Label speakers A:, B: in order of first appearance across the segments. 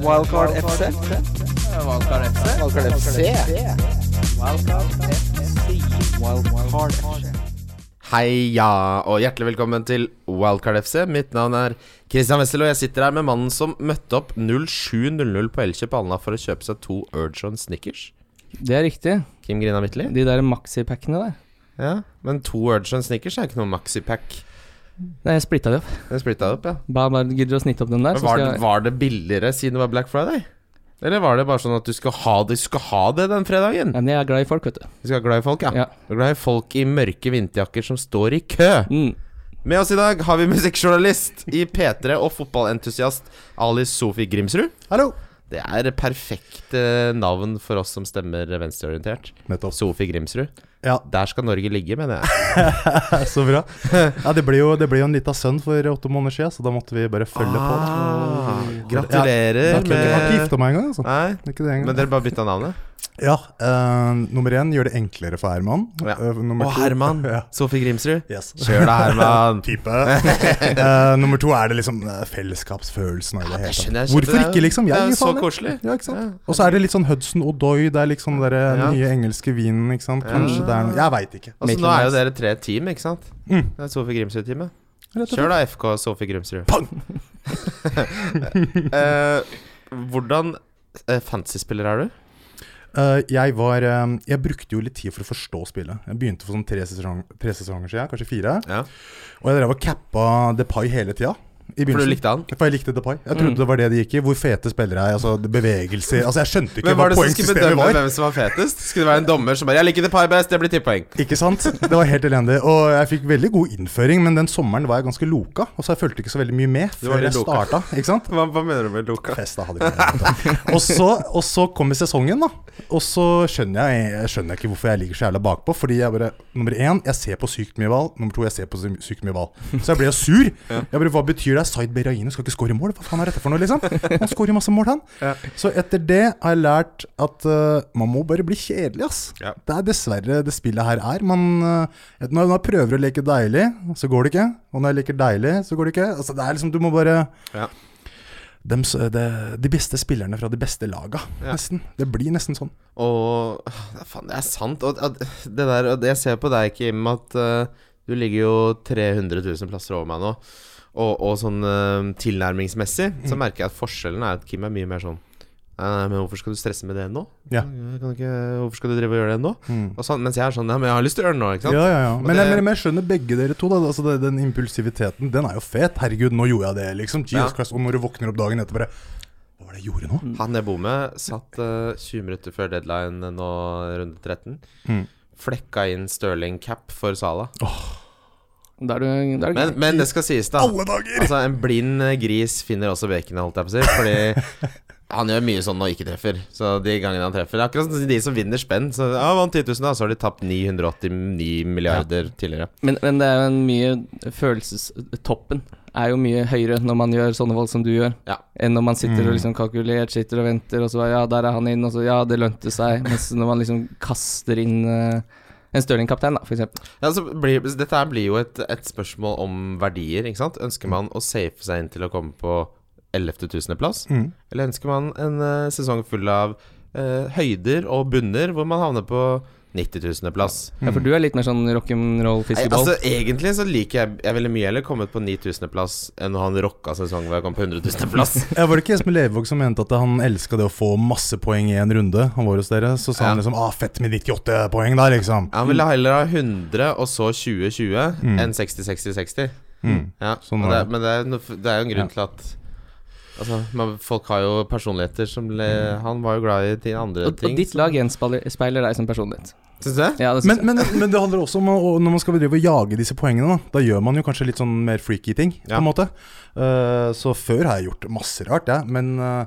A: Wildcard FC.
B: Valkar FC.
A: Wildcard FC. Wildcard FC.
C: Heia, og hjertelig velkommen til Wildcard FC. Mitt navn er Christian Wessel, og jeg sitter her med mannen som møtte opp 07.00 på Elkjøp Alna for å kjøpe seg to Urgeon Snickers.
D: Det er riktig.
C: Kim Grina Midtly.
D: De der maxipackene der.
C: Ja, men to Urgeon Snickers er ikke noe maxipack.
D: Nei, jeg splitta de opp.
C: Det splitta opp, ja.
D: Bare, bare gidder å snitte opp den der.
C: Men
D: Så
C: var, det-
D: skal jeg...
C: var det billigere siden det var Black Friday? Eller var det bare sånn at du skal ha det, du skal ha det den fredagen?
D: Nei, men jeg er glad i folk, vet du.
C: Du skal være glad i folk, ja.
D: Ja.
C: Du er glad i folk i mørke vinterjakker som står i kø.
D: Mm.
C: Med oss i dag har vi musikkjournalist i P3 og fotballentusiast Alice Sofie Grimsrud.
E: Hallo.
C: Det er perfekte navn for oss som stemmer venstreorientert.
E: Nettopp.
C: Sofie Grimsrud.
E: Ja.
C: Der skal Norge ligge, mener jeg.
E: Så bra. Ja, det ble jo, det ble jo en lita sønn for åtte måneder siden, så da måtte vi bare følge
C: Ah,
E: på.
C: gratulerer
E: Jeg har ikke
C: med
E: gifta meg engang, altså.
C: Nei,
E: Det er Ikke det
C: men
E: engang.
C: dere bare bytta navnet?
E: Ja, eh, nummer én gjør det enklere for Herman.
C: Ja.
E: Eh, nummer
C: Å,
E: to-
C: Herman.
E: Ja.
C: Sofie Grimsrud.
E: Yes.
C: Kjør da, Herman.
E: Type. Eh, nummer to er det liksom eh, fellesskapsfølelsen. av det hele
C: Jeg
E: tatt.
C: skjønner, jeg skjønner.
E: Hvorfor ikke, liksom? Jeg
C: Det er
E: gir
C: så
E: faen, jeg.
C: koselig.
E: Ja, ikke sant?
C: Ja.
E: Og så er det litt sånn Hudson O'Doy, det er liksom den derre
C: Ja.
E: nye engelske vinen, ikke sant. Kanskje
C: Ja.
E: det er noe Jeg veit ikke.
C: Altså,
D: Make
C: nå
D: it
C: er jo
D: nice.
C: dere tre team, ikke sant?
E: Mm.
C: Det er Sofie Grimsrud-teamet.
E: Rett og
C: Kjør
E: slett.
C: da, FK Sofie Grimsrud.
E: Pang!
C: Eh, hvordan eh, fantasy-spiller er du?
E: Eh, jeg var eh, Jeg brukte jo litt tid for å forstå spillet. Jeg begynte for sånn tre, sesong, tre sesonger siden, kanskje fire.
C: Ja.
E: Og jeg drev og cappa Depay hele tida. i
C: For du
E: begynnelsen.
C: likte Mm. han?
E: For jeg likte Depay. Jeg trodde det var det det gikk i. Hvor fete spillere er. Altså det- bevegelser Altså Jeg skjønte ikke
C: Hvem var
E: hva
C: det som skulle
E: poengsystemet
C: bedømme
E: var.
C: hvem som var fetest? Skulle det være en dommer som bare 'Jeg liker The Pie best, det blir ti poeng'.
E: Ikke sant? Det var helt elendig. Og jeg fikk veldig god innføring, men den sommeren var jeg ganske loka. Og så jeg fulgte ikke så veldig mye med
C: Du var
E: før
C: litt
E: jeg
C: loka.
E: starta. Ikke sant?
C: Hva, mener du med Luka?
E: Fest, da hadde jeg ikke noe annet, da. og, så, og så kommer sesongen, da. Og så skjønner jeg, jeg skjønner ikke hvorfor jeg ligger så jævla bakpå. Fordi jeg bare Nummer én, jeg ser på sykt mye ball. Nummer to, jeg ser på sy- sykt mye ball. Så jeg ble jo sur. Jeg bare, Hva betyr det? Zaid Berahino skal ikke score mål? Hva faen er dette for noe, liksom? Han scorer masse mål, han. Så etter det har jeg lært at eh, man må bare bli kjedelig, ass.
C: Ja.
E: Det er dessverre det spillet her er. Man, eh, når når jeg prøver å leke deilig, så går det ikke. Og når jeg leker deilig, så går det ikke. Altså, det er liksom, du må bare
C: Ja.
E: Dem s- de, de beste spillerne fra de beste laga,
C: Ja.
E: nesten. Det blir nesten sånn.
C: Og ah, Faen, det er sant. Og, at det der, og det- jeg ser på deg, Kim, at eh, du ligger jo 300 000 plasser over meg nå. Og, og sånn eh, tilnærmingsmessig så merker jeg at forskjellen er at Kim er mye mer sånn Nei, nei, men hvorfor skal du stresse med det nå?
E: Ja.
C: Kan du ikke, hvorfor skal du drive og gjøre det nå?
E: Mm.
C: Og sånn, mens jeg er sånn Ja, men jeg har lyst til å gjøre det nå, ikke
E: Ja,
C: sant?
E: ja, ja. Men,
C: det-
E: jeg, men jeg skjønner begge dere to. Da. Altså, det, den impulsiviteten, den er jo fet. Herregud, nå gjorde jeg det, liksom. Jesus
C: Ja.
E: Christ. Og når du våkner opp dagen etter, bare Hva var det jeg gjorde nå?
C: Han jeg bor med, satt eh, 20 minutter før deadline nå, runde 13.
E: Mm.
C: Flekka inn Stirling cap for Sala.
D: Da er du, da er du
C: Men, men det skal sies, da.
E: Alle dager!
C: Altså, en blind eh, gris finner også baconet, holdt jeg på å si. Fordi han gjør mye sånn når han ikke treffer. Så de gangene han treffer Det er akkurat som de som vinner spenn. Så ja, vant 10 000, da. Så har de tapt 989 milliarder tidligere.
D: men, men det er jo en mye Følelsestoppen er jo mye høyere når man gjør sånne valg som du gjør,
C: Ja.
D: enn når man sitter
E: Mm.
D: og liksom kalkulert, sitter og venter, og så ja, der er han inn, og så ja, det lønte seg. Mens når man liksom kaster inn eh, en Stirling-kaptein, da, for eksempel.
C: Ja, så blir, dette her blir jo et, et spørsmål om verdier, ikke sant? Ønsker man å safe seg inn til å komme på 11. tusendeplass?
E: Mm.
C: Eller ønsker man en eh, sesong full av eh, høyder og bunner hvor man havner på 90 000.-plass?
D: Ja,
E: Mm.
D: for du er litt mer sånn rock'n'roll-fiskeball.
C: Altså, egentlig så liker jeg Jeg ville mye heller kommet på 9000.-plass enn å ha en rocka sesong hvor jeg kom på 100 000.-plass.
E: Ja, var det ikke Espen Levevåg som mente at han elska det å få masse poeng i en runde? Han var hos dere, så sa han
C: Ja.
E: liksom ah, 'fett med 98 poeng', da, liksom.
C: Han ville heller ha 100 og så 20-20 enn 60-60-60.
E: Mm.
C: Ja,
E: Sånn
C: og
E: er
C: det,
E: det.
C: men det er, no, det er jo en grunn til at Altså, man, Folk har jo personligheter som le, Han var jo glad i ti- andre
D: Og,
C: ting.
D: og ditt lag gjenspeiler speiler deg som personlighet.
C: Syns du det?
D: Ja, det synes
E: Men, men, men det handler også om å, når man skal bedrive og jage disse poengene, da, da gjør man jo kanskje litt sånn mer freaky ting, på
C: Ja.
E: en måte. Eh, så før har jeg gjort masse rart, jeg, men eh,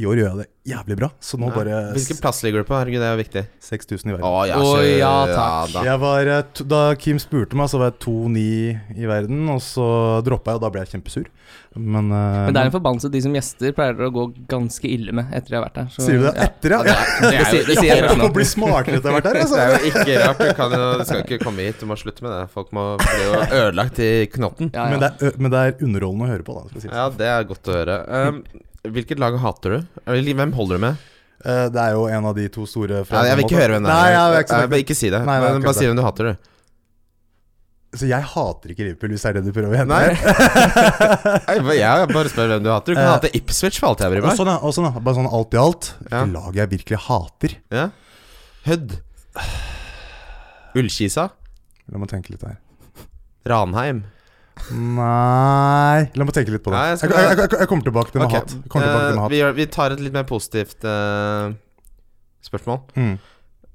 E: i år gjør jeg det jævlig bra. Så nå
C: Ja.
E: bare
C: Hvilken plass ligger du på? Herregud, det er jo viktig.
E: 6000 i verden.
C: Å ja,
D: Å,
C: så-
D: ja, takk.
C: da.
E: Jeg var, eh, to, da Kim spurte meg, så var jeg 2-9 i verden, og så droppa jeg, og da ble jeg kjempesur. Men, eh,
D: Men det er en forbannelse de som gjester pleier å gå ganske ille med etter de har vært her. så-
E: Sier du det
D: Ja.
E: etter, ja?
C: Ja, det, er, jo-
D: Det sier- det sier jeg
E: Jeg
D: først
E: må
D: nå.
E: bli smartere etter hvert her,
C: det
E: altså.
C: er jo ikke rart. Du, kan jo, du skal ikke komme hit. Du må slutte med det. Folk må bli jo ødelagt i knotten.
D: Ja, ja.
E: Men det, er, ø- men det er underholdende å høre på, da. Skal jeg si.
C: Ja, det er godt å høre. Um, Hvilket lag hater du? Eller Hvem holder du med?
E: Eh, det er jo en av de to store
C: Nei, jeg vil ikke høre hvem det er.
E: Nei, jeg vil ikke
C: Nei,
E: snakke-
C: bare ikke si det.
E: Nei, nei,
C: Men
E: akkurat
C: bare si
E: det.
C: hvem du hater, du.
E: Så jeg hater ikke Liverpool, hvis det er det du prøver å hente?
C: Nei.
E: her.
C: Jeg bare- jeg bare spør hvem du hater. Du kan
E: Eh,
C: hate Ipswich for alt jeg bryr
E: Og
C: meg.
E: sånn, ja, og sånn, ja. Bare sånn alt i alt.
C: Ja.
E: Hvilket lag jeg virkelig hater.
C: Ja. Hødd. Ullkisa.
E: La meg tenke litt her.
C: Ranheim.
E: Nei La meg tenke litt på det.
C: Nei, jeg
E: jeg,
C: skal-
E: jeg, jeg, jeg, kommer tilbake til med
C: Ok,
E: hat. Jeg Kommer tilbake til
C: eh,
E: med hat.
C: vi, gjør, vi tar et litt mer positivt eh, spørsmål.
E: Mm.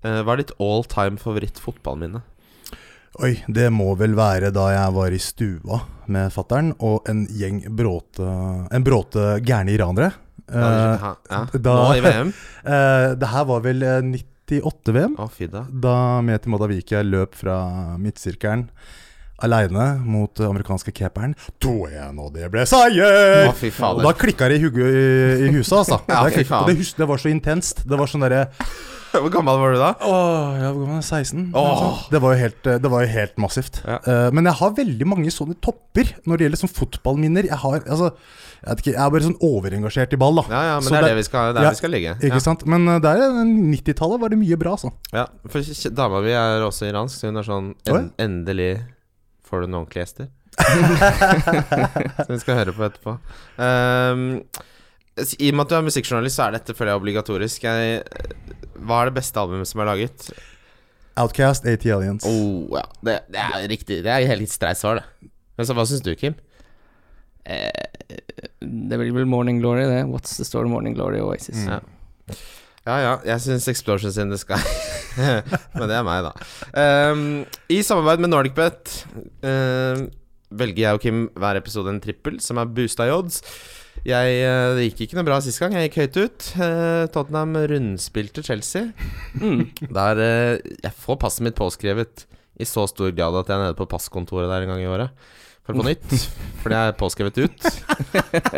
C: Eh, hva er ditt all time favoritt fotballminne?
E: Oi, det må vel være da jeg var i stua med fattern og en gjeng bråte En bråte gærne iranere. Eh,
C: ja, ja.
E: da-
C: Nå i VM?
E: eh, det her var vel eh, 98-VM,
C: Å, fy da.
E: da Meti Modavika løp fra midtsirkelen aleine mot eh, amerikanske caperen. 2-1, og det ble seier!
C: Å, fy
E: Og da
C: fader.
E: klikka det i, hugget- i, i huset, altså.
C: Ja,
E: Det
C: fy
E: klikket,
C: faen.
E: og det, hus- det var så intenst. Det var sånn derre
C: Hvor gammel var du da?
E: Åh, ja, hvor gammel er jeg? 16?
C: Åh.
E: Sånn. Det, var jo helt, det var jo helt massivt.
C: Ja.
E: Eh, men jeg har veldig mange sånne topper når det gjelder sånn fotballminner. Jeg, har, altså, jeg, vet ikke, jeg er bare sånn overengasjert i ball, da.
C: Ja, ja, men
E: Så
C: det er
E: det-
C: det vi skal, det er
E: ja,
C: vi skal ligge.
E: Ikke
C: Ja.
E: sant? Men eh, der eh, 90-tallet var det mye bra, altså.
C: Ja, for kj- dama mi er også iransk, så hun er sånn
E: Oi.
C: en, Endelig får du noen ordentlige gjester. Som vi skal høre på etterpå. Ehm, s- I og med at du er musikkjournalist, så er dette føler jeg obligatorisk. Jeg, hva er det beste albumet som er laget?
E: Outcast, AT Aliens.
C: Oh, ja. det, det er riktig. Det er helt streit svar, det. Men så hva syns du, Kim?
D: Eh, Det blir vel Morning Glory, det. What's the story Morning Glory og Oasis.
E: Mm.
C: Ja. Ja ja, jeg syns Explosions in the Sky. Men det er meg, da. Ehm, I samarbeid med NordicBet ehm, velger jeg og Kim hver episode en trippel som er boosta i odds. Jeg, eh, det gikk ikke noe bra sist gang. Jeg gikk høyt ut. Eh, Tottenham rundspilte Chelsea.
D: Mm.
C: Der eh, Jeg får passet mitt påskrevet i så stor grad at jeg er nede på passkontoret der en gang i året. For å få nytt. For det er påskrevet ut.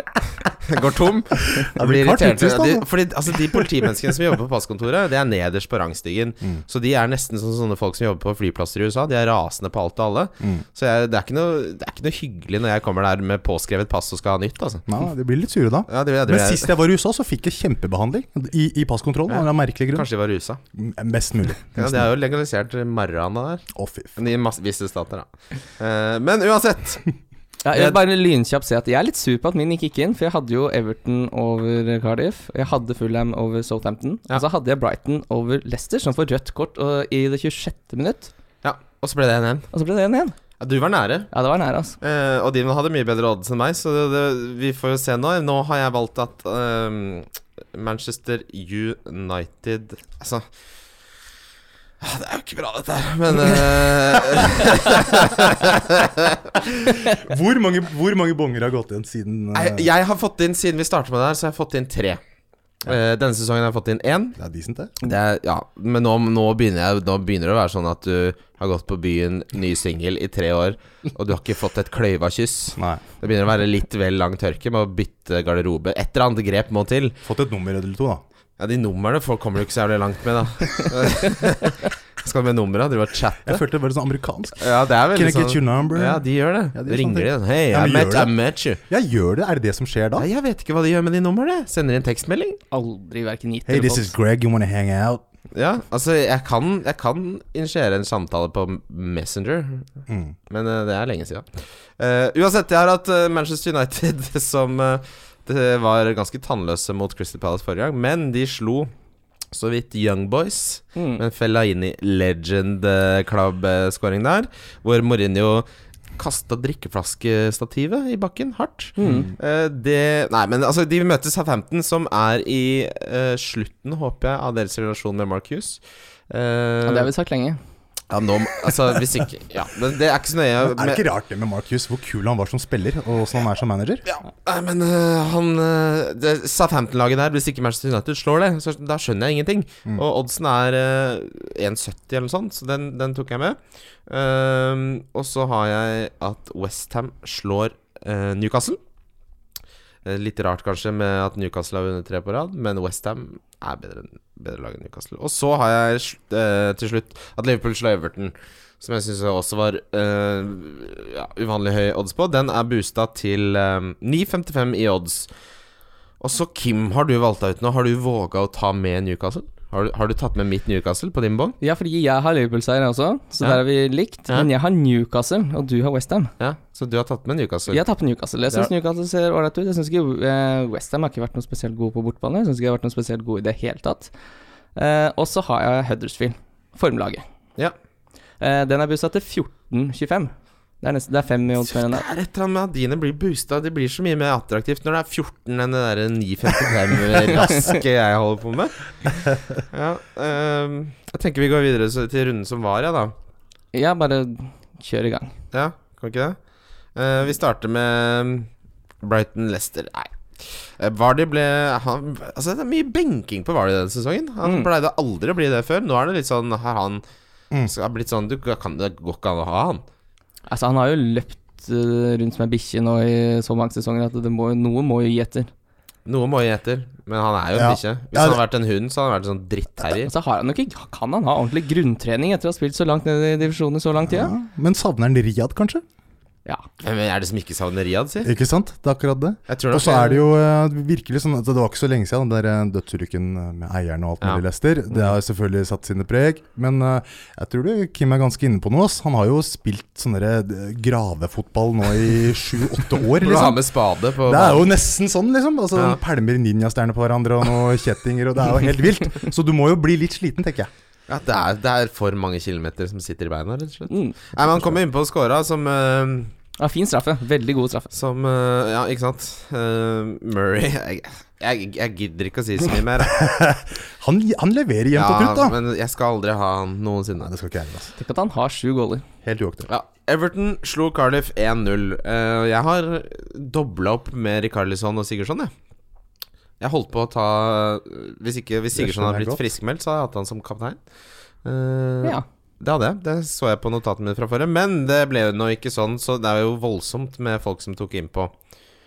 C: Jeg Går tom.
E: Ja,
C: Jeg blir
E: det er klart
C: irritert.
E: utlyst,
C: De,
E: altså.
C: fordi altså, de politimenneskene som jobber på passkontoret, det er nederst på rangstigen.
E: Mm.
C: Så de er nesten som sånne folk som jobber på flyplasser i USA. De er rasende på alt og alle.
E: Mm.
C: Så jeg, det, er ikke noe, det er ikke noe hyggelig når jeg kommer der med påskrevet pass og skal ha nytt, altså.
E: Nei, de blir litt sure da.
C: Ja, det, det,
E: Men sist jeg var i USA, så fikk jeg kjempebehandling i, i passkontrollen.
C: Ja.
E: Av en merkelig grunn.
C: Kanskje de var rusa.
E: M- Mest mulig.
C: Ja, de har jo legalisert marihuana der.
E: Å, fy f-
C: I masse, visse stater, da. Eh, men uansett.
D: Ja, jeg vil bare lynkjapt si at jeg er litt sur på at min gikk ikke inn, for jeg hadde jo Everton over Cardiff, og jeg hadde Fulham over Southampton,
C: Ja.
D: og så hadde jeg Brighton over Leicester, som får rødt kort og i det 26. minutt,
C: Ja, og så ble det 1-1.
D: og så ble det 1-1.
C: Ja, du var nære.
D: Ja, det var nære, altså.
C: Eh, og de hadde mye bedre odds enn meg, så det, det, vi får jo se nå. Nå har jeg valgt at ehm, Manchester United Altså ah, Det er jo ikke bra, dette her, men eh,
E: Hvor mange, hvor mange bonger har gått igjen siden eh,
C: jeg, jeg har fått inn, siden vi startet med det her, så har jeg fått inn tre. Eh, denne sesongen har jeg fått inn én.
E: Det er decent, det.
C: Det er, ja, men nå, nå, begynner jeg, nå begynner det å være sånn at du har gått på byen, ny singel, i tre år, og du har ikke fått et kløyva kyss.
E: Nei.
C: Det begynner å være litt vel lang tørke med å bytte garderobe. Et eller annet grep må til.
E: Fått et nummer eller to, da.
C: Ja, De numrene folk kommer du ikke så jævlig langt med, da. Skal du med numra? Driver og chatte?
E: Jeg følte det var litt sånn amerikansk.
C: Ja, det er
E: Can I
C: veldig
E: get your
C: sånn
E: number?
C: Ja, de gjør det.
E: Ja, de
C: de ringer de.
E: gjør
C: Hei,
E: Ja,
C: I
E: men
C: met,
E: gjør
C: I
E: det.
C: met you.
E: Jeg gjør det. Er det det som skjer da?
C: Nei, jeg vet ikke hva de gjør med de numrene. Sender inn tekstmelding.
D: Aldri hverken gitt
E: Hey,
D: eller
E: this
D: fått.
E: is Greg. You wanna hang out?
C: Ja, altså, jeg kan, jeg kan initiere en samtale på Messenger,
E: Mm.
C: men eh, det er lenge siden. Eh, uansett, jeg har hatt eh, Manchester United som eh, det var ganske tannløse mot Crystal Palace forrige gang, men de slo så vidt Young Boys.
D: Mm.
C: Men Fellaini legend eh, club-skåring der, hvor Mourinho kasta drikkeflaskestativet i bakken hardt.
D: Mm.
C: Eh, det Nei, men altså, de møter Southampton, som er i eh, slutten, håper jeg, av deres relasjon med Mark Hughes. Eh,
D: Ja, det har vi sagt lenge.
C: ja, nå Altså, hvis ikke Ja, men det er ikke så nøye.
E: Er det
C: men-
E: ikke rart det med Marcus, hvor kul han var som spiller, og åssen han er som manager?
C: ja, nei, men øh, han øh, det- Southampton-laget der, hvis ikke Manchester United slår det, så da skjønner jeg ingenting. Og oddsen er øh, 1,70 eller noe sånt, så den, den tok jeg med. Ehm, og så har jeg at Westham slår øh, Newcastle. Eh, Litt rart kanskje med at Newcastle har vunnet tre på rad, men Westham er bedre, enn- bedre lag enn Newcastle. Og så har jeg sl- eh, til slutt at Liverpool slår Everton, som jeg syns også var eh, ja, uvanlig høy odds på. Den er boosta til eh, 9,55 i odds. Og så, Kim, har du valgt deg ut nå? Har du våga å ta med Newcastle? Har du, har du tatt med mitt Newcastle på din bånd?
D: Ja, fordi jeg har Liverpool-seier også, så
C: Ja.
D: der er vi likt.
C: Ja.
D: Men jeg har Newcastle, og du har Westham.
C: Ja, så du har tatt med Newcastle?
D: Jeg tapper Newcastle. Jeg syns
C: Ja.
D: Newcastle ser ålreit ut. Jeg synes ikke eh, Westham har ikke vært noe spesielt gode på bortbane. Jeg syns ikke de har vært noe spesielt gode i det hele tatt. Eh, og så har jeg Huddersfield, formlaget.
C: Ja.
D: Eh, den er bussa til 14,25. Det er, nesten, det er fem i odds
C: Det
D: mer
C: er
D: enn det.
C: et eller annet med at dine blir boosta. Det blir så mye mer attraktivt når det er 14 enn det der 955-raske jeg holder på med. Ja, ehm, jeg tenker vi går videre så- til runden som var, ja, da.
D: Ja, bare kjør i gang.
C: Ja, kan vi ikke det? Eh, vi starter med Brighton-Lester. Nei. Eh, Vardy ble han, Altså Det er mye benking på Vardy denne sesongen. Han
D: Mm.
C: pleide aldri å bli det før. Nå er det litt sånn Har han
E: Mm.
C: så har det blitt sånn Du kan det går ikke an å ha han.
D: Altså, han har jo løpt eh, rundt som ei bikkje nå i så mange sesonger at det må, noe må jo gi etter.
C: Noe må gi etter, men han er jo en
E: Ja.
C: bikkje. Hvis
E: Ja,
C: han
E: det-
C: hadde vært en hund, så hadde han vært en sånn drittterrier.
D: Og så Altså, har han nok ikke Kan han ha ordentlig grunntrening etter å ha spilt så langt ned i divisjonen i så lang tid?
E: Ja,
D: da?
E: men savner han Riyad, kanskje?
D: Ja.
C: Hvem er det som ikke savner Riyad, si?
E: Ikke sant? Det er akkurat det.
C: Jeg tror
E: Og
C: nok
E: så er det jo eh, virkelig sånn at det var ikke så lenge siden den der eh, dødsulykken eh, med eieren og alt
C: Ja. Mm.
E: mulig Leicester. Det har selvfølgelig satt sine preg. Men eh, jeg tror det Kim er ganske inne på noe. ass. Han har jo spilt sånn der, eh, gravefotball nå i sju-åtte år,
C: Burde ha
E: liksom.
C: med spade på
E: Det er jo nesten sånn, liksom. Altså,
C: Ja.
E: den Pælmer ninjastjerner på hverandre og noen kjettinger, og det er jo helt vilt. Så du må jo bli litt sliten, tenker jeg.
C: ja, det, er, det er for mange kilometer som sitter i beina, rett og slett.
D: Mm.
C: Nei, men han kommer innpå og scora, som eh,
D: ja. Fin straffe. Veldig god straffe.
C: Som eh, Ja, ikke sant? Eh, Murray jeg, jeg, jeg gidder ikke å si så mye mer. jeg.
E: Han, han leverer jevnt
C: Ja,
E: og trutt, da.
C: men jeg skal aldri ha han
E: Nei,
C: noensinne.
E: det skal ikke jeg gjøre, altså.
D: Tenk at han har sju goaler.
E: Helt uaktuelt.
C: Ja, Everton slo Cardiff 1-0. Eh, jeg har dobla opp med Rikarlison og Sigurdsson, jeg. Jeg holdt på å ta Hvis, ikke, hvis
E: Det
C: Sigurdsson hadde
E: skjønner jeg
C: blitt
E: godt.
C: friskmeldt, så hadde jeg hatt han som kaptein. Eh,
D: Ja.
C: Det hadde jeg. Det så jeg på notatene mine fra forrige. Men det ble jo nå ikke sånn, så det er jo voldsomt med folk som tok innpå.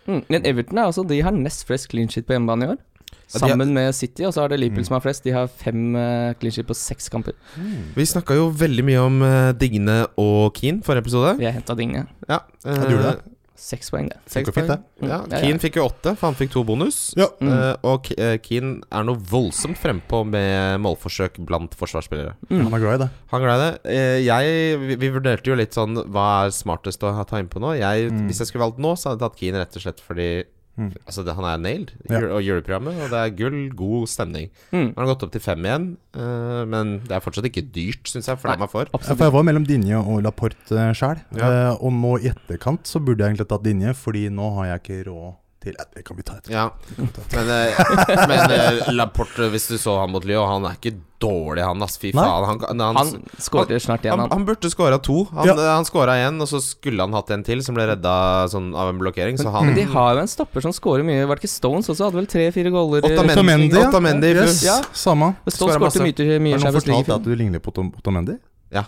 D: Mm. Men Everton er også, de har nest flest clean shit på hjemmebane i år.
C: Ja, de har-
D: Sammen med City, og så er det Liverpool som har flest. De har fem eh, clean shit på seks kamper.
E: Mm,
C: Vi snakka jo veldig mye om eh, Digne og Keane forrige episode.
D: Jeg henta dingene.
C: Ja, eh,
E: du gjorde det?
D: Seks poeng, det.
C: seks
E: Det går fint,
C: poeng.
D: det.
C: Ja,
D: Mm, ja, ja.
C: Keane fikk jo åtte, for han fikk to bonus.
E: Ja.
D: Mm.
C: Eh, og Ke- eh, Keane er noe voldsomt frempå med målforsøk blant forsvarsspillere.
E: Han er glad i det.
C: Han er glad i det. Eh, jeg, vi, vi vurderte jo litt sånn hva er smartest å ha- ta innpå nå. Jeg,
E: Mm.
C: Hvis jeg skulle valgt nå, så hadde jeg tatt Keane rett og slett fordi
E: Mm.
C: Altså, det, han er nailed
E: Ja.
C: Jul- og juleprogrammet, og det er gull, god stemning. Nå
D: Mm.
C: har han gått opp til fem igjen, eh, men det er fortsatt ikke dyrt, syns jeg, for det
D: Nei.
C: man får.
E: Ja, for
D: Absolutt.
E: jeg var mellom Dinje og Laporte sjøl.
C: Ja.
E: og nå i etterkant så burde jeg egentlig tatt Dinje, fordi nå har jeg ikke råd til Eh, Det kan vi ta etterpå.
C: Ja, men, eh, men eh, Laporte, hvis du så han mot Lyon, han er ikke dårlig, han, ass. Fy
E: Nei.
C: faen. Han, han,
D: Han
C: han,
D: skårer snart igjen,
C: han,
D: han.
C: burde skåra to. Han,
E: Ja.
C: ja. han skåra én, og så skulle han hatt en til som ble redda sånn, av en blokkering, så han
D: Men de har jo en stopper som scorer mye. Var det ikke Stones også? Hadde vel tre-fire goaler. i-
C: Otamendi.
E: Otamendi, ja.
C: Otamendi,
E: yes,
D: ja.
E: Samme.
D: Men Stones
C: Skårer masse.
D: skårte mye, mye i
E: Har noen
D: Champions League. i
E: fortalt deg
D: fjor.
E: at du ligner litt på Tom- Otamendi?
C: Ja.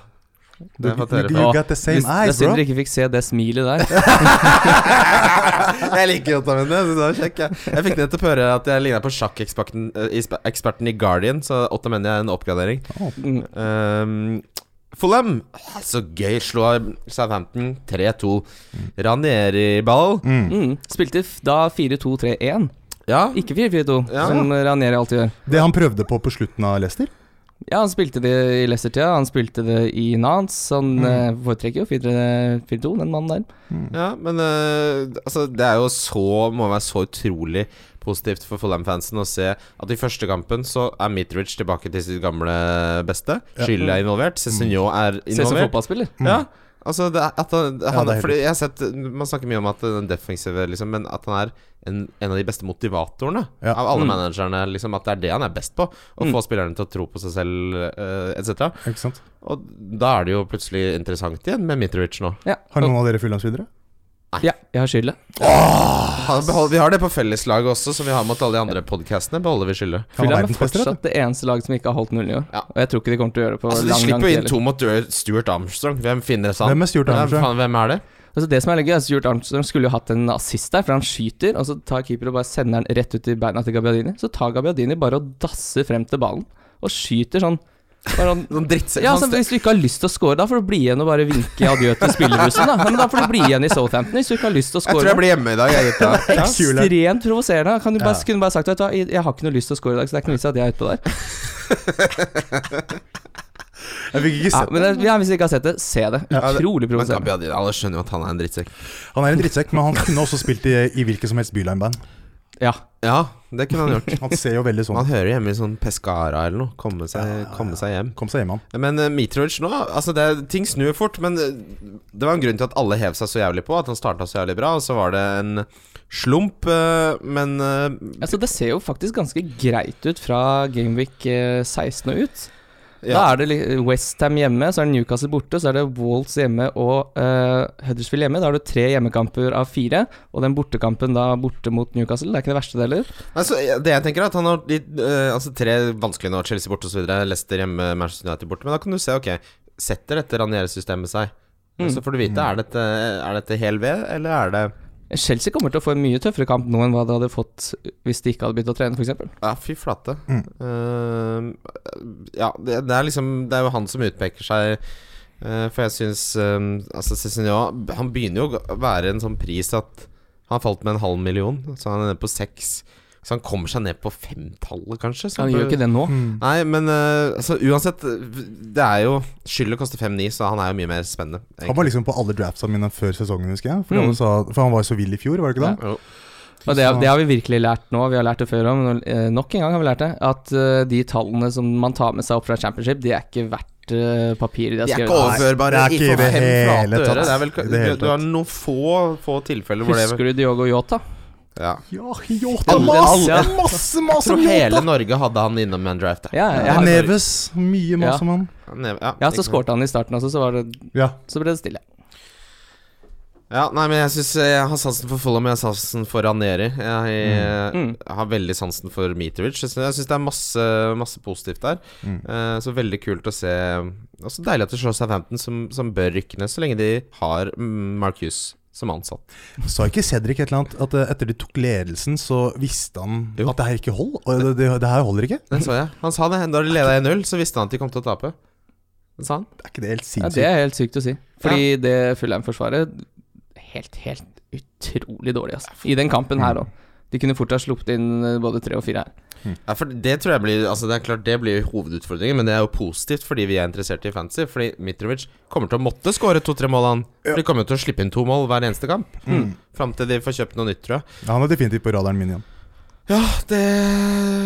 E: Du,
C: Det har jeg fått høre
E: you,
C: på.
E: you got the same
D: Hvis- Det er
E: eyes,
D: synd
E: bro.
D: dere ikke fikk se det smilet der.
C: Jeg liker Otamendi, så det var kjekk. Jeg, jeg fikk nettopp høre at jeg ligna på sjakkeksperten eh, ispe- eksperten i Guardian, så Otamendi er en oppgradering.
D: Mm.
C: Um, Fulham, så gøy. Slår Southampton 3-2. Ranieri-ball.
E: Mm.
D: Mm. Spilte f- da 4-2-3-1,
C: Ja,
D: ikke 4-4-2,
C: Ja.
D: som Ranieri alltid gjør.
E: Det han prøvde på på slutten av Leicester?
D: Ja, han spilte det i Leicester-tida, han spilte det i Nance. Han eh, foretrekker jo 4-3 4-2, den mannen der.
C: Ja, men eh, altså, det er jo så må være så utrolig positivt for Fulham-fansen å se at i første kampen så er Mitrovic tilbake til sitt gamle beste.
E: Ja. Mm.
C: Skyld er involvert. Cézinho er
D: Ser ut som
C: involvert.
D: fotballspiller.
C: Ja, altså det er, at han, han,
E: det er helt
C: fordi jeg har sett, Man snakker mye om at den defensive liksom, Men at han er en, en av de beste motivatorene
E: Ja.
C: av alle
D: Mm.
C: managerne. Liksom, at det er det han er best på. Å
D: Mm.
C: få spillerne til å tro på seg selv, uh, etc.
E: Ikke sant?
C: Og da er det jo plutselig interessant igjen med Mitrovic nå.
D: Ja.
E: Har noen av dere fulllandsvidere?
D: ja, jeg har skylda.
C: Han behol- vi har det på felleslaget også, som vi har mot alle de andre podcastene. Beholder vi skylda.
E: Han
D: Fulham
E: er
D: er
E: verdens beste, vet du.
D: fortsatt det eneste laget som ikke har holdt nullen i år.
C: Ja.
D: Og jeg tror ikke de kommer til å gjøre det på
C: Altså, de
D: lang, lang
C: slipper
D: tid.
C: inn
D: heller.
C: to mot Dur- Stuart Armstrong. Hvem finnes han?
E: Hvem er Stuart
C: Ja,
E: Armstrong?
C: faen, hvem er det?
D: Altså, det som er litt gøy, er at Stuart Armstrong skulle jo hatt en assist der, for han skyter, og så tar keeper og bare sender den rett ut i beina til Gabbiadini. Så tar Gabbiadini bare og dasser frem til ballen, og skyter sånn Bare sånn,
C: Sånn drittsekk.
D: ja,
C: sånn
D: så
C: ste-
D: Hvis du ikke har lyst til å score, da får du bli igjen og bare vinke adjø til spillerbussen. Da. Men da får du bli igjen i Southampton hvis du ikke har lyst til å
C: jeg tror jeg
D: score.
C: blir hjemme i dag, jeg gutta.
E: Kule.
D: Ekstremt provoserende. Kan du bare,
E: Ja.
D: kunne bare sagt vet du, hva, jeg jeg har ikke noe lyst til å score i dag, så det er ikke noe vits i at jeg er utpå der.
E: Jeg fikk ikke
D: Ja,
E: sett
D: men det, ja, Hvis du ikke har sett det, se det.
E: Ja,
C: det-
D: Utrolig
C: Men
D: provoserende.
C: Gabi Adil, alle skjønner jo at han er en drittsekk.
E: Han er en drittsekk, men han kunne også spilt i, i hvilket som helst bylineband.
D: Ja.
C: Ja, det kunne han gjort.
E: Han ser jo veldig sånn
C: Han hører hjemme i sånn Pescara eller noe. Komme seg, komme seg hjem.
E: Kom seg hjem, han.
C: Men eh, Mitrovic nå Altså, det, er- ting snur fort, men eh, det var en grunn til at alle hev seg så jævlig på. At han starta så jævlig bra, og så var det en slump, eh, men eh,
D: Altså, det ser jo faktisk ganske greit ut fra Gameweek eh, 16 og ut. Da
C: ja,
D: er det li- Westham hjemme, så er det Newcastle borte, så er det Wolves hjemme og eh, Huddersfield hjemme. Da har du tre hjemmekamper av fire, og den bortekampen da borte mot Newcastle, det er ikke det verste det heller.
C: altså, Det jeg tenker, er at han har litt, eh, altså, tre vanskelige nå. Chelsea borte osv. Leicester hjemme, Manchester United borte. Men da kan du se, ok, setter dette Ranieri-systemet seg?
D: Mm.
C: Så får du vite, er dette, er dette hel ved, eller er det
D: Chelsea kommer til å få en mye tøffere kamp nå enn hva de hadde fått eh, hvis de ikke hadde begynt å trene, f.eks.
C: Ja, fy flate.
D: Mm.
C: Eh, ja, det, det er liksom Det er jo han som utpeker seg. eh, for jeg syns Altså, Cézinho Han begynner jo å være en sånn pris at han har falt med en halv million, så han er nede på seks. Så han kommer seg ned på femtallet, kanskje. Så
D: Han gjør jo ikke det nå.
E: Mm.
C: Nei, men eh, altså, uansett Det er jo Skyldet koster 5-9, så han er jo mye mer spennende.
E: Han var liksom på alle draftsa mine før sesongen, husker jeg. For,
D: Mm.
E: alle sa, for han var jo så vill i fjor, var det ikke det?
C: Jo.
D: Og det, det har vi virkelig lært nå, vi har lært det før òg, men eh, nok en gang har vi lært det. At eh, de tallene som man tar med seg opp fra championship, de er ikke verdt eh, papiret de har
C: De er
D: skrevet.
C: ikke overførbare
E: Nei, det er
C: i
E: ikke i det
C: fem
E: hele
C: flate øre.
E: tatt.
C: Det er vel,
E: I det hele
C: du, du har noen få, få tilfeller hvor det
D: Husker du Diogo Yota?
C: ja.
E: Ja, Jota,
D: Alle-
E: masse,
D: ja.
E: masse
C: Jeg
E: mas
C: tror
E: om
C: hele
E: Jota!
C: Norge hadde han innom en draft.
D: Ja, jeg har-
E: Neves, mye mas
D: Ja.
E: om han.
C: Neve- ja,
D: Ja,
C: ikke
D: så
C: sant.
D: skårte han i starten også, så, var det,
E: Ja.
D: så ble det stille.
C: Ja, nei, men jeg synes eh, jeg har sansen for Fulham, jeg har sansen for Ranieri. Jeg, eh,
D: Mm.
C: har veldig sansen for Mitrovic. Jeg synes- jeg syns det er masse, masse positivt der. Eh, så veldig kult å se. Og så deilig at det slår seg 15, som, som bør rykke ned, så lenge de har mm, Marcus som ansatt.
E: Sa ikke Cedric et eller annet at eh, etter de tok ledelsen, så visste han
C: Jo.
E: at det her ikke hold? Og det, det, det her holder ikke?
C: Den så jeg. Han sa det. Da de leda 1-0, så visste han at de kom til å tape. Det sa han.
E: Er ikke det helt
D: Ja, det
E: sinnssykt?
D: er helt sykt å si. Fordi det Fulheim-forsvaret Helt, helt utrolig dårlig, altså. I den kampen her òg. De kunne fort ha sluppet inn eh, både tre og fire her.
C: Ja, for det tror jeg blir Altså det er klart det blir hovedutfordringen, men det er jo positivt fordi vi er interessert i fantasy. Fordi Mitrovic kommer til å måtte skåre to-tre mål, han. For de kommer jo til å slippe inn to mål hver eneste kamp. Mm. Fram til de får kjøpt noe nytt, tror jeg.
E: Ja, han er definitivt på radaren min igjen.
C: Ja, det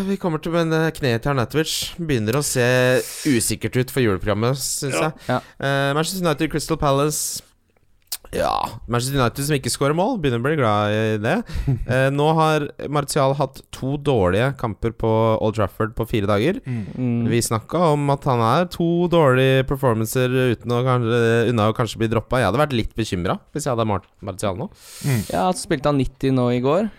C: Vi kommer til Men eh, kneet til Arnatovic begynner å se usikkert ut for juleprogrammet, syns jeg.
D: Ja.
C: Eh, Manchester United, Crystal Palace Ja Manchester United som ikke skårer mål, begynner å bli glad i det. Eh, nå har Martial hatt to dårlige kamper på Old Trafford på fire dager.
D: Mm.
C: Vi snakka om at han er to dårlige performancer uten å, kanskje- unna å kanskje bli droppa. Jeg hadde vært litt bekymra hvis jeg hadde Mar- Martial nå.
D: Ja, så spilte han 90 nå i går.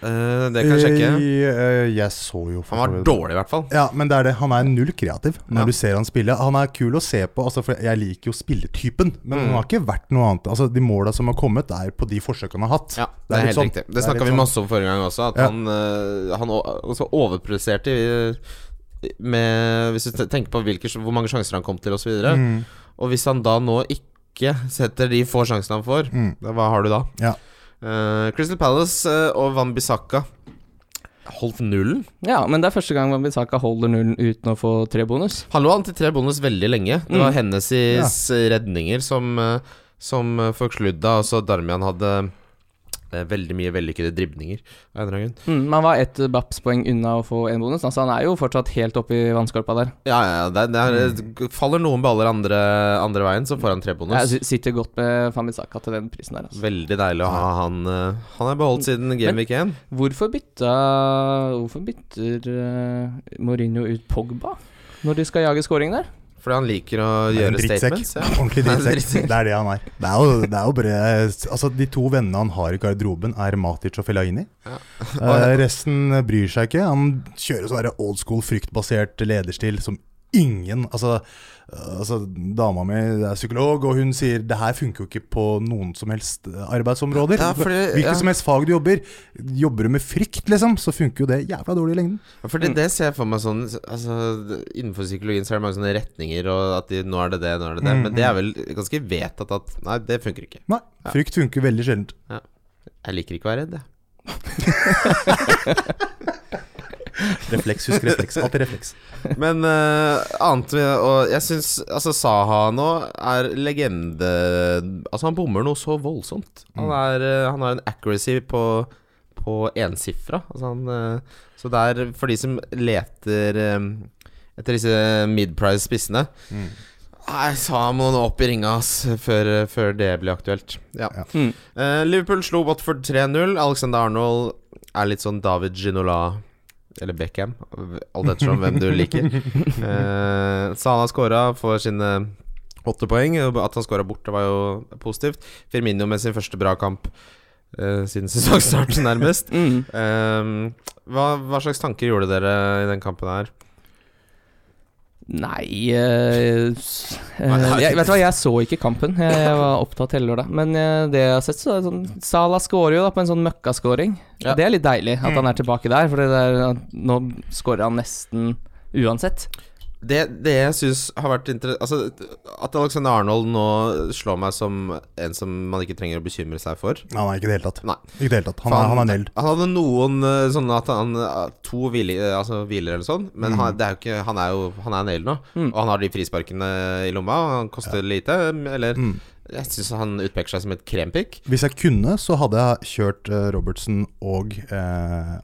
C: Eh, det kan jeg sjekke.
E: Eh, eh, jeg så jo
C: Han var dårlig, i hvert fall.
E: Ja, men det er det. Han er null kreativ når
C: Ja.
E: du ser han spille. Han er kul å se på, altså, for jeg liker jo spilletypen, men
C: Mm.
E: han har ikke vært noe annet. Altså, De måla som har kommet, er på de forsøkene han har hatt.
C: Ja, det er
E: litt
C: helt
E: sånn.
C: riktig.
E: er
C: Det snakka
E: litt
C: vi
E: sånn.
C: masse om forrige gang også, at
E: Ja.
C: han, eh, han o- også overpresterte i- med Hvis du te- tenker på hvilke, hvor mange sjanser han kom til, osv. videre
E: Mm.
C: Og hvis han da nå ikke setter de få sjansene han får,
E: Mm.
C: da, hva har du da?
E: Ja.
C: Eh, Crystal Palace eh, og Van Bissaka holdt nullen.
D: Ja, men det er første gang Wambisaka holder nullen uten å få tre bonus.
C: Han lå an til tre bonus veldig lenge. Det
E: Mm.
C: var Hennessys redninger som, eh, som eh, forkludda. Altså Darmian hadde eh, veldig mye vellykkede dribninger. av en eller annen grunn.
D: Mm, men han var ett Baps-poeng unna å få en bonus, altså han er jo fortsatt helt oppe i vannskorpa der.
C: Ja, ja, ja, det, det er,
E: Mm.
C: faller noen baller andre, andre veien, så får han tre bonus.
D: Jeg si- sitter godt med Fambisaka til den prisen der, altså.
C: Veldig deilig å ha han eh, Han er beholdt siden Game Week 1.
D: Hvorfor bytta Hvorfor bytter eh, Mourinho ut Pogba når de skal jage scoring der?
C: Fordi han liker å
E: Han er en
C: gjøre
E: drittsekk.
C: statements. Ja.
E: Ordentlig
C: Han er en
E: drittsekk. Det er det han er. Det er jo, det er jo bare Altså, de to vennene han har i garderoben, er Matic og Fellaini. Eh, resten bryr seg ikke. Han kjører sånn der old school fryktbasert lederstil som ingen Altså, øh, altså dama mi er psykolog, og hun sier det her funker jo ikke på noen som helst øh, arbeidsområder.
C: Ja, fordi-
E: Hvilket
C: ja.
E: som helst fag du jobber. Jobber du med frykt, liksom, så funker jo det jævla dårlig i lengden.
C: Ja, Fordi det ser jeg for meg sånn altså, Innenfor psykologien så er det mange sånne retninger, og at de, nå er det det, nå er det det.
E: Mm,
C: Men det er vel ganske vedtatt at Nei, det funker ikke.
E: Nei, frykt funker veldig sjeldent.
C: Jeg liker ikke å være redd, jeg.
E: Refleks, husk refleks. Alltid refleks.
C: Men eh, annet Og jeg syns altså, Saha nå er legende Altså, han bommer noe så voldsomt. Han, er, eh, han har en accuracy på, på ensifra. Altså, han eh, Så det er for de som leter eh, etter disse mid-price-spissene Nei, Saha må nå opp i ringa ass, før, før det blir aktuelt. Ja.
E: Ja.
D: Mm.
C: Eh, Liverpool slo Watford 3-0. Alexander Arnold er litt sånn David Ginola eller Beckham, alt ettersom hvem du liker. Eh, Salah skåra for sine åtte poeng. og At han skåra borte, var jo positivt. Firmino med sin første bra kamp eh, siden sesongstart, nærmest.
D: Mm.
C: Eh, hva, hva slags tanker gjorde dere i den kampen her?
D: Nei eh, s- eh,
C: Nei.
D: jeg, Vet du hva, jeg så ikke kampen. Jeg, jeg var opptatt hele lørdag. Men eh, det jeg har sett, så er det sånn Salah scorer jo da på en sånn møkkaskåring.
C: Ja. Mm.
D: Det er litt deilig at han er tilbake der, for det der, nå scorer han nesten uansett.
C: Det, det jeg syns har vært interessant altså, At Alexander Arnold nå slår meg som en som man ikke trenger å bekymre seg for.
E: Nei, nei, ikke i det hele tatt.
C: Nei.
E: Ikke i det hele tatt. Han, er, han er nell.
C: Han hadde noen eh, sånne at han eh, To hvile, eh, altså hviler eller sånn, men
E: Mm.
C: han, det er jo ikke, han er jo Han er nail nå, og han har de frisparkene i lomma, og han koster lite. Eller
E: Mm.
C: Jeg syns han utpeker seg som et krempikk.
E: Hvis jeg kunne, så hadde jeg kjørt eh, Robertson og eh,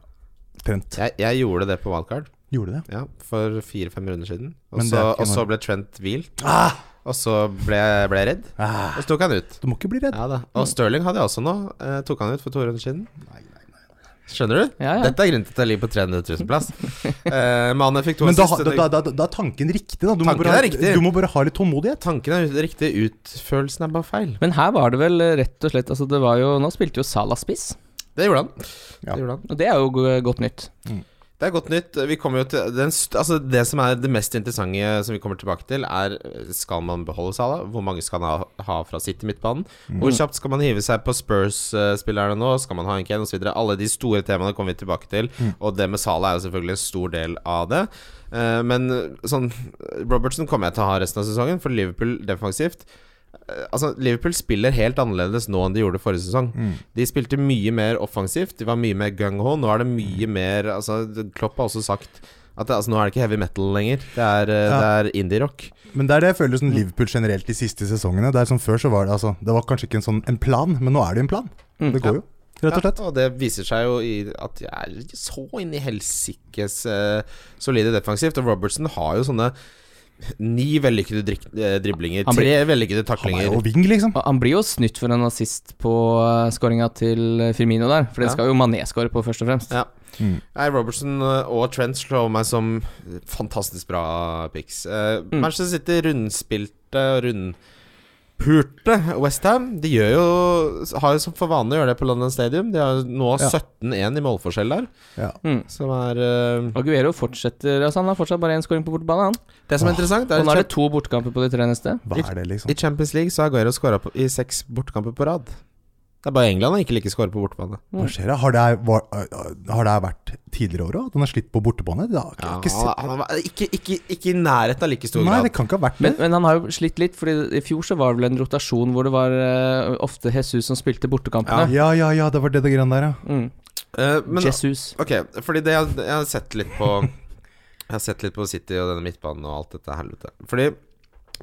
E: Trent.
C: Jeg, jeg gjorde det på wildcard
E: Gjorde det?
C: ja, for fire-fem runder siden, og
E: Men det er
C: så,
E: ikke
C: og så
E: noe-
C: ble Trent hvilt.
E: Ah!
C: Og så ble jeg ble jeg redd,
E: Ah,
C: og så tok han ut.
E: du må ikke bli redd.
C: Ja da. Og Sterling hadde jeg også nå. Eh, tok han ut for to runder siden. Skjønner du?
D: Ja, ja.
C: Dette er grunnen til at jeg ligger på 300 000 plass. Eh, Mane fikk to
E: Men da,
C: assist, og
E: da,
C: det-
E: da, da, da er tanken riktig, da. Du,
C: Tanken
E: må bare,
C: er riktig.
E: du må bare ha litt tålmodighet.
C: Tanken er ut- riktig, utførelsen er bare feil.
D: Men her var det vel eh, rett og slett Altså, det var jo Nå spilte jo Salah spiss,
C: Det gjorde han.
E: Ja.
C: Det, gjorde han.
D: og det er jo go- godt nytt.
C: det er godt nytt. Vi kommer jo til den, st- altså Det som er det mest interessante som vi kommer tilbake til, er eh, skal man beholde Sala? Hvor mange skal han ha, ha fra sitt i midtbanen? Hvor kjapt skal man hive seg på Spurs-spillerne nå? Skal man ha en Kane osv.? Alle de store temaene kommer vi tilbake til, og det med Sala er jo selvfølgelig en stor del av det. Eh, Men sånn Robertson kommer jeg til å ha resten av sesongen, for Liverpool defensivt Eh, Altså, Liverpool spiller helt annerledes nå enn de gjorde forrige sesong.
E: Mm.
C: De spilte mye mer offensivt, de var mye mer gung-ho. Nå er det
E: Mm.
C: mye mer altså, Klopp har også sagt at det, altså, nå er det ikke heavy metal lenger. Det er, eh, det er indie-rock.
E: Men det er det jeg føler som Liverpool generelt de siste sesongene. Det er som før så var det altså Det var kanskje ikke en sånn en plan, men nå er det jo en plan.
C: Mm,
E: Det går jo, rett og slett.
C: Ja, og det viser seg jo i at de er ikke så inn i helsikes eh, solide defensivt. Og Robertson har jo sånne ni vellykkede drik- eh, driblinger,
D: Han blir-
C: tre vellykkede
E: Han er
C: taklinger.
E: jo wing, liksom.
D: Og han blir jo snytt for en assist på eh, skåringa til eh, Firmino der, for det
C: Ja.
D: skal jo Mané skåre på, først og fremst.
C: Ja. Nei, Robertson eh, og Trent slår meg som fantastisk bra picks. Eh,
E: Mm.
C: Manchester City rundspilte og rundpurte Westham. De gjør jo, har jo som for vane å gjøre det på London Stadium. De har jo nå
E: Ja.
C: 17-1 i målforskjell der,
E: Ja.
C: som er eh,
D: Mm. Aguero fortsetter Altså Han har fortsatt bare én scoring på bortebane. Han.
C: Det som er interessant,
D: Og
C: er
D: nå er det
C: at
D: to bortekamper på de tre neste.
E: Hva er det, liksom?
C: i Champions League så har Aguero skåra i seks bortekamper på rad. Det er bare England han ikke liker å skåre på bortebane.
E: Hva skjer da? Har det, her- var, øh, har det her vært tidligere år òg? At han har slitt på bortebane? Det har jeg
C: Ja,
E: ikke
C: han,
E: sett.
C: han, han, ikke, ikke, ikke i nærheten av like stor
E: Nei,
C: grad.
E: det kan ikke ha vært det.
D: Men, men han har jo slitt litt, Fordi i fjor så var det vel en rotasjon hvor det var eh, ofte Jesus som spilte bortekampene.
E: Ja, ja, ja, det var det det greiene der, ja.
D: Mm.
C: Eh, men-
D: Jesus.
C: Ok, fordi det jeg, jeg har sett litt på Jeg har sett litt på City og denne midtbanen og alt dette helvete. Fordi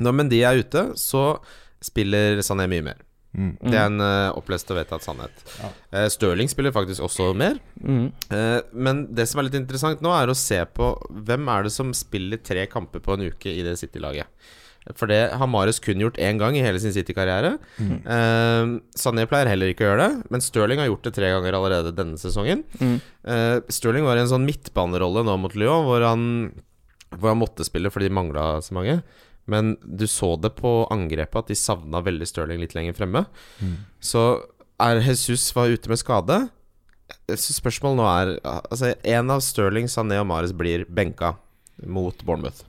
C: når Mendy er ute, så spiller Sané mye mer.
E: Mm.
C: Det er en eh, opplest og vedtatt sannhet. Eh, Stirling spiller faktisk også mer.
D: Mm.
C: Eh, men det som er litt interessant nå, er å se på hvem er det som spiller tre kamper på en uke i det City-laget. For det har Marius kun gjort én gang i hele sin City-karriere. Eh, Sané pleier heller ikke å gjøre det, men Stirling har gjort det tre ganger allerede denne sesongen. Eh, Stirling var i en sånn midtbanerolle nå mot Lyon, hvor han, hvor han måtte spille fordi de mangla så mange. Men du så det på angrepet at de savna veldig Stirling litt lenger fremme. Så er Jesus var ute med skade. Så spørsmålet nå er Altså, en av Stirling, Sané og Mares blir benka mot Bournemouth.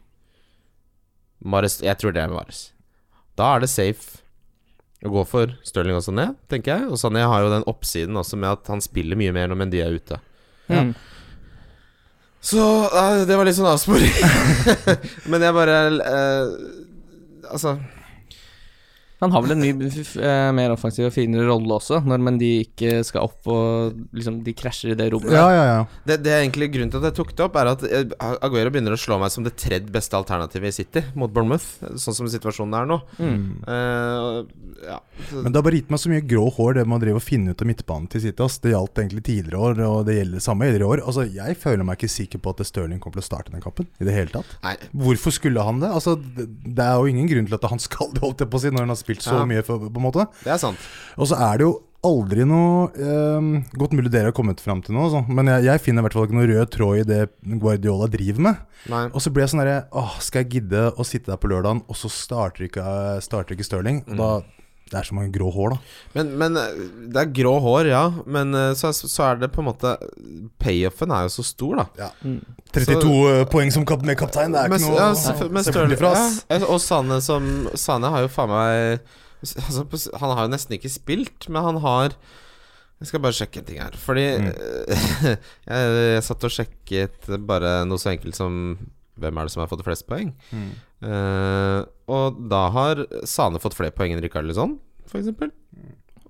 C: Mares, jeg tror det er Mares. Da er det safe å gå for Stirling og Sané, tenker jeg. Og Sané har jo den oppsiden også med at han spiller mye mer når Mendy er ute.
D: Mm.
C: Så eh, det var litt sånn avsporing. Men jeg bare eh, Altså
D: Han har vel en mye f- eh, mer offensiv og finere rolle også, når men de ikke skal opp og liksom de krasjer i det rommet.
E: Ja, ja, ja.
C: det, det er egentlig Grunnen til at jeg tok det opp, er at eh, Aguero begynner å slå meg som det tredje beste alternativet i City mot Bournemouth, sånn som situasjonen er nå.
D: Mm.
C: Eh, ja.
E: Men det har bare gitt meg så mye grå hår, det med å drive og finne ut av midtbanen til City. ass. Det gjaldt egentlig tidligere år, og det gjelder det samme i år. Altså, Jeg føler meg ikke sikker på at Stirling kommer til å starte den kampen i det hele tatt.
C: Nei,
E: Hvorfor skulle han det? Altså, Det det er jo ingen grunn til at han skal det, holdt jeg på å si, når han har spilt så
C: Ja.
E: mye, for, på en måte.
C: det er sant.
E: Og så er det jo aldri noe ehm, Godt mulig dere har kommet fram til noe, altså. men jeg, jeg finner i hvert fall ikke noe rød tråd i det Guardiola driver med.
C: Nei.
E: Og så blir jeg sånn derre Åh, skal jeg gidde å sitte der på lørdagen, og så starter ikke, starter ikke Stirling? Og da Det er så mange grå hår, da.
C: Men, men eh, det er grå hår, ja. Men eh, så, er- så er det på en måte Payoffen er jo så stor, da.
D: Mm.
E: 32 poeng som kap med kaptein, det er
C: Men-
E: ikke noe
C: ja,
E: å
C: selvfø- men
E: se
C: Stirling-
E: bort ifra, ass.
C: ja, Og Sane som Sane har jo faen meg altså, på s- Han har jo nesten ikke spilt, men han har Jeg skal bare sjekke en ting her. Fordi eh, jeg, jeg satt og sjekket bare noe så enkelt som Hvem er det som har fått flest poeng? Eh, og da har Sane fått flere poeng enn Rikarlisson, for eksempel.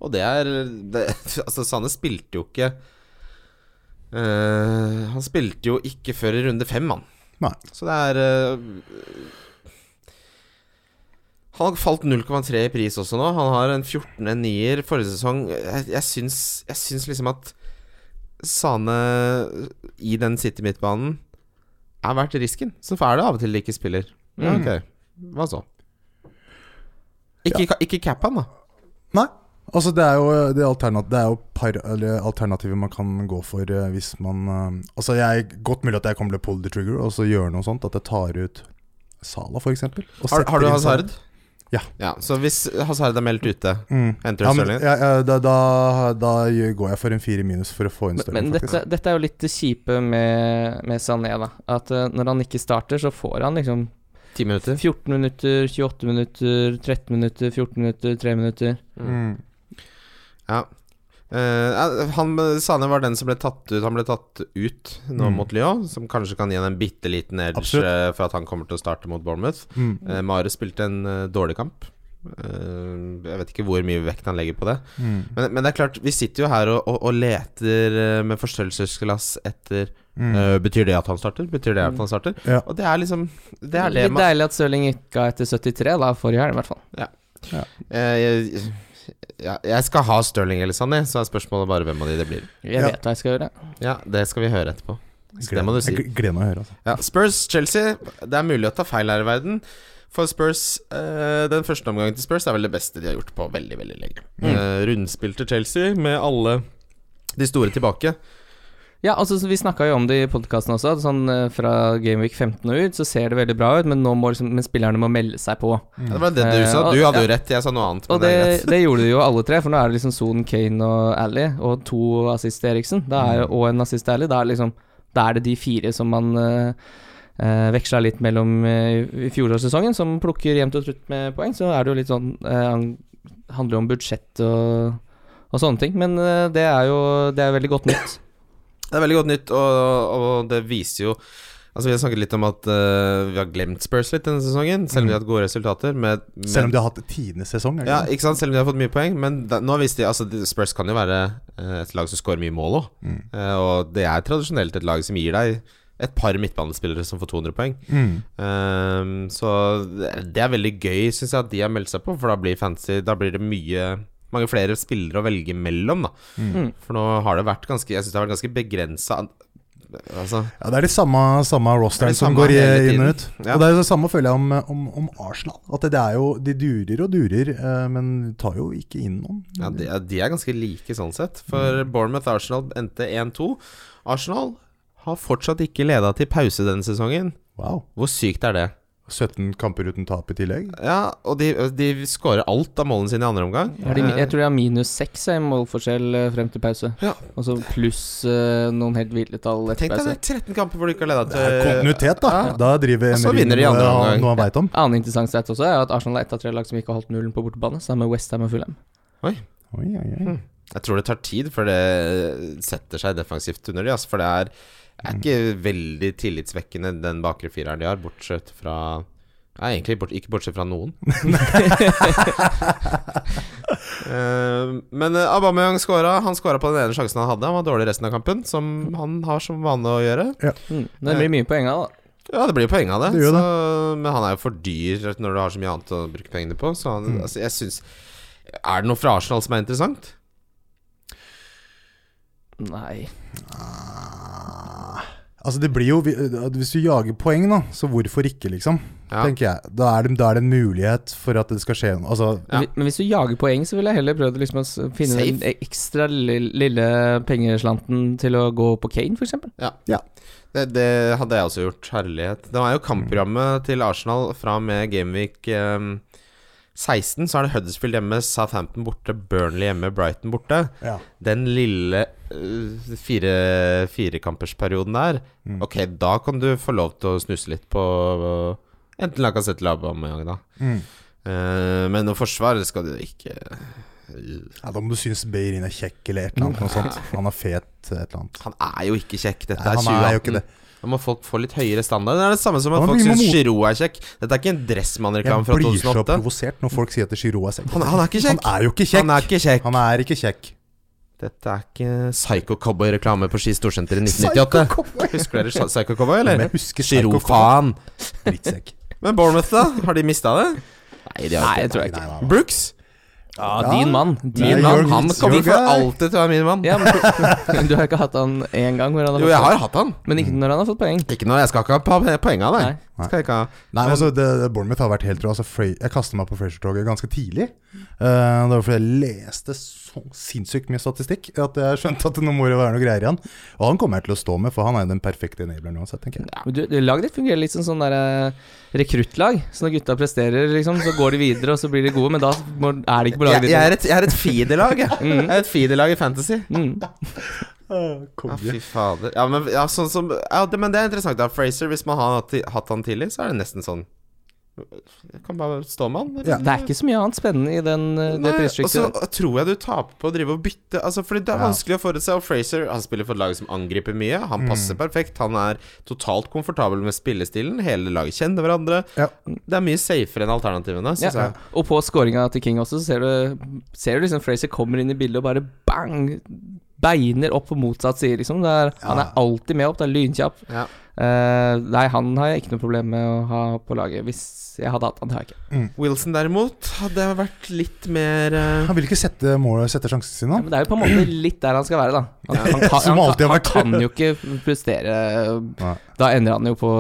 C: Og det er det, Altså, Sane spilte jo ikke eh, Han spilte jo ikke før i runde fem, han.
E: Nei.
C: Så det er eh, Han har falt 0,3 i pris også nå. Han har en 14, en nier forrige sesong. Jeg, jeg, syns, jeg syns liksom at Sane i den City-midtbanen er verdt risken. Så er det av og til de ikke spiller.
E: Mm.
C: Ja, ok, hva så? Ikke, ikke cap han, da.
E: Nei. Altså, det er jo, det er alternat, det er jo par, eller, alternativer man kan gå for eh, hvis man eh, Altså, jeg godt mulig at jeg kommer til å pull the trigger og så gjøre noe sånt. At jeg tar ut Sala, for eksempel. og
C: Har, har
E: setter
C: du
E: inn sånn.
C: Hazard?
E: Ja.
C: Så hvis Hazard er meldt ute,
E: Mm.
C: henter
E: Ja,
C: du
E: men,
C: Stirling?
E: ja, ja, da, da, da gjør- går jeg for en fire minus for å få inn
D: Men,
E: Stirling,
D: men
E: faktisk.
D: dette, dette er jo litt det kjipe med, med Sané, da. At eh, når han ikke starter, så får han liksom
C: Ti minutter?
D: 14 minutter, 28 minutter, 13 minutter, 14 minutter, 3 minutter.
E: Mm.
C: Ja. Eh, han, Sane var den som ble tatt ut Han ble tatt ut nå
E: Mm.
C: mot Lyon, som kanskje kan gi en bitte liten edge
E: Absolutt.
C: eh, for at han kommer til å starte mot Bournemouth.
E: Mm.
C: Uh, Mare spilte en eh, dårlig kamp. Eh, jeg vet ikke hvor mye vekt han legger på det.
E: Mm.
C: Men, men det er klart, vi sitter jo her og, og, og leter eh, med forstørrelsesglass etter
E: Mm.
C: eh, Betyr det at han starter? Betyr det at han starter?
E: Ja.
C: Og det er liksom Det er det
D: Litt
C: man
D: deilig at Stirling gikk av etter 73, da, forrige helg i hvert fall.
C: Eh, jeg, ja, jeg skal ha Stirling eller Sané, så er spørsmålet bare hvem av de det blir.
D: Jeg
E: Ja.
D: vet hva jeg skal gjøre.
C: Ja, det skal vi høre etterpå. Så det må du si.
E: Jeg gleder meg å høre, altså.
C: Ja, Spurs-Chelsea. Det er mulig å ta feil her i verden. For Spurs eh, Den første omgangen til Spurs er vel det beste de har gjort på veldig veldig lenge.
D: Mm.
C: Eh, rundspilte Chelsea med alle de store tilbake.
D: Ja, altså så Vi snakka jo om det i podkasten også. at Sånn eh, Fra Gameweek 15 og ut så ser det veldig bra ut, men nå må liksom, men spillerne må melde seg på.
C: Ja, det var det du
D: Eh,
C: sa.
D: og-
C: Du hadde jo
D: ja.
C: rett, jeg sa noe annet. Men
D: Og
C: det, er
D: det,
C: greit.
D: det gjorde de jo alle tre, for nå er det liksom Son, Kane og Ally og to assist til Eriksen. Da er, og en assist til Ally. Da er, det liksom, da er det de fire som man uh, veksla litt mellom eh, i fjorårssesongen, som plukker jevnt og trutt med poeng. Så er det jo litt sånn eh, han- Handler jo om budsjett og, og sånne ting. Men eh, det er jo det er veldig godt nytt.
C: det er veldig godt nytt, og, og det viser jo Altså Vi har snakket litt om at eh, vi har glemt Spurs litt denne sesongen,
D: Mm.
C: selv om de har hatt gode resultater. Med, med,
E: Selv om de har hatt tidenes sesong. er det
C: ja,
E: ikke det?
C: ikke sant? Selv om de har fått mye poeng. Men da, nå visste de altså, de- Spurs kan jo være eh, et lag som scorer mye mål òg.
E: Mm.
C: og det er tradisjonelt et lag som gir deg et par midtbanespillere som får 200 poeng.
E: Mm.
C: Ehm, så det det er veldig gøy, syns jeg, at de har meldt seg på, for da blir fancy Da blir det mye mange flere spillere å velge mellom, da.
D: Mm.
C: For nå har det vært ganske Jeg syns det har vært ganske begrensa Altså
E: Ja, Det er de samme, samme rosteren
C: Det er de
E: som
C: samme
E: går i,
C: hele
E: inn
C: tiden.
E: og ut.
C: Ja.
E: Og Det er det samme føler jeg om, om, om Arsenal. At det er jo, De durer og durer, eh, men tar jo ikke inn noen.
C: Ja, de, ja, de er ganske like sånn sett. For
E: Mm.
C: Bournemouth-Arsenal endte 1-2. Arsenal har fortsatt ikke leda til pause denne sesongen.
E: Wow.
C: Hvor sykt er det?
E: 17 kamper uten tap i tillegg.
C: Ja, og de, de skårer alt av målene sine i andre omgang.
D: Er de, jeg tror de har minus seks jeg, i målforskjell eh, frem til pause.
C: Ja.
D: Og så pluss eh, noen helt ville tall etter
C: Tenk deg
D: pause.
C: det, 13 kamper hvor du ikke har eh, leda
E: Det er kontinuitet, da.
C: Ja.
E: Da driver
C: Og så
E: Emery
C: vinner de
E: noe-
C: andre omgang.
E: noe han veit om.
D: Annen interessant sett også er at Arsenal er ett av tre lag som ikke har holdt nullen på bortebane, sammen med Westham og Fulham.
E: Oi, oi, oi.
C: Hm. Jeg tror det tar tid før det setter seg defensivt under de, altså, for det er, er ikke veldig tillitsvekkende den bakre fireren de har, bortsett fra Nei, egentlig bort, ikke bortsett fra noen. Eh, men eh, Aubameyang skåra. Han skåra på den ene sjansen han hadde. Han var dårlig resten av kampen, som han har som vane å gjøre.
D: Mm. Det
C: Eh.
D: blir mye poeng av, da.
C: Ja, det blir jo poeng av det.
E: Det gjør
C: så, Men han er jo for dyr når du har så mye annet å bruke pengene på. Så
E: Mm.
C: han, altså, jeg synes Er det noe fra Arsenal som er interessant?
D: Nei.
E: Altså det blir jo, vi- Hvis du jager poeng, da, så hvorfor ikke, liksom?
C: Ja.
E: Tenker jeg. Da er, det, da er det en mulighet for at det skal skje noe. Altså,
C: Ja.
D: Men, vi- men hvis du jager poeng, så ville jeg heller prøvd å liksom å s- finne
C: Safe.
D: den ekstra lille, lille pengeslanten til å gå på Kane, f.eks.
C: Det, det hadde jeg også gjort. Herlighet. Det var jo
E: Mm.
C: kampprogrammet til Arsenal fra og med Gameweek ehm, 16. Så er det Huddersfield hjemme, Southampton borte, Burnley hjemme, Brighton borte.
E: ja.
C: Den lille øh, fire firekampersperioden der,
E: Mm.
C: ok, da kan du få lov til å snuse litt på øh, Enten Lacassette eller Aubameyang, da.
E: Mm.
C: Eh, men noe forsvar skal du ikke øh,
E: ja Da må du synes Beirin er kjekk, eller et eller annet. Noe sånt. Han er fet, et eller annet.
C: Han er jo ikke kjekk. Dette
E: Nei,
C: er
E: han er jo
C: 2018.
E: ikke det.
C: Da må folk få litt høyere standard. Det er det samme som at
E: Ja, men
C: folk
E: vi må
C: syns
E: mot-
C: Giroud er kjekk. Dette er ikke en
E: Jeg
C: Dressmann-reklame fra
E: blir så
C: 2008.
E: provosert når folk sier at Giroud er kjekk.
C: Han, han er ikke kjekk.
E: Han er jo ikke kjekk.
C: Han er ikke kjekk.
E: Han er ikke kjekk.
C: Dette er ikke Psycho Cowboy-reklame på Ski Storsenter i 1998. Husker dere Psy- Psycho Cowboy,
E: Men
C: eller?
E: jeg husker
C: Giroud,
E: Psycho-Cowboy.
C: faen.
E: Drittsekk.
C: Men Bournemouth, da? Har de mista det? Nei, de
D: Nei,
C: har
D: jeg
C: ikke
D: tror
E: Nei,
D: jeg
E: nei,
D: ikke.
E: nei, nei.
C: Brooks?
D: Ja,
E: Ja.
D: din mann. Din
E: Nei,
C: Min
D: mann.
C: mann.
E: you're-
C: Han kommer
E: you're
C: for
E: guy.
C: alltid til å være min mann.
D: Ja, men du har ikke hatt han én gang? Hvor han har
C: Jo,
D: fått
C: jeg
D: poeng.
C: har Mm. hatt han.
D: Men ikke når han har fått poeng.
C: Ikke noe, Jeg skal ikke ha pa- poeng av
D: Nei.
C: deg. Skal jeg ikke ha
E: Nei,
C: Men-
E: altså, det, det, Bournemouth har vært helt rå. Altså, Fra- jeg kastet meg på Frazier-toget ganske tidlig. Eh, det var fordi jeg leste så sinnssykt mye statistikk at jeg skjønte at nå må det være noe greier igjen. Og han kommer jeg til å stå med, for han er jo den perfekte enableren uansett, tenker jeg.
D: Men Du, du, laget ditt fungerer litt som sånn der, eh, rekruttlag. Så når gutta presterer, liksom, så går de videre, og så blir de gode. Men da må, er de Mm. ikke på laget
C: Jeg,
D: ditt.
C: jeg er et, jeg er et feederlag, jeg. Jeg er et feederlag i Fantasy.
D: Mm.
C: Ja,
E: Konge.
C: fy fader. Ja, men, ja, sånn som, ja, det, men det er interessant. da Fraser, hvis man har hatt, hatt han tidlig, så er det nesten sånn Jeg kan bare stå med han. eller?
E: Ja.
D: Det er ikke så mye annet spennende i den, eh, det
C: Nei, og så
D: prisstrykket.
C: tror jeg du taper på å drive og bytte. Altså, fordi det er
E: Ja.
C: vanskelig å forutse. Og Fraser han spiller for et lag som angriper mye.
D: Mm.
C: Han passer perfekt. Han er totalt komfortabel med spillestilen. Hele laget kjenner hverandre.
E: Ja.
C: Det er mye safere enn alternativene,
D: Ja.
C: syns jeg.
D: Og på scoringa til King også, så ser du, ser du liksom Fraser kommer inn i bildet og bare bang! Beiner opp på motsatt side, liksom. Det er, Han er alltid med opp, det er lynkjapp.
C: Ja.
D: Eh, nei, han har jeg ikke noe problem med å ha på laget. Hvis jeg hadde hatt han, det har jeg ikke.
C: Wilson derimot, hadde vært litt mer eh,
E: Han vil ikke sette, mål, sette sjansene sine,
D: Ja,
E: han.
D: men det er jo på en måte litt der han skal være, da. Han, han, kan,
E: Som
D: han, kan,
E: alltid har
D: han
E: vært.
D: kan jo ikke prestere
E: Nei.
D: Da ender han jo på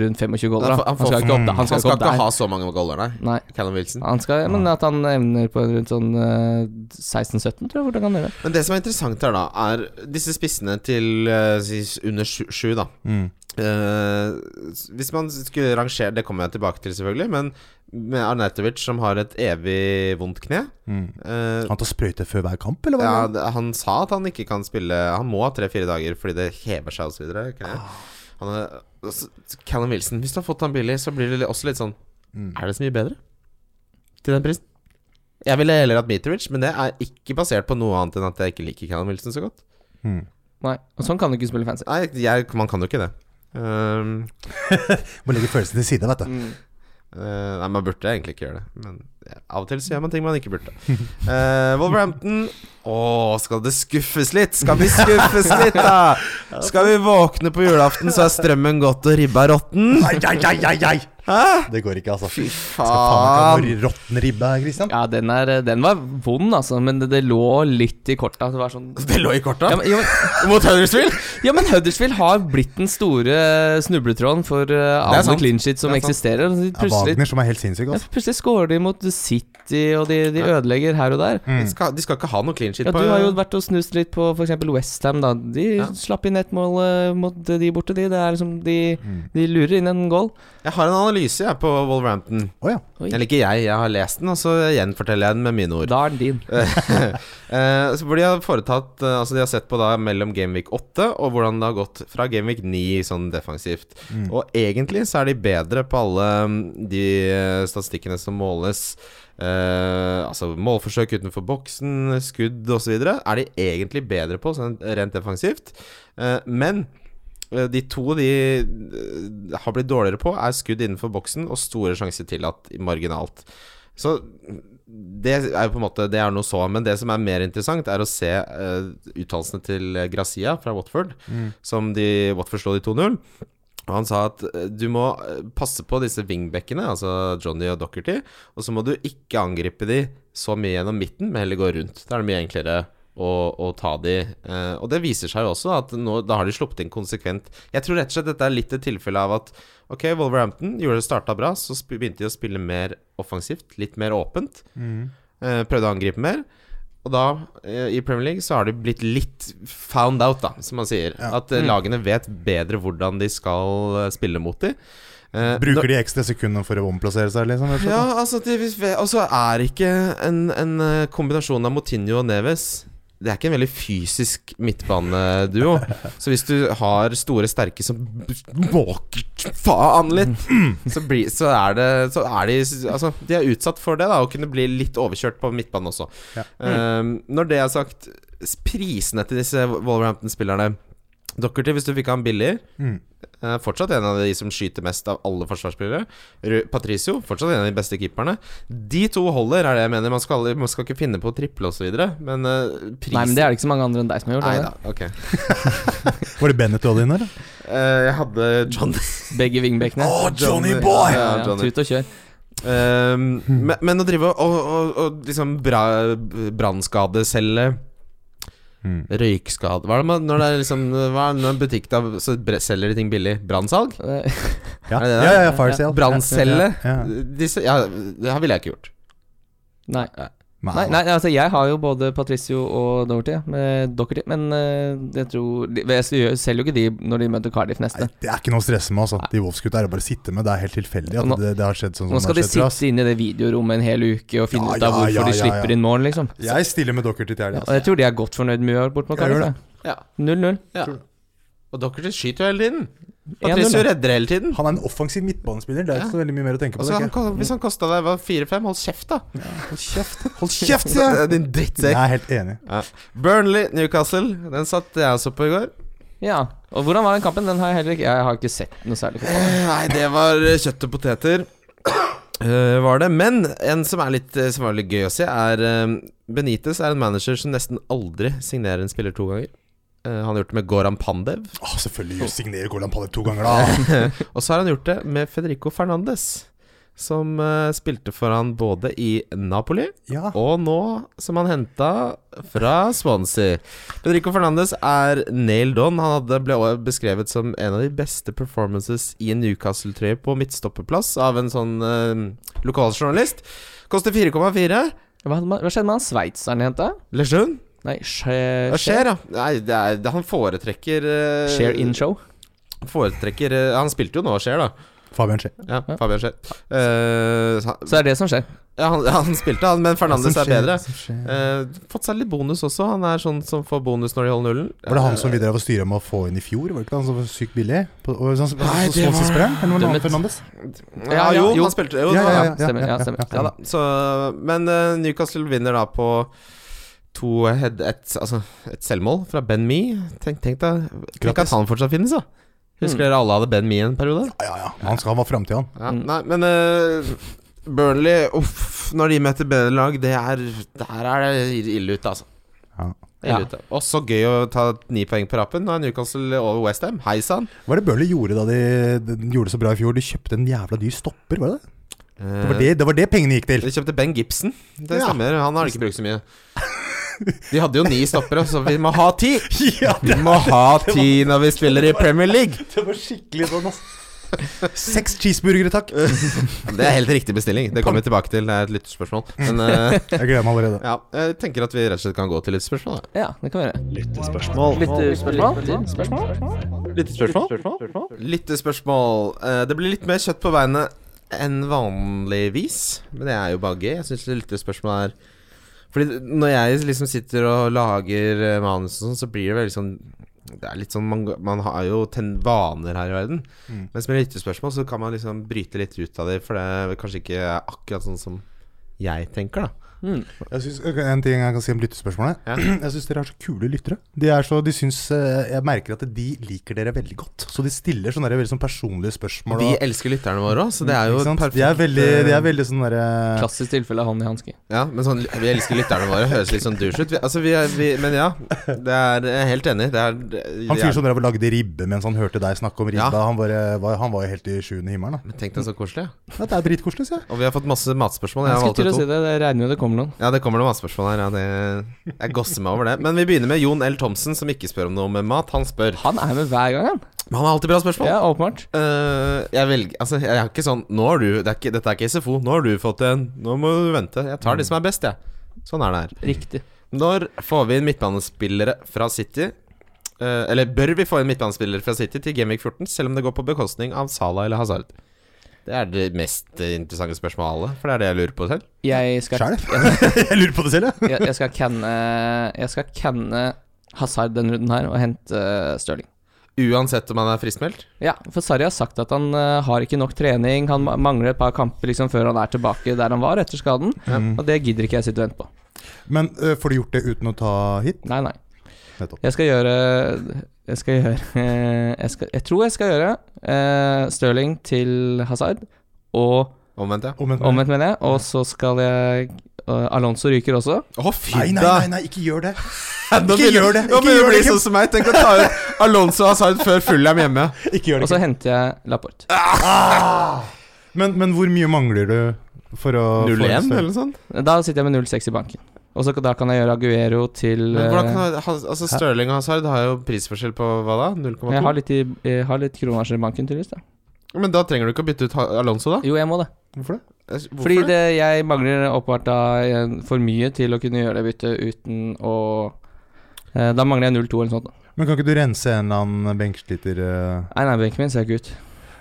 D: rundt 25 goller,
C: Ja,
D: da.
C: for- han
D: Han skal
C: får-
D: ikke opp, da.
C: Han
D: han skal ikke opp der.
C: ha så mange goller, nei.
D: Nei.
C: Callum Wilson.
D: Han skal, men at han evner på rundt sånn eh, 16-17, tror jeg fort han kan gjøre.
C: Men det som er interessant her, da, er disse spissene til eh, si under sju, sju da.
E: Mm.
C: Eh, s- hvis man skulle rangere Det kommer jeg tilbake til, selvfølgelig. Men med Arnautovic, som har et evig vondt kne
E: Mm.
C: eh,
E: Han tar sprøyte før hver kamp, eller hva?
C: ja, det- Han sa at han ikke kan spille Han må ha tre-fire dager fordi det hever seg osv.
E: Ah.
C: Callum Wilson, hvis du har fått han billig, så blir det også litt sånn
E: Mm.
C: Er det så mye bedre til den prisen? Jeg ville heller hatt Mitrovic, men det er ikke basert på noe annet enn at jeg ikke liker Callum Wilson så godt.
E: Mm.
D: Nei, og sånn kan du ikke spille fancy.
C: Nei, jeg, man kan jo ikke det. Ehm,
E: Må legge følelsene til side, vet du.
C: eh, nei, man burde egentlig ikke gjøre det. Men av og til så gjør man ting man ikke burde. Eh, Wolverhampton Å, skal det skuffes litt? Skal vi skuffes litt, da? Skal vi våkne på julaften, så er strømmen gått og ribba råtten?
E: Ai, ai, ai, ai, ai. Det går ikke, altså.
C: Fy
E: Skal faen
C: faen.
E: ikke ha noe råtten ribbe her, Christian.
D: Ja, den, er, eh, den var vond, altså, men det, det lå litt i korta. Det var sånn
C: Det lå i korta.
D: ja, men, ja, men,
C: Mot Huddersfield?
D: ja, men Huddersfield har blitt den store snubletråden for eh, alle
C: sant.
D: clean sheets som
C: Det er sant.
D: eksisterer. og de
E: Ja,
D: Plutselig
E: Wagner som er helt sinnssyk,
D: Ja,
E: altså.
D: for plutselig scorer de mot City, og de, de ødelegger her og der.
E: Mm.
C: De skal, de skal ikke ha noe clean shit
D: Ja,
C: på
D: Du har jo vært og snust litt på f.eks. Westham. De
C: Ja.
D: slapp inn ett mål eh, mot de borte, de. Det er liksom de, de lurer inn en goal.
C: Jeg har en analyse jeg, på Wolverhampton.
E: Å ja.
D: Oi.
C: Eller ikke jeg, jeg har lest den, og så gjenforteller jeg den med mine ord.
D: Da er den din.
C: Eh, så hvor de har foretatt eh, Altså de har sett på da mellom Gameweek 8 og hvordan det har gått fra Gameweek 9 sånn defensivt. Og egentlig så er de bedre på alle mm, de eh, statistikkene som måles. Eh, altså målforsøk utenfor boksen, skudd osv. er de egentlig bedre på sånn rent defensivt. Eh, men eh, de to de eh, har blitt dårligere på, er skudd innenfor boksen og store sjanser tillatt marginalt. Så det er jo på en måte Det er noe så, men det som er mer interessant, er å se uh, uttalelsene til Gracia fra Watford, som de Watford slo de 2-0. Og han sa at eh, du må eh, passe på disse wingbackene, altså Johnny og Docherty, og så må du ikke angripe de så mye gjennom midten, men heller gå rundt. Da er det mye enklere å, å ta de. Eh, og det viser seg jo også at nå, da har de sluppet inn konsekvent. Jeg tror rett og slett dette er litt et tilfelle av at ok, Wolverhampton gjorde det starta bra, så sp begynte de å spille mer offensivt, litt mer åpent. Eh, prøvde å angripe mer. Og da, eh, i Premier League, så har de blitt litt found out, da, som man sier. At eh, lagene vet bedre hvordan de skal eh, spille mot de. Eh, da-
E: Bruker de ekstra sekundene for å omplassere seg, liksom? rett og slett, da?
C: ja, altså de, Og så er ikke en, en eh, kombinasjon av Motinho og Neves Det er ikke en veldig fysisk midtbaneduo. Så hvis du har store, sterke som måker faen litt, så, blir, så er det så er de, altså, de er utsatt for det, da, å kunne bli litt overkjørt på midtbanen også.
E: Ja.
C: Ehm, når det er sagt, s- prisene til disse Wolverhampton-spillerne Dockerty, hvis du fikk han billig
E: Mm.
C: Eh, fortsatt en av de som skyter mest av alle forsvarsspillere. Ru- Patricio, fortsatt en av de beste keeperne. De to holder, er det jeg mener. Man skal, aldri- man skal ikke finne på å triple osv., men eh, prisen
D: Nei, men det er det ikke så mange andre enn deg som har gjort.
C: Nei
D: er
C: da, ok.
E: Var det Bennett du hadde inne, eller?
C: Eh, jeg hadde John
D: det? Begge wingbackene.
E: Å, Johnny
C: Johnny-
E: Boy!
C: ja,
D: Ja, ja,
C: Johnny.
D: Tut og kjør.
C: Ehm, men, men å drive og, og, og liksom bra, brannskade selge
E: Mm.
C: Røykskade Hva er det man Når det er liksom Hva er det når en butikk da Så bre- selger de ting billig? Brannsalg?
D: Eh,
E: Ja,
C: Er det det?
E: ja, ja, ja fire sale.
C: Brannselge?
E: Ja.
C: Disse Ja, det her ville jeg ikke gjort.
D: Nei.
E: Nei,
D: Nei, nei, altså jeg har jo både Patricio og Doherty, men, Doherty, men eh, jeg tror de, VS gjør- selger jo ikke de når de møter Cardiff neste.
E: Nei, det er ikke noe å stresse med. Altså. De Wolfs-gutta er å bare sitte med. Det er helt tilfeldig at
D: Nå-
E: det, det har skjedd sånn. som
D: Nå skal de
E: det har skjedd for oss.
D: sitte inne i det videorommet en hel uke og finne
E: Ja,
D: ut av
E: ja,
D: hvorfor
E: ja,
D: de
E: ja,
D: slipper
E: ja.
D: inn mål, liksom.
E: Jeg stiller med dere til
D: Ja,
E: helga.
D: og jeg tror de er godt fornøyd med å gjøre bort mot
E: Jeg gjør
D: Cardiff.
C: det. Ja.
D: da. 0-0.
C: Ja. Og Docherty skyter jo hele tiden.
D: 1-0,
C: Patricio
D: da.
C: redder hele tiden.
E: Han er en offensiv midtbanespiller. Det er ikke så veldig mye mer å tenke på.
C: Og så Altså, han,
E: tenker jeg.
C: ko- hvis han kosta deg hva, 4-5, hold kjeft, da.
E: Hold kjeft! Hold
C: Kjeft,
E: kjeft, sier jeg!
C: Din
E: Jeg
C: drittsekk.
E: er helt enig.
C: Burnley, Newcastle. Den satt jeg også på i går.
D: Ja. Og hvordan var den kampen? Den har jeg heller ikke Jeg har ikke sett noe særlig. fotball.
C: Eh, Nei, det var kjøtt og poteter. Eh, var det. Men en som er litt, eh, som var litt gøy å se, er eh, Benitez er en manager som nesten aldri signerer en spiller to ganger. Eh, han har gjort det med Goran Pandev,
E: Åh, selvfølgelig jo signerer Golan Pallet to ganger, da!
C: og så har han gjort det med Federico Fernandes. Som eh, spilte for han både i Napoli
E: Ja.
C: Og nå som han henta fra Swansea. Federico Fernandes er nailed on. Han hadde ble også beskrevet som en av de beste performances i en Newcastle-trøye på midtstopperplass av en sånn eh, lokaljournalist. Koster 4,4.
D: Hva, hva skjedde med han sveitseren jeg henta?
C: Lejeune.
D: Nei, Share
C: Hva skjer, da? Nei, det er, det, han foretrekker eh,
D: Share in show.
C: Foretrekker eh, Han spilte jo nå Skjer, da.
E: Fabian Schee.
C: Ja,
D: Ja.
C: Fabian Skjer. Eh, så han-
D: Så det er det som skjer.
C: ja, han, han spilte, han, men Fernandes
E: Som
C: er
E: skjer,
C: bedre.
E: som skjer.
C: Eh, fått seg litt bonus også. Han er sånn som får bonus når de holder nullen. Eh,
E: Var det han som vi drev og styra med å få inn i fjor? Var det ikke han som var sykt billig? På, og, sånn,
C: Nei,
E: så-
C: det
E: så-
C: var-
E: Swansea-spilleren? Eller var det
D: Dømmet.
E: han Fernandes?
C: Ja, jo, han spilte jo,
E: Ja, ja,
C: da,
E: ja, ja,
D: stemmer, ja,
E: ja,
D: stemmer.
C: ja da. Så, men eh, Newcastle vinner da på to head, et, altså, et selvmål fra Ben Me. Tenk, tenk deg Tenk
E: Grattis.
C: at han fortsatt finnes, da. Husker dere alle hadde Ben Me en periode?
E: Ja, ja, ja. Han, skal, han var framtida,
C: Mm.
E: han.
C: Ja,
D: Mm.
C: Nei, men eh, Burnley Uff, når de møter bedre lag, det er Der er det ille ute, altså.
E: Ja.
C: Ille
D: Ja.
C: ute. Også gøy å ta ni poeng på rappen. Nå er Newcastle over Westham. Hei sann.
E: Hva er det Burnley gjorde da de, de gjorde det så bra i fjor? De kjøpte en jævla dyr stopper, var det det? Det
C: Eh.
E: var det, det, var det pengene gikk til.
C: De kjøpte Ben Gibson. Det
E: Ja.
C: stemmer. Han har ikke brukt så mye. De hadde jo ni stoppere, så vi må ha ti!
E: Ja,
C: Vi må ha ti når vi spiller i Premier League!
E: det var skikkelig sånn, ass. Seks cheeseburgere, takk.
C: Eh. Det er helt riktig bestilling. Det kommer vi tilbake til. Det er et lytterspørsmål. Men eh,
E: Jeg gleder meg allerede.
C: ja, jeg tenker at vi rett og slett kan gå til lytterspørsmål. da.
D: Ja, det kan vi gjøre.
A: Lyttespørsmål?
D: Spørsmål?
C: Lytterspørsmål. Eh, det blir litt mer kjøtt på beinet enn vanligvis. Men det er jo bare gøy. Jeg syns lyttespørsmål er Fordi når jeg liksom sitter og lager eh, manus og sånn, så blir det veldig sånn det er litt sånn, Man, man har jo ten vaner her i verden.
E: Mm.
C: Mens med lyttespørsmål så kan man liksom bryte litt ut av det, for det er kanskje ikke akkurat sånn som jeg tenker, da.
E: Jeg synes, ok, en ting jeg kan si om lyttespørsmålet.
C: Ja.
E: Jeg syns dere er så kule lyttere. De er så, de syns, eh, jeg merker at de liker dere veldig godt. Så de stiller sånne der veldig sånn personlige spørsmål.
C: Vi
E: og-
C: elsker lytterne våre òg, så det er jo
E: Ikke sant?
C: perfekt. eh,
E: De er veldig, de er veldig sånn derre
D: Klassisk tilfelle av hånd i hanske.
C: Ja, men sånn, vi elsker lytterne våre. Høres litt sånn douche ut. Vi, altså, vi er, vi, men ja, det er, jeg er helt enig. Det er, det
E: Han
C: er-
E: fyren som drev og lagde ribbe mens han hørte deg snakke om ribba,
C: Ja.
E: han, bare, var, han var jo helt i sjuende himmelen. Da.
C: Men Tenk deg så koselig. ja.
E: Ja, det er dritkoselig, sier jeg.
C: Og vi har fått masse matspørsmål. Jeg
D: Jeg
C: har valgt
D: skulle til
C: ut
D: å si
C: to.
D: det, jeg regner med det kommer noen.
C: Ja, det kommer noen matspørsmål her. Ja, det, jeg gosser meg over det. Men vi begynner med Jon L. Thomsen, som ikke spør om noe med mat. Han spør.
D: Han er med hver gang, han.
C: Men han har alltid bra spørsmål.
D: Ja, åpenbart.
C: Eh, jeg velger Altså, jeg er ikke sånn Nå har du det er ikke, Dette er ikke SFO. Nå har du fått en. Nå må du vente. Jeg tar de som er best, jeg. Sånn er det her.
D: Riktig.
C: Når får vi inn midtbanespillere fra City? Eh, eller bør vi få inn midtbanespillere fra City til Gameweek 14, selv om det går på bekostning av Salah eller Hazard? Det er det mest eh, interessante spørsmålet av alle, for det er det jeg lurer på selv.
D: Jeg skal,
E: Sjæl? jeg lurer på det selv, jeg.
D: jeg, jeg skal canne Jeg skal canne Hazard denne runden her og hente eh, Stirling.
C: Uansett om han er friskmeldt.
D: Ja, for Sarri har sagt at han eh, har ikke nok trening. Han ma- mangler et par kamper liksom før han er tilbake der han var etter skaden.
C: Mm.
D: Og det gidder ikke jeg sitte og vente på.
E: Men øh, får du gjort det uten å ta hit?
D: Nei, nei.
E: Nettopp.
D: Jeg skal gjøre Jeg skal gjøre Jeg, skal, jeg tror jeg skal gjøre eh, Stirling til Hazard og
C: Omvendt, ja.
E: Omvendt.
D: omvendt, mener jeg. Og så skal jeg eh, Alonso ryker også.
C: Å, fy
E: Nei, nei,
C: da!
E: nei, nei, ikke gjør det.
C: Nå
E: Ikke
C: begynner-
E: gjør det,
C: Nå
E: ikke
C: begynner
E: gjør
C: det å bli
E: det,
C: sånn som meg. Tenk å ta ut Alonso og Hazard før Fulham hjemme.
E: Ikke gjør
D: Og
E: det.
D: så henter jeg Laporte.
E: ikke. Ah! Men, men hvor mye mangler du for å få en liksom.
C: 0-1 eller
E: større-
C: noe sånt.
D: Da sitter jeg med 0,6 i banken. Og så da kan jeg gjøre Aguero til
C: Men hvordan
D: eh,
C: kan han, altså Stirling og Hazard har jo prisforskjell på hva da?
D: Jeg
C: 0,2?
D: har litt, i, jeg har litt kronasjer i banken, tydeligvis. da
C: Men da trenger du ikke å bytte ut Ha- Alonso, da?
D: Jo, jeg må det.
E: Hvorfor det?
C: Hvorfor
D: Fordi det, jeg mangler åpenbart da eh, for mye til å kunne gjøre det byttet uten å eh, Da mangler jeg 0,2 eller noe sånt. da.
E: Men kan ikke du rense en eller annen benkesliter øh?
D: Nei, nei, benken min ser ikke ut.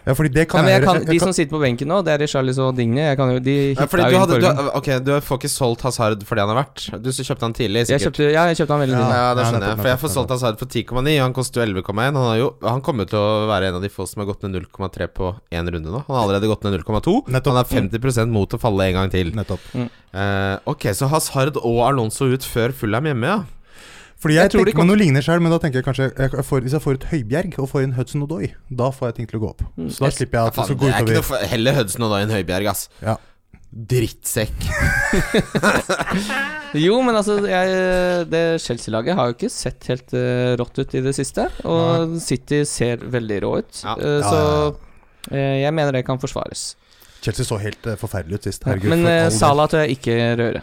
E: Ja, fordi det kan
D: nei, men jeg
E: gjøre-
D: kan, De som sitter på benken nå, det er Charlies og Digne. Jeg kan jo, de
C: Ja,
D: hitta
C: fordi
D: jo
C: du,
D: inn
C: hadde,
D: forrige
C: du,
D: gang.
C: ok, du får ikke solgt Hazard for det han er verdt. Du s- kjøpte han tidlig,
D: Jeg
C: sikkert.
D: kjøpte, ja, jeg kjøpte han veldig
C: ja,
D: tidlig.
C: det
E: Ja,
C: skjønner
E: nettopp,
C: jeg. For jeg
E: nettopp,
C: får solgt Hazard for 10,9, og han koster jo 11,1. Han, har jo, han kommer jo til å være en av de få som har gått ned 0,3 på én runde nå. Han har allerede gått ned 0,2.
E: Nettopp.
C: Han er 50 mot å falle en gang til.
E: Nettopp.
C: Eh, ok, så Hazard og Alonso ut før Fulham hjemme, ja.
E: Fordi jeg,
D: Jeg tror de
E: tenker på noe lignende sjøl, men da tenker jeg kanskje jeg får, Hvis jeg får ut Høibjerg og får inn Hudson Odoi, da får jeg ting til å gå opp. Så da
D: Jeg-
E: slipper jeg at det
C: Faen,
E: skal
C: det
E: gå
C: er ikke noe
E: utover.
C: for, Heller Hudson og da enn Høibjerg, ass.
E: Ja.
C: Drittsekk.
D: Jo, men altså jeg, Det Chelsea-laget har jo ikke sett helt eh, rått ut i det siste. Og City ser veldig rå ut.
C: Ja.
D: Eh,
E: Ja,
D: så
E: ja,
D: eh, jeg mener det kan forsvares.
E: Chelsea så helt eh, forferdelig ut sist. Herregud,
D: men
E: for all
D: eh,
E: del.
D: Salah tør jeg ikke røre.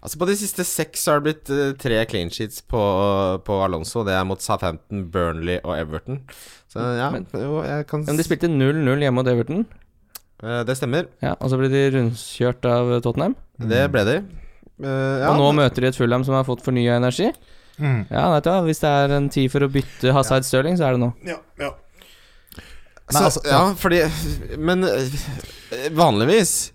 C: Altså På de siste seks har det blitt eh, tre clean sheets på, på Alonso. Det er mot Southampton, Burnley og Everton. Så ja,
D: Men-
C: jo, jeg kan
D: Men de spilte 0-0 hjemme mot Everton.
C: Eh, Det stemmer.
D: Ja, og så ble de rundkjørt av Tottenham.
C: Det ble de. Eh, ja,
D: Mm. og nå
C: men-
D: møter de et Fulham som har fått fornya energi.
E: Mm.
D: Ja, vet du hva, Hvis det er en tid for å bytte Hazard Stirling, så er det nå.
E: Ja, ja.
C: så,
E: Nei, altså,
C: Ja, fordi Men eh, vanligvis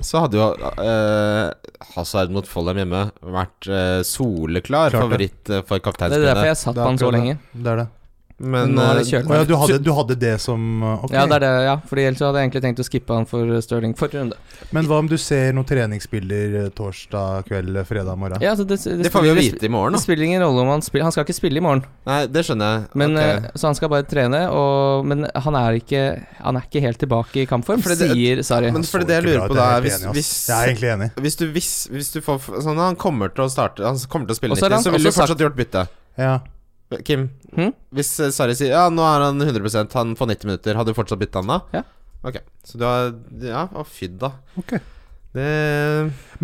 C: så hadde jo eh, Hazard mot Follum hjemme vært eh, soleklar
E: Klart det.
C: favoritt eh, for
D: Det er derfor
C: kapteinsbindet.
D: jeg satt
E: Det er
D: på han så
E: akkurat det.
D: lenge.
E: Det er det.
C: Men
D: Nå er det
C: eh,
D: kjørt.
E: Å ja, du hadde, du hadde det som eh, Ok.
D: Ja, det er det, ja, fordi ellers hadde jeg egentlig tenkt å skippe han for Stirling forrige runde.
E: Men hva om du ser noen treningsbilder eh, torsdag kveld, fredag morgen?
D: Ja, altså, det, det,
C: det får vi jo
D: spiller-
C: vite i morgen,
D: Det
C: da.
D: spiller ingen rolle om han spiller Han skal ikke spille i morgen,
C: Nei, det skjønner jeg.
D: men,
C: Ok.
D: eh, så han skal bare trene. Og, men han er, ikke, han er ikke helt tilbake i kampform,
C: Fordi det-
D: sier Sarri.
C: men
E: Så
C: for det jeg lurer
E: ikke bra ut,
C: på da,
E: jeg
C: er
E: helt
C: hvis,
E: enig, ass.
C: hvis
E: Jeg er egentlig enig.
C: Hvis du, hvis, hvis du får sånn, Han kommer til å starte Han kommer til å spille
D: Og så
C: 90,
D: har han
C: så ville du
D: også
C: fortsatt gjort bytte.
E: Ja.
C: Kim,
D: Hm?
C: hvis eh, Sarri sier Ja, nå er han 100 han får 90 minutter, hadde du fortsatt bytta han da?
D: Ja.
C: Ok, så du har Ja, å fy da.
E: Ok.
C: Det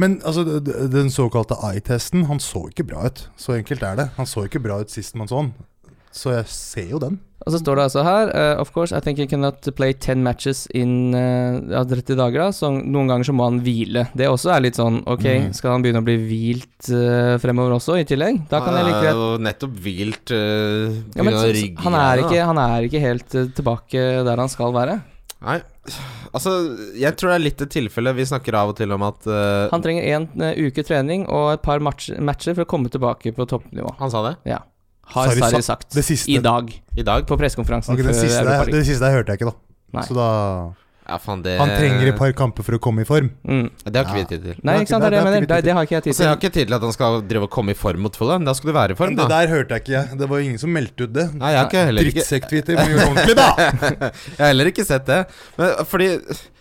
E: Men altså, d- d- den såkalte eye-testen, han så ikke bra ut. Så enkelt er det. Han så ikke bra ut sist man så han. Så jeg ser jo den.
D: Og så står det altså her eh, Of course, I think he cannot play 10 matches in eh, ja, 30 dager. da så Noen ganger så må han hvile. Det også er litt sånn Ok,
E: Mm.
D: skal han begynne å bli hvilt eh, fremover også, i tillegg? Da kan jeg
C: Han
D: like
C: er
D: greit
C: jo nettopp hvilt uh,
D: ja, men, så- så- eh, han, er ikke, han er ikke helt eh, tilbake der han skal være.
C: Nei, altså Jeg tror det er litt et tilfelle. Vi snakker av og til om at eh,
D: Han trenger en eh, uke trening og et par match, matcher for å komme tilbake på toppnivå.
C: han sa det
D: Ja. Har
E: Sarri
D: Sarri
E: sa-
D: sagt
E: det siste-
D: i dag
C: i dag.
D: på pressekonferansen
E: Ok, den
D: før
E: siste,
D: Europa
E: der,
D: League.
E: den siste der hørte jeg ikke, da.
D: Nei.
E: Så da
C: Ja, faen, det
E: Han trenger et par kamper for å komme i form.
D: Mm.
C: Det har ikke vi tid til.
D: Nei, ikke sant, det er det jeg mener. Det, det har ikke jeg tid
C: Altså, jeg har
D: til.
C: ikke tid til at han skal drive og komme i form mot Fulham. Da skal du være i form,
E: Men det
C: da.
E: der hørte jeg ikke. jeg. Det var jo ingen som meldte ut det.
C: Nei, jeg har ikke, heller, ikke,
E: Drittsekk-tweeter. må vi gjøre ordentlig, da!
C: jeg har heller ikke sett det. Men, eh, fordi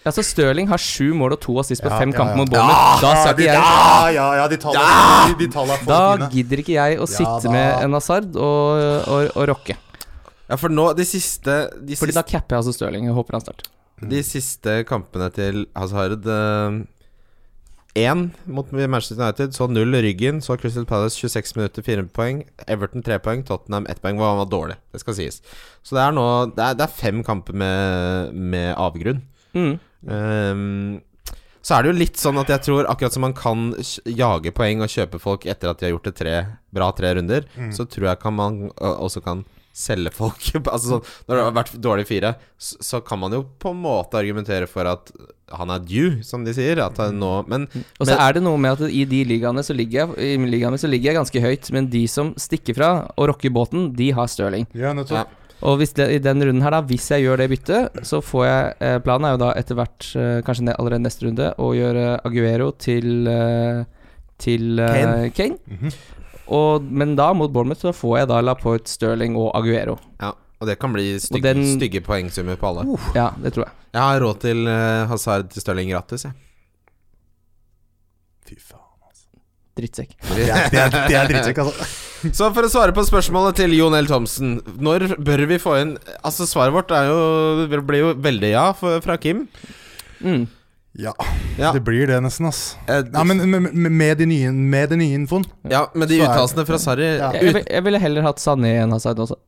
D: Altså, Stirling har sju mål og to assist på
E: Ja,
D: fem
E: ja,
D: kamper
E: ja.
D: mot Bournemouth. Da
E: Ja,
D: skal
E: de,
D: ikke jeg
E: ja, ja, ja, de tallene, de, de tallene er for
D: Da
E: fine.
D: gidder ikke jeg å sitte
E: da.
D: med en Hazard og, og, og rocke.
C: Ja, for nå, de siste De
D: Fordi da
C: siste,
D: capper jeg altså Stirling. Jeg håper han starter.
C: de siste kampene til Hazard eh, Én mot Manchester United, så null i ryggen. Så Crystal Palace 26 minutter, 4 poeng. Everton 3 poeng, Tottenham 1 poeng. Var, var dårlig, det skal sies. Så det er nå Det er, det er fem kamper med, med avgrunn.
D: Mm.
C: Ehm, så er det jo litt sånn at jeg tror akkurat som man kan kj- jage poeng og kjøpe folk etter at de har gjort det tre, bra tre runder,
E: Mm.
C: så tror jeg kan man ø, også kan selge folk. altså sånn, Når det har vært dårlig fire, så, så kan man jo på en måte argumentere for at han er due, som de sier. At han nå, men
D: Og så
C: Men-
D: er det noe med at i de ligaene så ligger jeg, i ligaene så ligger jeg ganske høyt, men de som stikker fra og rocker båten, de har Stirling.
E: Ja, nettopp.
C: Ja.
D: Og hvis det, i den runden her da, hvis jeg gjør det byttet, så får jeg eh, Planen er jo da etter hvert, eh, kanskje ne allerede neste runde, å gjøre Aguero til, eh, til eh, Kane.
E: Mhm.
D: og, men da, mot Bournemouth, så får jeg da Laporte, Stirling og Aguero.
C: ja, og det kan bli
D: Og
C: stygge,
D: den-
C: stygge poengsummer på alle.
D: Ja, det tror jeg.
C: Jeg har råd til ø, Hazard til Stirling gratis, jeg.
E: Fy faen. altså.
D: Drittsekk.
E: Det er, det er, det er drittsekk, altså.
C: Så for å svare på spørsmålet til Jon L. Thomsen Når bør vi få inn Altså Svaret vårt er jo, det blir jo veldig ja for, fra Kim.
D: Mm.
E: Ja,
C: Ja.
E: det blir det nesten, ass.
C: Eh,
E: Nei, men med, med- med, de nye, med den nye infoen
C: ja, men de
E: Så er-
C: uttalelsene fra Sarri
E: Ja.
C: ja.
D: Jeg, jeg, vil- jeg ville heller hatt Sané enn Hazard også.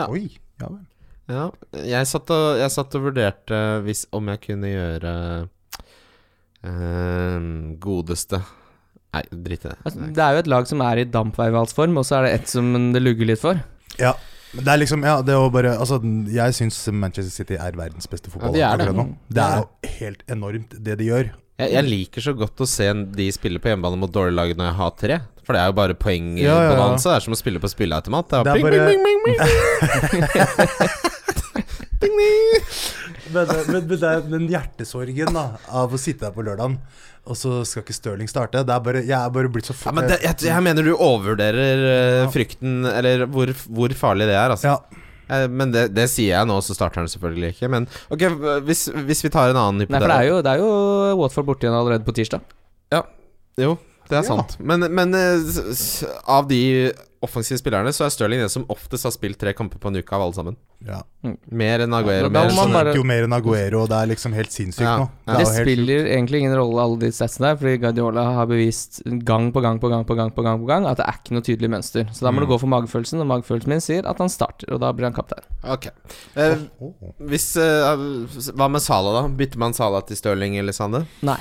C: Ja.
E: Oi, ja vel.
C: ja, jeg, satt og, jeg satt og vurderte hvis, om jeg kunne gjøre eh, Godeste Nei, drit i det.
D: Altså, det er jo et lag som er i dampveivalsform, og så er det ett som det lugger litt for.
E: Ja. Men det er liksom Ja, det å bare Altså, jeg syns Manchester City er verdens beste fotballag
C: Ja, de er det.
E: akkurat nå. Det er jo helt enormt, det de gjør.
C: Jeg, jeg liker så godt å se de spille på hjemmebane mot dårlige lag når jeg har tre. For det er jo bare
E: Ja, ja, ja.
C: poengbonanza. Det er som å spille på spilleautomat. Det er,
E: Det er
C: pling,
E: bare-
C: pling, pling, pling, pling.
E: Men, men, men det er den hjertesorgen da av å sitte her på lørdagen, og så skal ikke Stirling starte. Det er bare, jeg er bare blitt så
C: Ja, men det, jeg, jeg mener du overvurderer eh,
E: Ja.
C: frykten, eller hvor, hvor farlig det er. Altså.
E: Ja.
C: Eh, men det, det sier jeg nå, så starter han selvfølgelig ikke. Men ok, hvis, hvis vi tar en annen
D: Nei,
C: hypotese
D: for det er jo, det er jo Watford borte igjen allerede på tirsdag.
C: Jo, det er
E: Ja.
C: sant. Men, men eh, s- s- av de offensive spillerne, så er Stirling den som oftest har spilt tre kamper på en uke av alle sammen.
E: ja.
C: Mer enn Aguero.
D: Ja, da
C: mer enn
D: må man
E: Man
C: Sané.
D: bare-
E: jo mer enn Aguero, og det er liksom helt sinnssykt
C: Ja.
E: nå.
C: Ja.
E: er
D: Det
E: jo helt
D: spiller egentlig ingen rolle, alle de statsene der, fordi Guardiola har bevist gang på gang på gang på gang på gang på gang at det er ikke noe tydelig mønster. Så da må du gå for magefølelsen, og magefølelsen min sier at han starter, og da blir han kaptein.
C: Ok. Eh,
E: Åh.
C: hvis, eh, hva med Sala, da? Bytter man Sala til Stirling eller Sande?
D: Nei.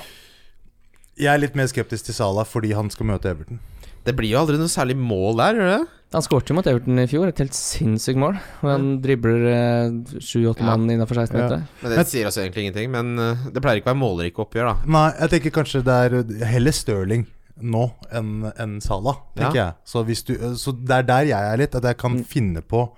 E: Jeg er litt mer skeptisk til Salah fordi han skal møte Everton.
C: Det blir jo aldri noe særlig mål der, gjør det?
D: Han skåret jo mot Everton i fjor, et helt sinnssykt mål. Hvor han dribler eh, sju-åtte
C: Ja.
D: mann innafor 16
E: Ja.
D: meter.
C: Men Det sier også egentlig ingenting, men eh, det pleier ikke å være målrike oppgjør, da.
E: Nei, jeg tenker kanskje det er eh, heller Stirling nå enn enn Salah, tenker jeg. Så, hvis du, eh, så det er der jeg er litt, at jeg kan
C: Mm.
E: finne på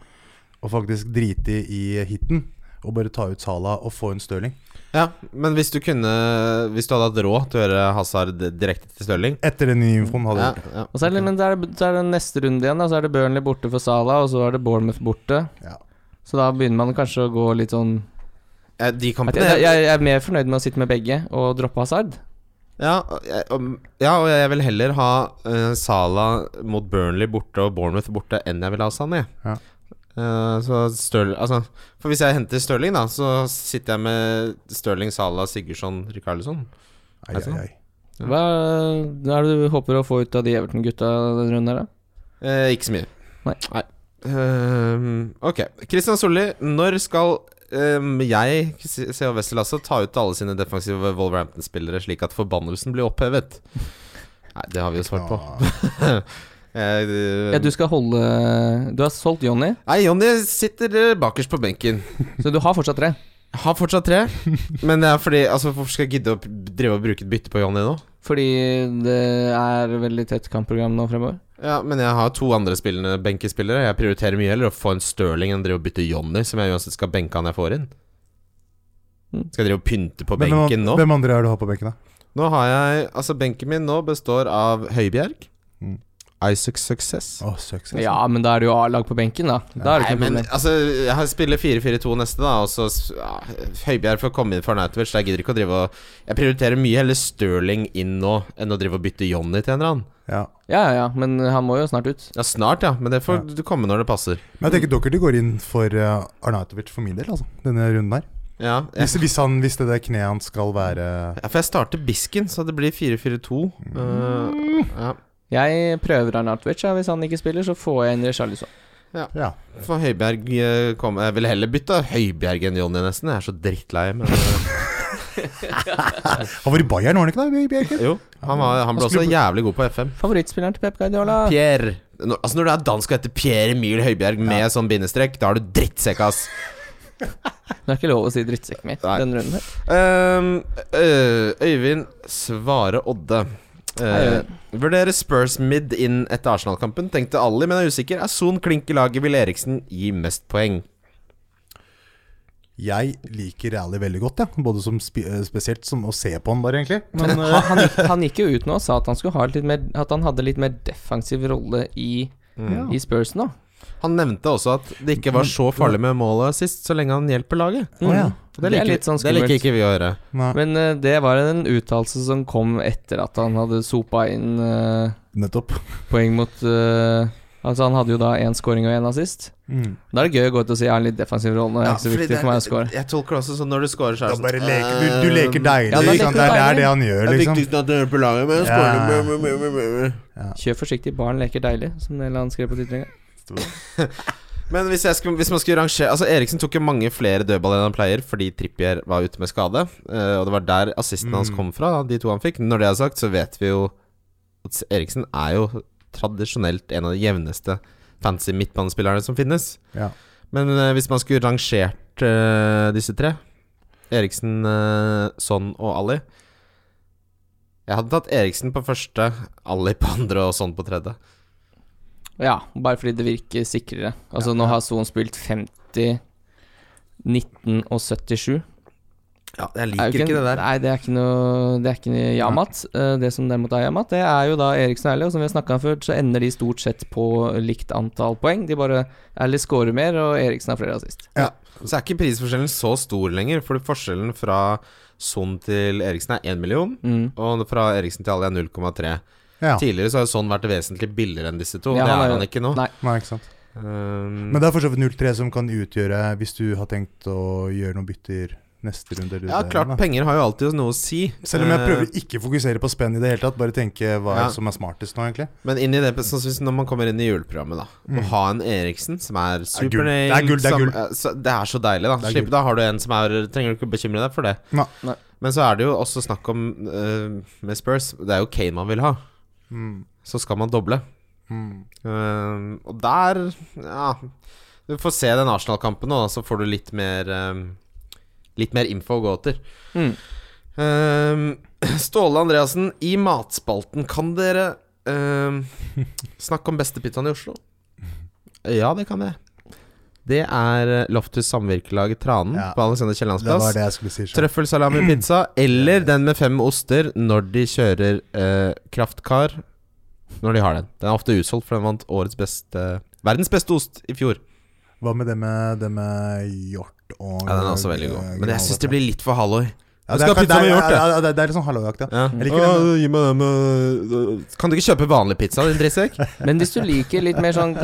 E: å faktisk drite i hiten. Og bare ta ut Salah og få en Stirling.
C: Ja, Men hvis du kunne Hvis du hadde hatt råd til å gjøre Hazard direkte til Stirling
E: Etter den nye infoen hadde jeg
C: ja,
E: gjort det.
C: ja.
D: Og så er det, men så er, det, så er det neste runde igjen, da. Så er det Burnley borte for Sala, og så er det Bournemouth borte.
E: Ja.
D: Så da begynner man kanskje å gå litt sånn
C: Eh, De
D: at
C: kampene
D: jeg, jeg, jeg er mer fornøyd med å sitte med begge og droppe Hazard.
C: Ja, og jeg- om- ja, og jeg vil heller ha eh, Salah mot Burnley borte og Bournemouth borte enn jeg vil ha Sané.
E: Ja.
C: Eh, så Stirl- altså, for hvis jeg henter Stirling, da, så sitter jeg med Stirling, Salah, Sigurdsson, Rikarlisson.
E: Ai, ai, ai.
D: Hva hva er det du håper å få ut av de Everton-gutta denne runden her, da?
C: Eh, ikke så mye.
D: Nei.
C: Ehm, ok. Kristian Solli, når skal ehm, jeg, CEO Wessel, altså, ta ut alle sine defensive Wolverhampton-spillere slik at forbannelsen blir opphevet? Nei, det har vi jo svart på.
E: Ja.
C: Eh, det-
D: Ja, du skal holde Du har solgt Jonny,
C: Nei, Jonny sitter eh, bakerst på benken.
D: så du har fortsatt tre.
C: Jeg har fortsatt tre, men det er fordi Altså, hvorfor skal jeg gidde å drive og bruke et bytte på Johnny nå?
D: Fordi det er veldig tett kampprogram nå fremover.
C: Ja, men jeg har to andre spillende benkespillere. Jeg prioriterer mye heller å få en Stirling enn å drive og bytte Johnny, som jeg uansett skal benke han jeg får inn.
D: Mm.
C: Skal jeg drive og pynte på
E: Hvem,
C: benken nå?
E: hvem andre er det du har på benken, da?
C: Nå har jeg Altså, benken min nå består av Høibjerg,
E: Mm.
C: Isaac Success
E: Å, success.
D: Ja, men da er det jo A-lag på benken, da. Da
C: Nei,
D: er det ikke noe
C: men
D: problem.
C: altså, jeg har- spiller 4-4-2 neste, da. Og så s- ja, Høibjerg får komme inn for Nautovic. Jeg gidder ikke å drive og Jeg prioriterer mye heller Stirling inn nå enn å drive og bytte Johnny til en eller annen.
E: Ja.
D: Ja, ja, ja, men han må jo snart ut.
C: Ja, snart, ja. Men det får du komme når det passer.
E: Men jeg tenker dere de går inn for uh, Arnautovic for min del, altså. Denne runden her.
C: Ja, jeg,
E: Hvis, hvis, han, hvis det der kneet hans skal være
C: ja, for jeg starter Bisken, så det blir 4-4-2. Eh, ja.
D: Jeg prøver Arnatovic. Ja. Hvis han ikke spiller, så får jeg inn Richarlison.
E: Ja.
C: For Høibjerg eh, kommer Jeg ville heller bytta Høibjerg enn Johnny, nesten. Jeg er så drittlei, men eh,
E: Han var i Bayern, var han ikke det? Bjerke?
C: Jo. Han, var, han ble også jævlig god på FM.
D: Favorittspilleren til Pep Guardiola.
C: Pierre når, Altså Når du er dansk og heter Pierre Emil Høibjerg med sånn bindestrek, da er du drittsekk, ass.
D: Det er ikke lov å si drittsekk mer
C: Nei.
D: denne runden her.
C: Ehm, ø- Øyvind Svare Odde.
D: Hei,
C: Uh, vurderer Spurs mid inn etter Arsenal-kampen. Tenkte Ali, men er usikker. Er Son klink i laget? Vil Eriksen gi mest poeng?
E: Jeg liker Rally veldig godt, ja. både som spi- eh, spesielt som å se på han, bare, egentlig. Men, eh,
D: Men han, han, gikk, han gikk jo ut nå og sa at han, skulle ha litt mer, at han hadde litt mer defensiv rolle i, i Spurs nå.
C: Han nevnte også at det ikke var så farlig med målet sist, så lenge han hjelper laget.
E: Å, ja.
C: Og Det liker,
D: litt sånn
C: det liker
D: skummelt.
C: ikke vi å høre.
E: nei,
D: Men eh, det var en uttalelse som kom etter at han hadde sopa inn eh,
E: nettopp.
D: poeng mot eh, Altså, han hadde jo da én scoring og én assist.
E: Mm.
D: Da er det gøy å gå ut og si jeg har en litt defensiv rolle, nå er det ikke så
C: fordi
D: viktig
C: det er-
D: for meg å score.
C: Jeg tolker det også sånn når du scorer, så er
E: Da
C: det
E: bare
C: sånn,
E: leker du, du leker deilig,
D: Ja, da
E: ikke sant?
D: leker du
E: Det er det
D: deilig.
E: han gjør,
C: Det er
E: liksom.
C: viktigst at du hjelper laget, men jeg
E: Ja.
C: scorer
D: Kjør forsiktig, barn leker deilig, som Nella han skrev på titlinga.
C: Men hvis, jeg skulle, hvis man skulle rangere Altså Eriksen tok jo mange flere dødball enn han pleier fordi Trippier var ute med skade. eh, og det var der assisten hans kom fra, de to han fikk. Når det er sagt, så vet vi jo at Eriksen er jo tradisjonelt en av de jevneste fancy midtbanespillerne som finnes.
E: Ja.
C: Men eh, hvis man skulle rangert eh, disse tre, Eriksen, eh, Son og Ali Jeg hadde tatt Eriksen på første, Ali på andre og Son på tredje.
D: Ja, bare fordi det virker sikrere. Altså, nå har Son spilt 50, 19 og 77.
C: Ja, jeg
D: er jo
C: liker ikke det der.
D: Nei, det er ikke noe Det er ikke noe Yamat. Eh, Det som derimot er Yamat, det er jo da Eriksen og Erle, og som vi har snakka om før, så ender de stort sett på likt antall poeng. De bare Erle scorer mer, og Eriksen har flere assist.
C: Så er ikke prisforskjellen så stor lenger, fordi forskjellen fra Son til Eriksen er 1 million,
D: Mm.
C: og fra Eriksen til Ali er 0,3.
E: Ja.
C: Tidligere så har jo Son vært vesentlig billigere enn disse to,
D: Ja,
C: det
D: han
C: er
D: er-
C: han ikke nå.
D: Nei.
E: Nei, ikke sant.
C: Um,
E: Men det er for så vidt 0-3 som kan utgjøre, hvis du har tenkt å gjøre noen bytter neste runde. eller
C: ja,
E: det,
C: klart,
E: da.
C: penger har jo alltid noe å si.
E: Selv om jeg
C: Eh,
E: prøver ikke å fokusere på spenn i det hele tatt, bare tenke hva
C: Ja.
E: som er smartest nå, egentlig.
C: Men inn i det, sånn som når man kommer inn i juleprogrammet, da. Å ha en Eriksen som er
E: er gull.
C: supername
E: Mm. Det er gull, det er
C: som-
E: gull.
C: eh, så- det er så deilig, da.
E: Det er
C: Slipp,
E: gull.
C: da har du en som er Trenger du ikke bekymre deg for det.
E: Nei.
D: Nei.
C: Men så er det jo også snakk om eh, Med Spurs, det er jo Kane man vil ha.
E: Mm.
C: Så skal man doble.
E: Mm.
C: Ehm, og der Ja. Du får se den Arsenal-kampen nå, da, så får du litt mer ehm, Litt mer info å gå etter.
D: Mm.
C: Ehm, Ståle Andreassen, i matspalten, kan dere ehm, snakke om beste pizzaen i Oslo? Ja, det kan jeg. Det er eh, Loftus samvirkelag Tranen
E: Ja.
C: på Alexander Kiellands
E: Det var
C: plass.
E: det jeg skulle si. sjef.
C: Trøffelsalami-pizza eller den med fem oster når de kjører eh, kraftkar. Når de har den. Den er ofte utsolgt, for den vant årets beste verdens beste ost i fjor.
E: Hva med det med, det med hjort og
C: Ja, Den er også veldig god.
E: eh,
C: Men jeg syns det
E: granola?
C: blir litt for halloi.
E: ja,
C: Du skal ha
E: det,
C: pizza
E: er-
C: med hjort,
E: ja, ja, det, er- det er litt sånn hallojaktig.
C: Ja.
E: Jeg liker den.
C: gi meg den med Kan du ikke kjøpe vanlig pizza, din drittsekk?
D: Men hvis du liker litt mer sånn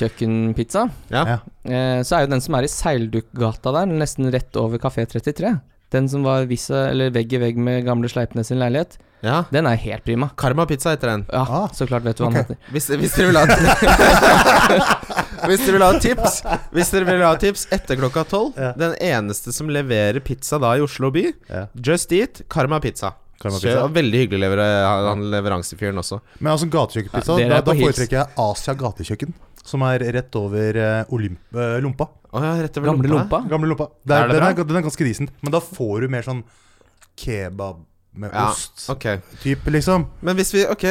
D: gatekjøkkenpizza,
C: Ja.
E: Ja.
D: eh, så er jo den som er i Seildukgata der, nesten rett over Kafé 33, den som var vissa, eller vegg i vegg med gamle Sleipnes sin leilighet,
C: ja.
D: den er helt prima.
C: Karma pizza heter den.
D: Ja,
E: Ah,
D: så klart vet du hva
E: ok.
D: han heter.
C: Hvis, hvis dere vil ha Hvis dere vil ha tips Hvis dere vil ha tips etter klokka tolv
E: Ja.
C: Den eneste som leverer pizza da i Oslo by,
E: Ja.
C: Just Eat, Karma Pizza.
E: Karma
C: Så det
E: pizza.
C: var veldig hyggelig lever han leveransefyren også.
E: Men altså gatekjøkkenpizza,
D: Ja, dere
E: da,
D: er på
E: da
D: hils.
E: foretrekker jeg Asia gatekjøkken. Som er rett over eh, Olymp... eh, lompa.
C: Å ja, rett over
D: Gamle
C: lompa.
D: lompa?
E: Gamle lompa. Der,
C: Er det
E: den,
C: bra?
E: er, den er ganske decent. Men da får du mer sånn kebab med
C: Ja,
E: ost.
C: Ok.
E: Type, liksom.
C: Men hvis vi Ok,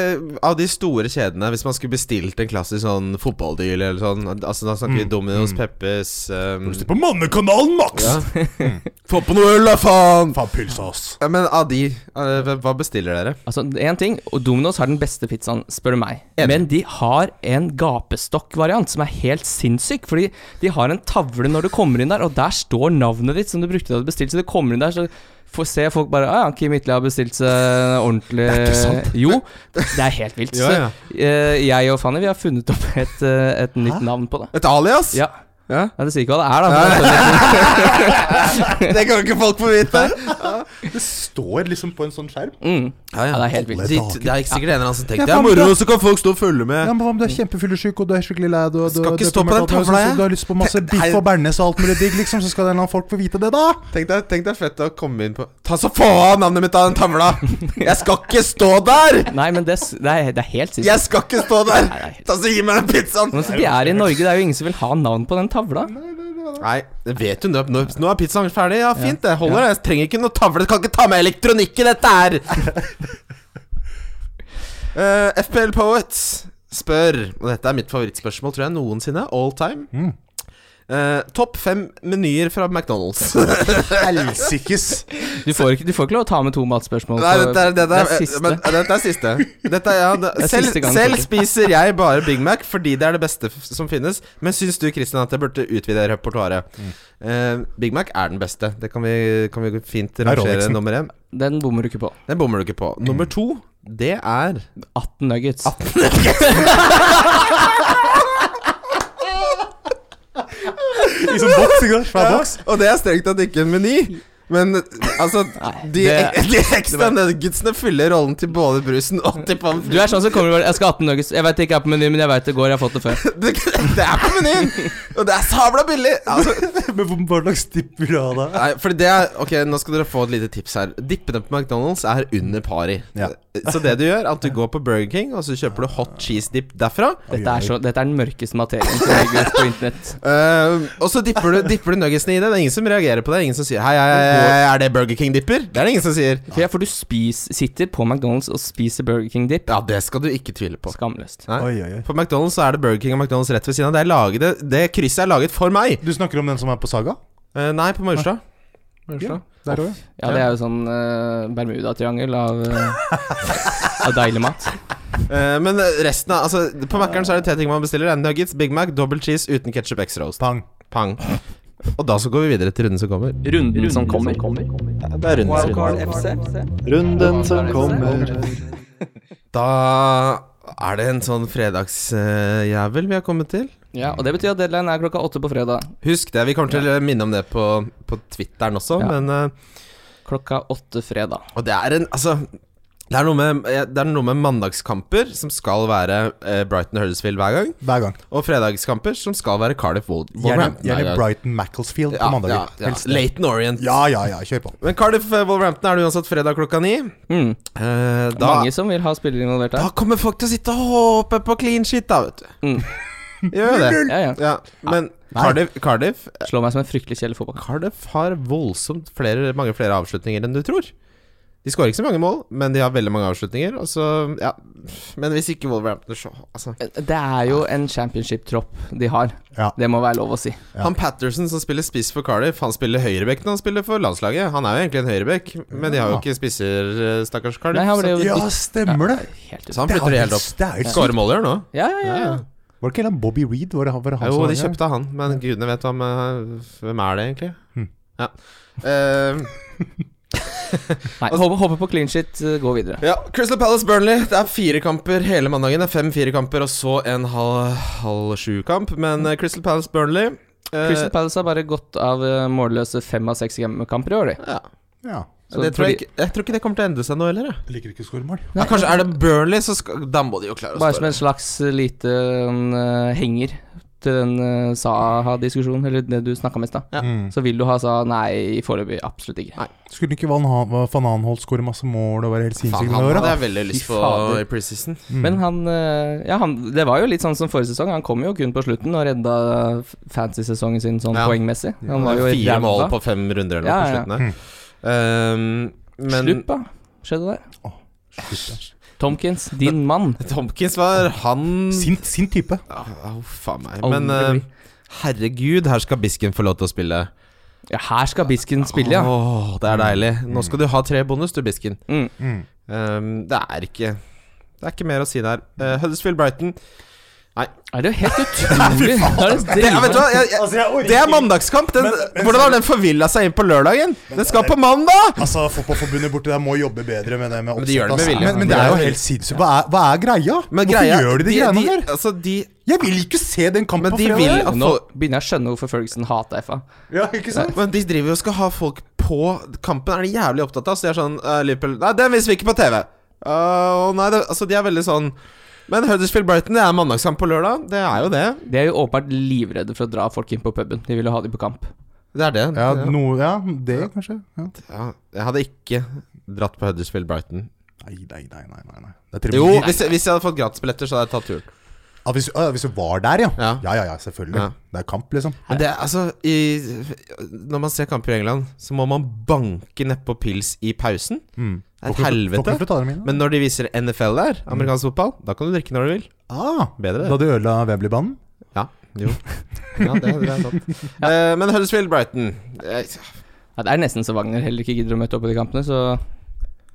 C: av de store kjedene, hvis man skulle bestilt en klassisk sånn fotballdeal eller sånn Altså Da snakker vi
E: Mm,
C: Domino's,
E: mm.
C: Peppes um,
E: På mannekanalen, Max!
C: ja.
E: Mm.
C: Få på noe øl, da, faen!
E: Faen, pølsa, ass.
C: Ja, men av de, eh, hva- hva bestiller dere?
D: Altså, én ting, og Domino's har den beste pizzaen, spør du meg.
C: Enig.
D: Men de har en gapestokkvariant som er helt sinnssyk. Fordi de har en tavle når du kommer inn der, og der står navnet ditt som du brukte da du bestilte. Så du kommer inn der, så får se folk bare ah, ja, Kim Hitler har bestilt seg ordentlig
E: Det er ikke sant.
D: Jo, det er helt vilt.
C: Ja, ja.
D: Så eh, jeg og Fanny, vi har funnet opp et, eh, et nytt navn på det.
C: Et alias?
D: Ja.
C: Ja.
D: ja, det sier ikke hva det er, da. men det er sånn-
C: Det kan ikke folk få vite!
E: Det står liksom på en sånn skjerm.
D: Mm.
C: Ja,
D: Ja, det er helt vilt.
C: Det, det er ikke sikkert en eller annen som
E: Ja,
C: tenker Det er
E: faen,
C: moro,
E: da-
C: så kan folk stå og følge
E: Ja,
C: med.
E: men Hva om du er kjempefyllesyk og du er skikkelig lei deg? og du-
C: Skal ikke
E: du er
C: stå på
E: deprimert,
C: den
E: og
C: tavla,
E: så-
C: jeg.
E: Du har lyst på masse
C: Det-
E: biff og bearnés og alt mulig digg, liksom, så skal en eller annen folk få vite det, da!
C: Tenk deg, tenk deg fett å komme inn på Ta så få av navnet mitt av den tavla! Jeg skal ikke stå der!
D: Nei, men det, s- det, er, det er helt sinnssykt.
C: Jeg skal ikke stå der! Ta så Gi meg den pizzaen!
D: Men altså, de er i Norge, det er jo ingen som vil ha navn på den tavla.
C: Nei, det vet du nå. Nå nå er pizzaen ferdig. Ja, fint, det holder. det. Jeg trenger ikke noe tavle. Kan ikke ta med elektronikk i dette her! Eh, FPL Poets spør, og dette er mitt favorittspørsmål tror jeg noensinne, all time Eh, Topp fem menyer fra McDonald's.
E: Helsikes!
D: Du får ikke, du får ikke lov å ta med to matspørsmål.
C: Nei,
D: på-
C: dette er, dette er,
D: det er siste.
C: Men, dette er siste. Dette er, ja, det,
D: Det er
C: selv,
D: siste gang,
C: selv
D: faktisk.
C: spiser jeg bare Big Mac fordi det er det beste f- som finnes. Men syns du Christian, at jeg burde utvide repertoaret?
E: Mm.
C: Eh, Big Mac er den beste. Det kan vi, kan vi fint
E: er Mm.
C: rangere
E: Rolexen.
C: nummer én.
D: Den bommer du ikke på.
C: Den bommer du ikke på. Nummer to, det er
D: 18 nuggets.
E: I sånn boks, ikke sant? Svær boks.
C: Og det er strengt tatt ikke en meny. Men altså de,
D: det-
C: de ekstra nuggetsene fyller rollen til både brusen og til pommes
D: Du er sånn som kommer og bare 'Jeg skal ha 18 nuggets'. Jeg vet det ikke er på menyen, men jeg vet det går. Jeg har fått det før.
C: Det det er på menyen! Og det er sabla billig! Altså,
E: Men hvor- hva slags dipp vil du ha da?
C: Nei, for det er Ok, nå skal dere få et lite tips her. Dippene på McDonald's er under pari.
E: Ja.
C: Så det du gjør, er at du går på Burger King, og så kjøper du hot cheese dip derfra.
D: Dette er, så, dette er den mørkeste materien som ligger ute på internett.
C: Eh, og så dipper du, dipper du nuggetsene i det. Det er ingen som reagerer på det. Ingen som sier hei, hei, hei, hei, er det Burger King-dipper? Det er det ingen som sier.
D: For, ja, for du spis, sitter på McDonald's og spiser Burger King Dip.
C: Ja, det skal du ikke tvile på.
D: Skamløst.
C: Nei.
E: Oi, oi, oi.
C: På McDonald's så er det Burger King og McDonald's rett ved siden av. Det, er laget, det, det krysset er laget for meg.
E: Du snakker om den som er på Saga?
C: Eh, nei, på Maurstad.
E: Ja, der også, ja.
D: Ja, det er jo sånn eh, Bermuda-triangel av, eh, av deilig mat.
C: Eh, men resten av Altså, på Mac-eren så er det tre ting man bestiller. Det er Nuggets, Big Mac, double cheese uten ketchup extra roast.
E: Pang.
C: Pang. Og da så går vi videre til runden som kommer.
F: Runden som kommer.
A: Det er runden som kommer. Runden som kommer.
C: Da er det en sånn fredagsjævel vi har kommet til.
D: Ja, Og det betyr at deadline er klokka åtte på fredag.
C: Husk det. Vi kommer til å minne om det på, på Twitteren også,
D: Ja.
C: men eh,
D: Klokka åtte fredag.
C: Og det er en Altså det er, noe med, eh, det er noe med mandagskamper som skal være eh, Brighton og Huddersfield hver gang,
E: Hver gang.
C: og fredagskamper som skal være Cardiff Wol-
E: Gjerne,
C: Wolverhampton hver
E: gjerne
C: gang.
E: Brighton Macclesfield
C: ja,
E: på mandager.
C: ja, ja.
E: Helst det.
C: Leighton Orient.
E: ja, ja, ja. Kjør på.
C: Men Cardiff eh, Wolverhampton er det uansett fredag klokka ni.
D: Mm.
C: Eh, da,
D: Mange som vil ha spillere involvert
C: da
D: her.
C: kommer folk til å sitte og håpe på clean shit, da, vet du.
D: Mm.
C: Gjør jo det.
D: Ja, ja.
C: Ja, men Cardiff, Cardiff
D: Slår meg som en fryktelig kjedelig fotball.
C: Cardiff har voldsomt flere, mange flere avslutninger enn du tror. De skårer ikke så mange mål, men de har veldig mange avslutninger. Og så, ja Men hvis ikke Wolverhampton så, altså.
D: Det er jo en championship-tropp de har.
E: Ja.
D: Det må være lov å si.
E: Ja.
C: Han Patterson som spiller spiss for Cardiff, han spiller høyrebekk når han spiller for landslaget. Han er jo egentlig en høyrebekk, men de har jo ikke spisser, eh, stakkars Cardiff.
D: Nei, han ble jo
E: Ja, stemmer det!
D: helt
C: så,
D: ut.
C: så han
E: Det er
C: flytter de helt
E: helt-
C: opp.
E: det er helt sykt.
C: Skårer mål i år nå.
D: Ja, ja, ja. ja.
E: Var det ikke en eller annen Bobby Reed? Var det han, var det han
C: Jo,
E: som var
C: de
E: der?
C: kjøpte han, men gudene vet om eh, Hvem er det, egentlig?
D: Hm.
C: Ja. Eh,
D: Nei, håper, håper på clean shit, uh, gå videre.
C: Ja, Crystal Palace Burnley. Det er fire kamper hele mandagen. Det er fem fire kamper og så en halv, halv sju-kamp. Men eh, Crystal Palace Burnley eh,
D: Crystal Palace har bare gått av uh, målløse fem av seks hjemmekamper i år, de.
C: ja,
E: Ja.
D: Så
C: det tror jeg,
D: fordi-
C: ikke, jeg tror ikke det kommer til å endre seg nå heller. jeg.
E: Jeg liker ikke å skåre mål.
C: Ja, kanskje er det Burnley, så skal, da må de jo klare å
D: Bare som
C: skåre.
D: eh, en slags uh, lite uh, henger til den eh, Saha-diskusjonen, eller det du snakka om i stad,
C: Ja.
E: Mm.
D: så vil du ha sa nei foreløpig absolutt ikke.
E: Skulle ikke Van, Ha- Van Anholt skåre masse mål og være helt sinnssyk
C: Faen,
E: med
C: han hadde
E: det året?
C: jeg veldig lyst
D: Fy
C: på
D: fader.
C: i preseason.
E: Mm.
D: Men han eh, Ja, han, det var jo litt sånn som forrige sesong. Han kom jo kun på slutten og redda f- fantasy-sesongen sin sånn
C: Ja.
D: poengmessig. Han var jo i
C: Fire mål
D: ræva.
C: på fem runder eller noe
D: Ja, Hm.
C: på slutten
D: ja.
C: der. Ehm, men
D: Slutt, da. Skjedde det?
E: Slutt,
D: Tomkins, din mann.
C: Tompkins var han
E: ja. Sint, sint type.
C: Au, au, faen meg.
D: Aldri
C: Men eh,
D: bli.
C: herregud, her skal Bisken få lov til å spille.
D: Ja, her skal Bisken spille, ja.
C: Åh, det er deilig. Nå skal du ha tre bonus, du, Bisken.
D: Mm.
E: Mm.
C: Ehm, det er ikke Det er ikke mer å si der. Uh, Huddersfield Brighton.
D: Er det jo helt utrolig? Det er det
C: Det, ja, vet du hva? Jeg, jeg,
E: Altså, jeg orker
C: det er
E: ikke.
C: mandagskamp! Den,
E: Men- men-
C: hvordan har den forvilla seg inn på lørdagen? Den skal på mandag!
E: Altså, Fotballforbundet borti der må jobbe bedre med det med
C: Men de gjør det med
E: oppsett, altså.
C: vilje.
E: Men, men
C: De
E: det er
C: gjør
E: jo
C: det.
E: helt sinnssykt. Hva, er- hva er greia?
C: Men
E: Hvorfor
C: greia-
E: gjør de de greiene der?
C: Altså, de
E: Jeg vil ikke se den kampen
C: Men
E: på
C: de
E: fredag!
C: vil at
D: Nå
C: folk
D: begynner jeg å skjønne hvorfor Ferguson hater FA.
E: Ja, ikke sant?
C: Men de driver jo og skal ha folk på kampen, er de jævlig opptatt av. Så de er sånn eh, Liverpool Nei, den viser vi ikke på TV! Eh, Å nei, det, altså, de er veldig sånn Men Huddersfield Brighton, det er mandagskamp på lørdag. Det er jo det.
D: De er jo åpenbart livredde for å dra folk inn på puben. De vil jo ha dem på kamp.
C: Det er det.
E: Ja, noe, ja, det kanskje. Ja.
C: Ja, jeg hadde ikke dratt på Huddersfield Brighton.
E: Nei, nei, nei, nei, nei, nei. Det er til
C: Jo,
E: og med-
C: hvis, jeg- hvis jeg hadde fått gratisbilletter, så hadde jeg tatt turen.
E: Ah, hvis, ah, hvis du var der, ja.
C: Ja.
E: Ja, ja, ja, selvfølgelig.
C: Ja.
E: Det er kamp, liksom.
C: Men det er altså i, Når man ser kamper i England, så må man banke nedpå pils i pausen.
E: Mm.
C: Det er
E: Får
C: et
E: ikke- Får
C: helvete.
E: ikke flytta dere mine.
C: Men når de viser NFL der, amerikansk fotball, da kan du drikke når du vil.
E: Ah,
C: Bedre, det.
E: da du ødela Wembley-banen?
C: Ja, jo. Ja, det, det er sant. Eh, men Huddersfield Brighton eh,
D: Ja, det er nesten så Wagner heller ikke gidder å møte opp i de kampene, så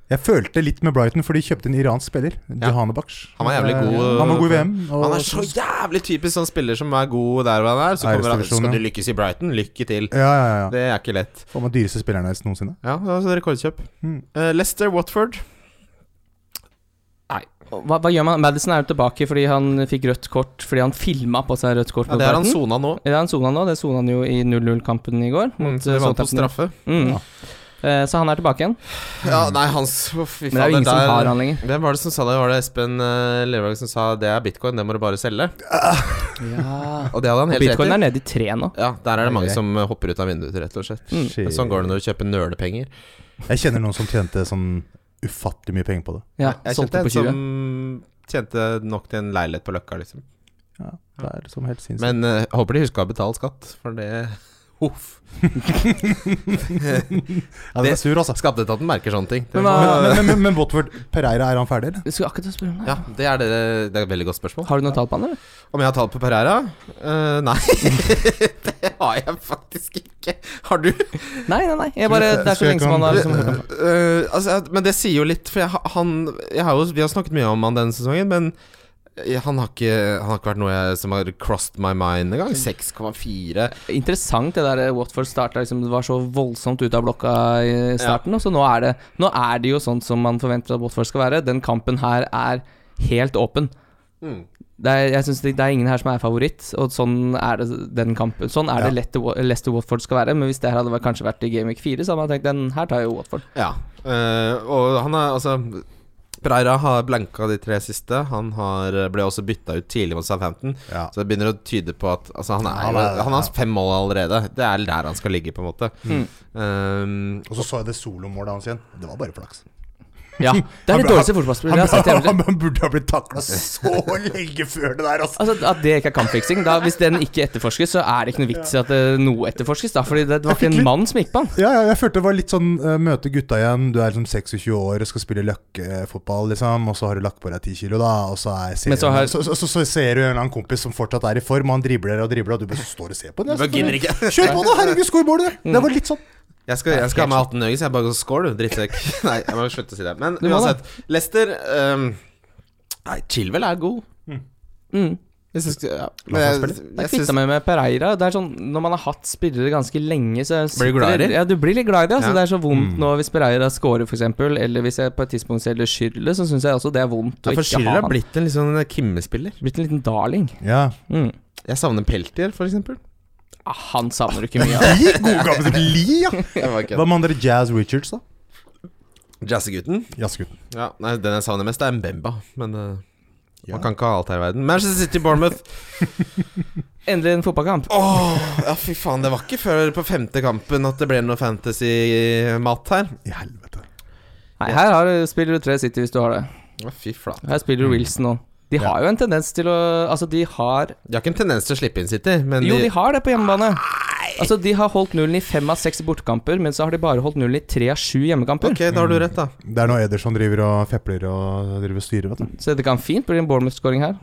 E: Jeg følte litt med Brighton, for de kjøpte en iransk spiller.
C: Ja.
E: Johanebaksh.
C: Han var jævlig
E: Eh,
C: god,
E: Han var god i
C: eh,
E: VM. og-
C: Han er så jævlig typisk sånn spiller som er god der hvor han er. Så kommer han
E: Æresdivisjon,
C: Skal
E: ja.
C: du lykkes i Brighton? Lykke til.
E: Ja, ja, ja.
C: Det er ikke lett.
E: Faen meg dyreste spilleren deres noensinne.
C: Ja, det var sånn rekordkjøp.
E: Mm.
C: Eh, Leicester Watford.
D: hva, hva gjør man? Madison er jo tilbake fordi han fikk rødt kort fordi han filma på seg rødt kort.
C: Ja, det er han sona nå.
D: Det er han sona nå. Det sona han jo i 0-0-kampen i går.
C: Mm,
D: Mot eh,
C: så de vant på
D: Southampton.
C: straffe.
D: Mm.
E: Ja.
D: Eh, Så han er tilbake igjen.
C: Ja, nei, hans å, Fy
D: Men det er jo ingen som har han lenger.
C: Hvem var det som sa det? Var det Espen uh, Lervang som sa det er bitcoin, det må du bare selge? Og det hadde han
D: Og
C: helt
D: Bitcoin
C: rett i.
D: er nede i tre nå.
C: Ja, der er det mange som eh, hopper ut av vinduet, rett og slett.
D: Mm.
E: Shit.
C: Sånn går det når du kjøper nølepenger.
E: Jeg kjenner noen som tjente sånn ufattelig mye penger på det.
D: Ja,
C: Jeg
D: solgte
C: kjente en
D: på 20.
C: som tjente nok til en leilighet på Løkka, liksom.
E: Ja, det er som helt sinnssykt.
C: Men eh, håper de husker å betale skatt, for det Huff.
E: Ja, den er sur, altså.
C: Skatteetaten merker sånne ting.
D: Men
E: Men,
D: hva
E: men, men, men Watford Pereira, er han ferdig, eller?
D: Jeg skulle akkurat til å spørre om det.
C: Ja, det er, det, det er et veldig godt spørsmål.
D: Har du noe tall på han, eller?
C: Om jeg har tall på Pereira? Eh, nei, det har jeg faktisk ikke. Har du?
D: Nei, nei, nei. Jeg bare,
E: Skulle-
D: det er så
E: skulle jeg
D: lenge som
E: kan-
D: han har liksom hørt om.
C: Eh, altså, men det sier jo litt, for jeg, ha- han jeg har jo, Vi har snakket mye om han denne sesongen, men eh, han har ikke, han har ikke vært noe jeg, som har crossed my mind
D: Mm.
C: engang. 6,4.
D: Interessant det der eh, Watford starta liksom, det var så voldsomt ut av blokka i starten. Og så nå er, det, nå er det jo sånn som man forventer at Watford skal være. Den kampen her er helt åpen.
C: Mm.
D: Det er, jeg synes det, det er ingen her som er favoritt, og sånn er det den kampen. Sånn er
E: Ja.
D: det lett Wa- Leicester Watford skal være, men hvis det her hadde vært, kanskje vært i Game Week 4, så hadde man tenkt den her tar jo Watford.
C: Ja. eh, og han er altså Pereira har blanka de tre siste. Han har, ble også bytta ut tidlig mot Southampton.
E: Ja.
C: Så det begynner å tyde på at altså, han, er,
E: Han er-
C: han har fem mål allerede. Det er der han skal ligge, på en måte. Um,
E: Og så så jeg det solomålet hans igjen. Det var bare flaks.
D: Ja, Det
E: Han
D: er det
E: ble-
D: dårligste
E: Han,
D: fotballspillet jeg har sett i hele mitt liv.
E: han, burde ha blitt takla så lenge før det der, altså.
D: Altså, At det ikke er kampfiksing. Da, hvis den ikke etterforskes, så er det ikke noe vits i at eh, noe etterforskes. Da, fordi det, det var ikke en mann som gikk på han.
E: Ja, ja, jeg følte det var litt sånn eh, møte gutta igjen. Du er liksom 26 år og skal spille løkkefotball, liksom. Og så har du lagt på deg 10 kilo, da. Og så, er, ser,
D: Men så har-
E: så, så, så, så ser du en eller annen kompis som fortsatt er i form, og han dribler og dribler, og du bare står og ser på den.
C: Du bare gidder
E: selvfølgelig.
C: ikke.
E: Kjør på, da! Herregud, skår målet! Det var litt sånn.
C: jeg skal, jeg skal ha med 18 øyne, så jeg bare skål, du drittsekk. Nei, jeg må slutte å si det. Men
D: må
C: uansett, Lester um, Nei, Chilwell er god.
D: Mm.
C: Hvis jeg skal, ja.
E: La han
C: Men jeg,
D: Jeg
C: jeg synes-
D: kvitta meg med Pereira. Det er sånn, Når man har hatt spillere ganske lenge, så sitter-
C: du glad i Mm. dem?
D: Ja, du blir litt glad i dem. Altså,
C: Ja.
D: Det er så vondt nå hvis Pereira scorer, f.eks., eller hvis jeg på et tidspunkt selger Schürrle, så syns jeg også det er vondt
C: ja,
D: å
C: for
D: ikke
C: Schiller
D: ha
C: har
D: han.
C: blitt en litt sånn Kimme-spiller.
D: Blitt en liten darling.
E: Ja.
D: Mm.
C: Jeg savner Peltier, for eksempel.
D: Ah, han savner du ikke mye av.
E: Li, gode gamle sitt Li, ja.
C: Det var ikke
E: Hva med andre Jazz Richards, da?
C: Jazzegutten.
E: Jazzgutten.
C: Ja, nei, den jeg savner mest, er Mbemba. Men eh, Man kan ikke ha alt her i verden. Manchester City Bournemouth.
D: Endelig en fotballkamp.
C: Åh, ja, fy faen. Det var ikke før på femte kampen at det ble noe fantasy-mat her.
E: I helvete.
D: Nei, her har, du- spiller du tre City hvis du har det.
C: Å, fy flate.
D: Her spiller du Wilson òg. De har jo en tendens til å Altså, de har
C: De har ikke en tendens til å slippe inn City, men
D: Jo, de har det på hjemmebane. Altså, de har holdt nullen i fem av seks bortekamper, men så har de bare holdt nullen i tre av sju hjemmekamper.
C: Ok, da har du rett, da.
E: Det er når Ederson driver og fepler og driver og styrer, vet du.
D: Så det kan fint bli en Bournemouth-skåring her.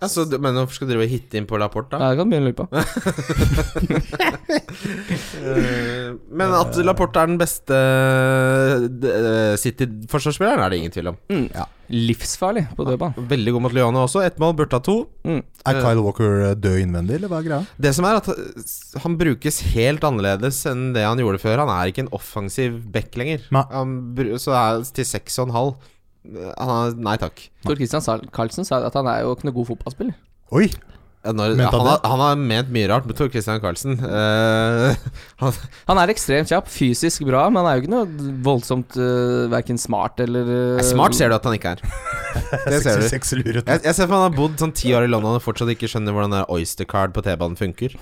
C: Ja, så, du- men hvorfor skal du drive og hitte inn på Laporte, da?
D: Ja, det kan du begynne å lure på.
C: Eh, Men at Laporte er den beste d- eh, City-forsvarsspilleren, er det ingen tvil om.
D: Livsfarlig på dødball.
C: Veldig god mot Leone også. Ett mål, burde ha to.
E: Er Kyle Walker eh, død innvendig, eller hva er greia?
C: Det som er at eh, han brukes helt annerledes enn det han gjorde før. Han er ikke en offensiv back lenger.
E: Nei.
C: Han bru- så er til seks og en halv. Eh, Han er, nei takk.
D: Tor Christian Sal- Carlsen sa at han er jo ikke noe god fotballspiller.
E: Oi!
C: Ja, Eh, Når,
E: Mente han
C: han,
E: det?
C: har, han har ment mye rart med Tor Christian Carlsen. Eh, han,
D: Han er ekstremt kjapp, fysisk bra, men han er jo ikke noe voldsomt uh, verken smart eller
C: Nei,
D: øh,
C: smart ser du at han ikke er. Det ser du.
E: 66 luret.
C: Jeg, jeg ser for meg han har bodd sånn ti år i London og fortsatt ikke skjønner hvordan det der Oyster Card på T-banen funker.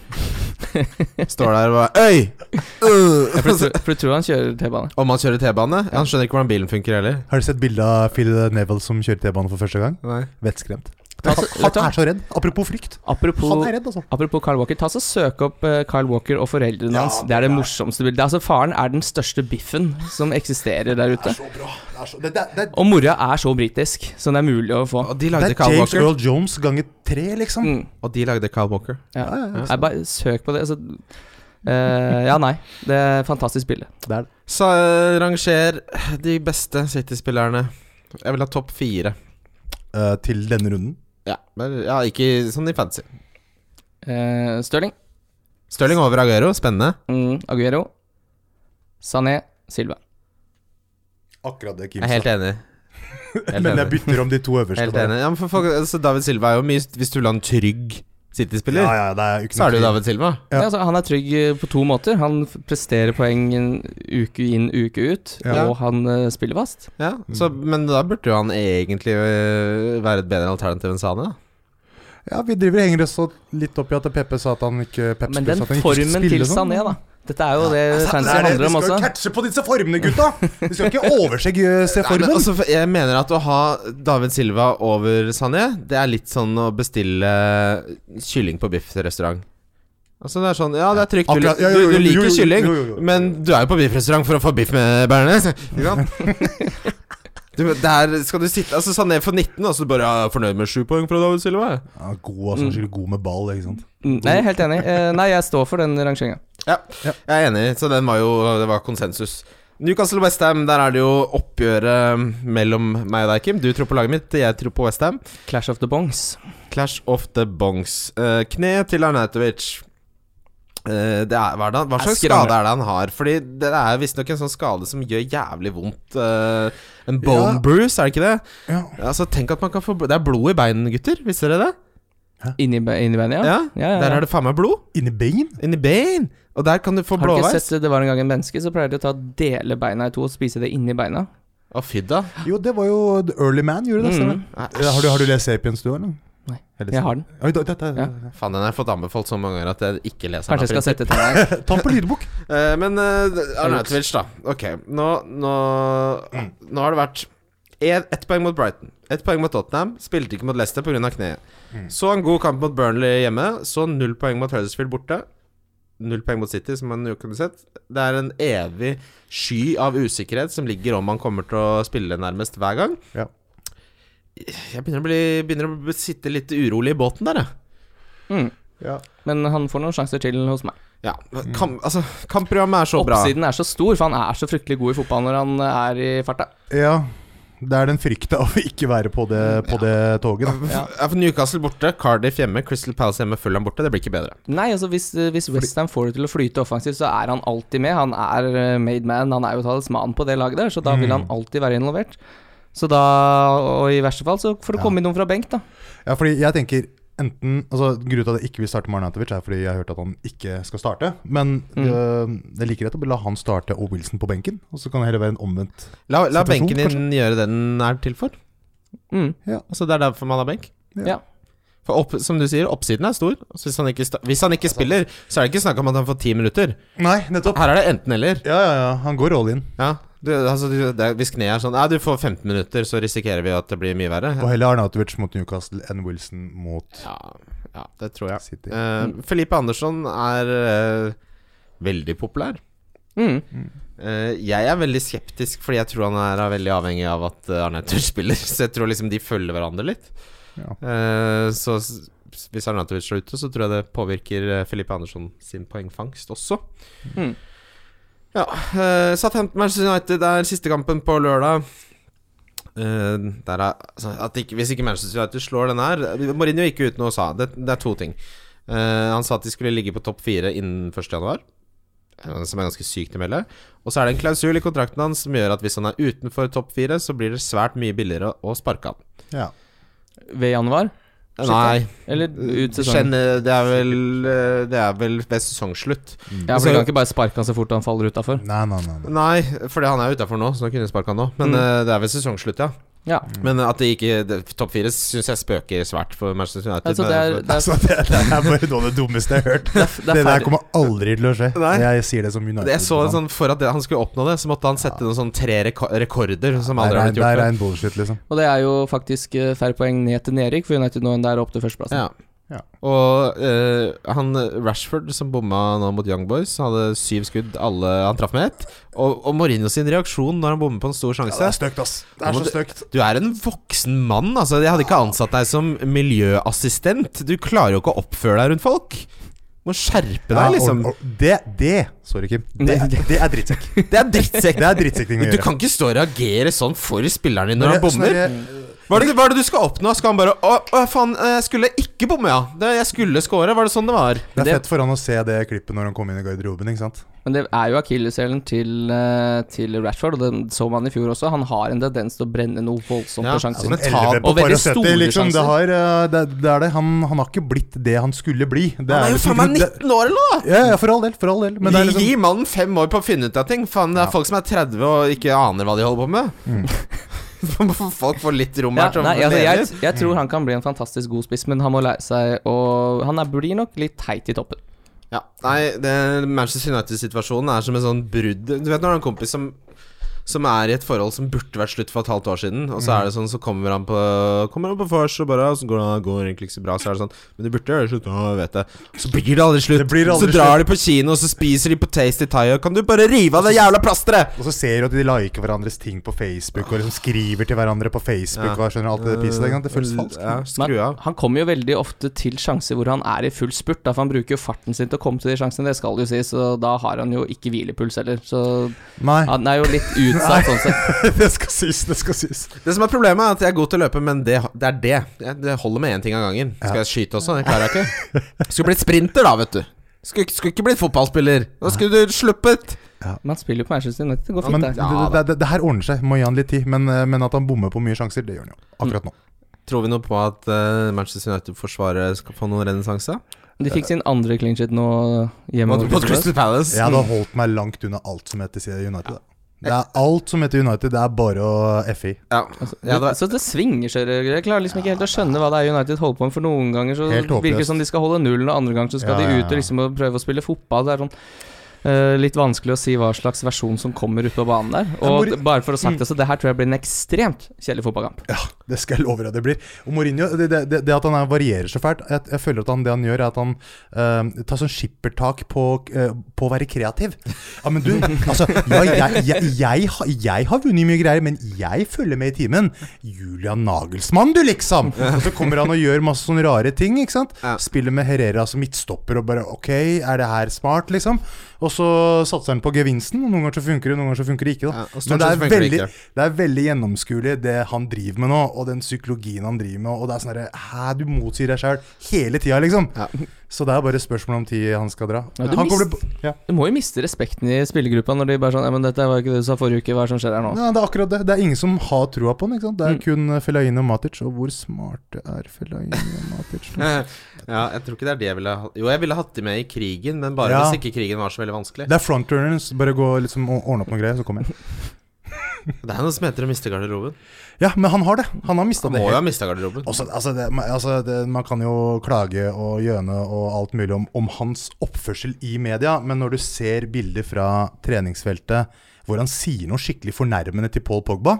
C: Står der og bare Øy! Øh!»
D: For du, tror- for du tror han kjører T-bane?
C: Om han kjører T-bane? Ja, Han skjønner ikke hvordan bilen funker heller.
E: Har du sett bildet av Phil Neville som kjører T-banen for første gang?
C: Nei.
E: Vettskremt.
D: Ta så-
E: Han er så redd. Apropos frykt. Han
D: Apropos
E: er redd, altså.
D: Apropos Kyle Walker, ta så søk opp eh, Kyle Walker og foreldrene hans. Det er det morsomste bildet. Altså, faren er den største biffen som eksisterer der ute.
E: Så bra. Det er, så, det, det, det,
D: Og mora er så britisk som det er mulig å få.
C: Og de
E: det
C: lagde
E: er
C: Kyle
E: James
C: Walker.
E: Earl Jones ganger tre, liksom.
D: Mm,
C: Og de lagde Kyle Walker.
D: ja.
E: Ja, ja,
D: Nei, bare søk på det. Altså, eh, ja, nei. Det er et fantastisk bilde.
E: Det er det.
C: Så eh, ranger de beste City-spillerne. Jeg vil ha topp fire.
E: Eh, til denne runden.
C: Ja, men, ja, ikke sånn i fancy.
D: Uh, Stirling,
C: Stirling over Aguero, spennende.
D: mm, Aguero, Sané, Silva.
E: Akkurat det, Kim
C: Jeg er helt enig. Helt
E: Men jeg
C: enig.
E: bytter om de to øverste.
C: Helt
E: bare.
C: enig. Ja, men for folk, altså David Silva er jo mye Hvis du vil ha en trygg City-spiller,
E: Ja, Mm. ja, det er jo ikke
C: så er det jo
E: tvil.
C: David Silva.
E: Ja.
D: Ja. altså, han er trygg eh, på to måter. Han f- presterer poeng en uke inn, uke ut,
E: Ja.
D: og han eh, spiller fast.
C: Ja, så, Mm. Men da burde jo han egentlig øh, være et bedre alternativ enn Sane. da.
E: Ja, vi driver og henger oss så litt opp i at Peppe sa at han ikke Pep
D: Men
E: sa
D: den
E: at han ikke skulle
D: formen til
E: spille sånn. Altså,
D: Sané, da. Dette er jo det fancy
E: Det er det,
D: handler om
E: Vi skal
D: også.
E: jo catche på disse formene, gutta! Vi skal ikke overse eh, se
C: Nei, men
E: formen.
C: altså, for jeg mener at å ha David Silva over Sané, det er litt sånn å bestille eh, kylling på biffrestaurant. Altså det er sånn, Ja, det er trygt. Du,
E: Akkurat, ja, jo,
C: du,
E: jo,
C: du
E: jo,
C: liker
E: jo, jo,
C: kylling,
E: jo, jo, jo.
C: men du er jo på biffrestaurant for å få biff med bearnés. Ikke sant? Du, der skal du sitte Altså Sané får 19, og så bare ja, fornøyd med 7 poeng fra David Silva. jeg.
E: Ja, god, altså, skikkelig god med ball, ikke sant.
D: Mm, Nei, jeg er helt enig. Eh, Nei, jeg står for den rangeringa.
C: Ja, jeg er enig, så den var jo Det var konsensus. Newcastle og Westham, der er det jo oppgjøret mellom meg og deg, Kim. Du tror på laget mitt, jeg tror på Westham.
D: Clash of the Bongs.
C: Clash of the Bongs. Eh, kne til Arnautovic. Eh, det er, hva, er det, han- hva
D: Jeg
C: slags
D: skrangler.
C: skade er det han har? Fordi Det er visstnok en sånn skade som gjør jævlig vondt. eh, en bone
E: Ja.
C: bruise, er det ikke det?
E: Ja.
C: Altså Tenk at man kan få bl- Det er blod i bein, gutter. Visste dere det?
D: Inni be- inni bandet, ja.
C: Ja,
D: ja, ja.
C: Der er det faen meg blod.
E: Inni bein?
C: Inni bein! Og der kan du få
D: Har du ikke
C: blåveis.
D: sett eh, Det var en gang en menneske, så pleier de å ta dele beina i to og spise det inni beina.
C: Å, fy da.
E: Jo, det var jo The Early Man gjorde det. stemmer det?
D: Mm.
E: Ja, Eh, Har, du, har du lest Sapiens, du, eller?
D: Nei,
E: Eller-
D: Jeg har den.
E: Oi, da- dette-
D: Ja.
C: Faen, den har jeg fått anbefalt så mange ganger at jeg ikke leser
D: Kanskje jeg
C: den.
D: skal sette til deg.
E: Ta den på lydbok.
C: Eh, men uh, Arnautovic, da. Ok, nå, nå, nå har det vært en- ett poeng mot Brighton, ett poeng mot Tottenham. Spilte ikke mot Leicester pga. kneet. Så en god kamp mot Burnley hjemme. Så null poeng mot Huddersfield borte. Null poeng mot City, som man jo kunne sett. Det er en evig sky av usikkerhet som ligger om han kommer til å spille nærmest hver gang.
E: Ja.
C: Jeg begynner å, bli, begynner å bli- sitte litt urolig i båten der, jeg.
D: Mm.
E: Ja.
D: Men han får noen sjanser til hos meg.
C: Ja. Kamp, altså, kampprogrammet er så bra.
D: Oppsiden er så stor, for han er så fryktelig god i fotball når han eh, er i farta.
E: ja. Det er den frykta av å ikke være på det, på det toget. Da.
D: Ja.
C: Ja, for Newcastle borte, Cardiff hjemme, Crystal Palace hjemme, Fulham borte. Det blir ikke bedre.
D: Nei, altså hvis, eh, hvis Westham får det til å flyte offensivt, så er han alltid med. Han er eh, made man, han er jo talisman på det laget der, så da vil han alltid være involvert. Så da, og i verste fall, så får det komme inn noen fra benk, da.
E: Ja, fordi jeg tenker enten altså, Grunnen til at jeg ikke vil starte med Arnautovic, er fordi jeg har hørt at han ikke skal starte. Men øh, det er like greit å la han starte og Wilson på benken, og så kan det heller være en omvendt
C: La, la
E: Situasjon,
C: benken din gjøre det den er til for.
D: Mm.
C: Altså, det er derfor man har benk.
D: Ja.
C: For opp, som du sier, oppsiden er stor. Så hvis han ikke, sta- hvis han ikke spiller, så er det ikke snakk om at han får ti minutter.
E: Nei, nettopp.
C: Her er det enten-eller.
E: Ja, ja, ja. Han går all in.
C: Ja, du, altså, du, det, er- hvis kneet er sånn Ja, du får 15 minutter, så risikerer vi at det blir mye
E: Og
C: verre.
E: heller Arnautovic mot Newcastle enn Wilson mot
C: Ja, ja det tror jeg.
E: City.
C: Eh,
D: Mm.
C: Felipe Andersson er eh, veldig populær.
D: Mm.
C: Eh, jeg er veldig skeptisk, fordi jeg tror han er eh, veldig avhengig av at uh, Arnautovic spiller. Så jeg tror liksom de følger hverandre litt.
E: Ja.
C: Eh, så s- s- hvis Arnautovic slår ute, så tror jeg det påvirker eh, Felipe Andersson sin poengfangst også.
D: Mm.
C: Ja, uh, Southampton Manchester United er siste kampen på lørdag. Eh, der er, altså, at ikke, hvis ikke Manchester United slår den her eh, Mourinho gikk ut nå og sa det, det er to ting. Eh, han sa at de skulle ligge på topp fire innen 1. januar eh, som er ganske sykt å melde. Og så er det en klausul i kontrakten hans som gjør at hvis han er utenfor topp fire, så blir det svært mye billigere å sparke han.
E: Ja.
D: Ved januar?
C: Nei,
D: Eller ut sesongen?
C: Skjønner- det er vel eh, Det er vel ved sesongslutt.
E: Mm.
D: Ja, for
C: Så-
D: Du kan ikke bare sparke han så fort han faller utafor.
E: Nei, nei, nei. nei.
C: Nei, fordi han er utafor nå, så nå kunne jeg sparka han nå. Men
D: Mm.
C: eh, det er ved sesongslutt, ja.
D: Ja.
E: Mm.
C: Men at det ikke det- Topp fire syns jeg spøker svært for Manchester United.
D: Altså, det, er,
C: men-
D: det,
E: Altså,
D: er,
E: det, det er bare noe av det dummeste jeg har hørt.
D: det,
E: Det,
D: er, det, er
E: der
D: ferdig,
E: kommer aldri til å skje.
C: Nei.
E: Jeg sier det som United. liksom.
C: jeg så en sånn For at det, han skulle oppnå det, så måtte han sette noen sånn tre reko rekorder som
E: Det er
C: aldri har blitt
E: rein- det er
C: gjort før.
E: rein bullshit, liksom.
D: og det er jo faktisk eh, færre poeng ned til nedrykk for United nå enn det er opp til førsteplassen.
C: Ja.
E: Ja.
C: Og eh, han Rashford som bomma nå mot Young Boys, hadde syv skudd, alle han traff med ett. Og, og Mourinho sin reaksjon når han bommer på en stor
E: Ja, det
C: sjanse
E: er stygt, ass. Det er så stygt.
C: Du er en voksen mann, altså. Jeg hadde ikke ansatt deg som miljøassistent. Du klarer jo ikke å oppføre deg rundt folk. Du må skjerpe
E: Ja,
C: deg, liksom.
E: og- og Det, det Sorry, Kim. Det, det er drittsekk.
C: Det er drittsekk.
E: Det er drittsekking å
C: Du
E: gjøre.
C: kan ikke stå og reagere sånn for spilleren din når han
E: altså,
C: bommer.
E: bommer.
C: Hva er, det, hva er det du skal oppnå? Skal han bare Å, å faen, eh, jeg skulle ikke bomme, ja. Det- Jeg skulle score. Var det sånn det var?
E: Det er
D: Det-
E: fett for han å se det klippet når han kom inn i garderoben, ikke sant.
D: Men det er jo akilleshælen til, eh, til Ratford, og den så man i fjor også. Han har en tendens til å brenne noe voldsomt
C: Ja,
D: på
C: altså,
D: sjanser.
C: men-
E: Sånn
C: tap-
E: 11 på
D: og veldig
E: par og 70,
D: store
E: liksom, det,
D: sjanser.
E: har, eh, det, det er det. Han, han har ikke blitt det han skulle bli.
C: Han
E: Det
C: er jo
E: liksom
C: faen meg
E: ikke noe- det-
C: 19 år eller noe! da!
E: Ja, ja, for all del. For all del. Men det er
C: Gi
E: liksom
C: mannen fem år på å finne ut av ting. Faen, det er
E: Ja. Mm.
C: folk som er 30 og ikke aner hva de holder på med. folk får litt rom
D: Ja,
C: her. til å
D: nei, altså,
C: leve
D: jeg,
C: litt.
D: jeg tror han kan bli en fantastisk god spiss, men han må lære seg å Han er, blir nok litt teit i toppen.
C: Ja, nei, det, Manchester United-situasjonen er som en sånn brudd Du vet når du har en kompis som, som er i et forhold som burde vært slutt for et halvt år siden, og så er det sånn, så kommer han på Kommer han på vors og bare Så går det går egentlig ikke så bra, så er det sånn Men du burde gjøre det slutt, ja, jeg vet det. Så blir det aldri slutt.
E: Det blir aldri
C: så drar de på kino, og så spiser de på Tasty Thai, og kan du bare rive av det jævla plasteret?!
E: Og så ser du at de liker hverandres ting på Facebook, og liksom skriver til hverandre på Facebook.
C: Ja.
E: Og skjønner du, alt det pisset der, ikke sant? Det føles falskt.
C: Ja, skru av.
D: Han kommer jo veldig ofte til sjanser hvor han er i full spurt, da, for han bruker jo farten sin til å komme til de sjansene, det skal jo sies, og da har han jo ikke hvilepuls heller, så
E: Nei,
D: han er jo litt utsatt sånn sett.
E: det skal sies, det skal sies.
C: Det som er problemet, er at jeg er god til å løpe, men det, det er det. Jeg, det holder med én ting av gangen. Skal jeg skyte også? Det klarer jeg ikke. Skulle blitt sprinter, da, vet du. Skulle, ikke- skulle ikke blitt fotballspiller. Da skulle du sluppet.
D: Man spiller jo på Manchester United, det går
E: Men
D: fint,
E: det,
D: det.
E: det, det, det her ordner seg. Må gi han litt tid. Men, eh, men at han bommer på mye sjanser, det gjør han jo. Akkurat nå.
C: Tror vi noe på at eh, Manchester United-forsvaret skal få noen renessanse?
D: De fikk sin andre clean sheet nå eh, hjemme.
C: Mot
D: mot
C: mot Crystal
D: Crystal Palace.
C: Palace.
E: Jeg hadde holdt meg langt unna alt som heter United. da. Det er alt som heter United, det er bare å FI.
C: Ja. Jeg hadde,
D: Så det svinger seg. Jeg klarer liksom ikke helt å skjønne hva det er United holder på med. For noen ganger så
E: Helt håpløst.
D: virker det som de skal holde nullen, og andre ganger så skal
E: Ja, ja,
D: de
E: ja.
D: ut og liksom og prøve å spille fotball. Det er sånn eh, litt vanskelig å si hva slags versjon som kommer ut på banen der. Og
E: Ja, Mori-
D: bare for å ha sagt det, så det her tror jeg blir en ekstremt kjedelig fotballkamp.
E: Ja, det skal jeg love deg det blir. Og Mourinho, det, det, det- det at han er, varierer så fælt jeg, jeg føler at han, det han gjør, er at han eh, tar sånn skippertak på, eh, på å være kreativ. Ja, men du, altså ja, jeg, jeg, jeg, har- jeg har vunnet mye greier, men jeg følger med i timen. Julian Nagelsmann, du, liksom! Og så kommer han og gjør masse sånne rare ting, ikke sant?
C: Ja.
E: Spiller med Herrera som midtstopper og bare OK, er det her smart, liksom? Og så satser han på gevinsten, og noen ganger så funker det, noen ganger så funker det ikke. da
C: Ja, og stort
E: men det
C: sett
E: er,
C: funker det
E: veldig, det,
C: ikke.
E: er veldig gjennomskuelig, det han driver med nå, og den psykologien han driver med. Og det er sånn herre Hæ, du motsier deg sjøl hele tida, liksom.
C: Ja.
E: Så det er bare spørsmål om tid han skal dra.
D: Ja, du
E: han kommer
D: mist-
E: til- ja.
D: Du må jo miste respekten i spillergruppa når de bare sånn Ja, men dette var jo ikke det du sa forrige uke, hva er det som skjer her nå?
E: Nei, det er akkurat det. Det er ingen som har trua på han. ikke sant? Det er
D: Mm.
E: kun Felaine og Matic. Og hvor smarte er Felaine og Matic?
C: ja, jeg tror ikke det er det jeg ville hatt Jo, jeg ville hatt de med i krigen, men bare
E: Ja.
C: hvis ikke krigen var så veldig vanskelig.
E: Det er frontrunners. Bare gå liksom og ordne opp noen greier, så kommer jeg.
C: Det er noe som heter å miste garderoben.
E: Ja, men han har det. Han har mista
C: Han
E: det.
C: må jo
E: helt.
C: ha mista garderoben.
E: Også, altså, det, man- altså det, man kan jo klage og gjøne og alt mulig om, om hans oppførsel i media, men når du ser bilder fra treningsfeltet hvor han sier noe skikkelig fornærmende til Paul Pogba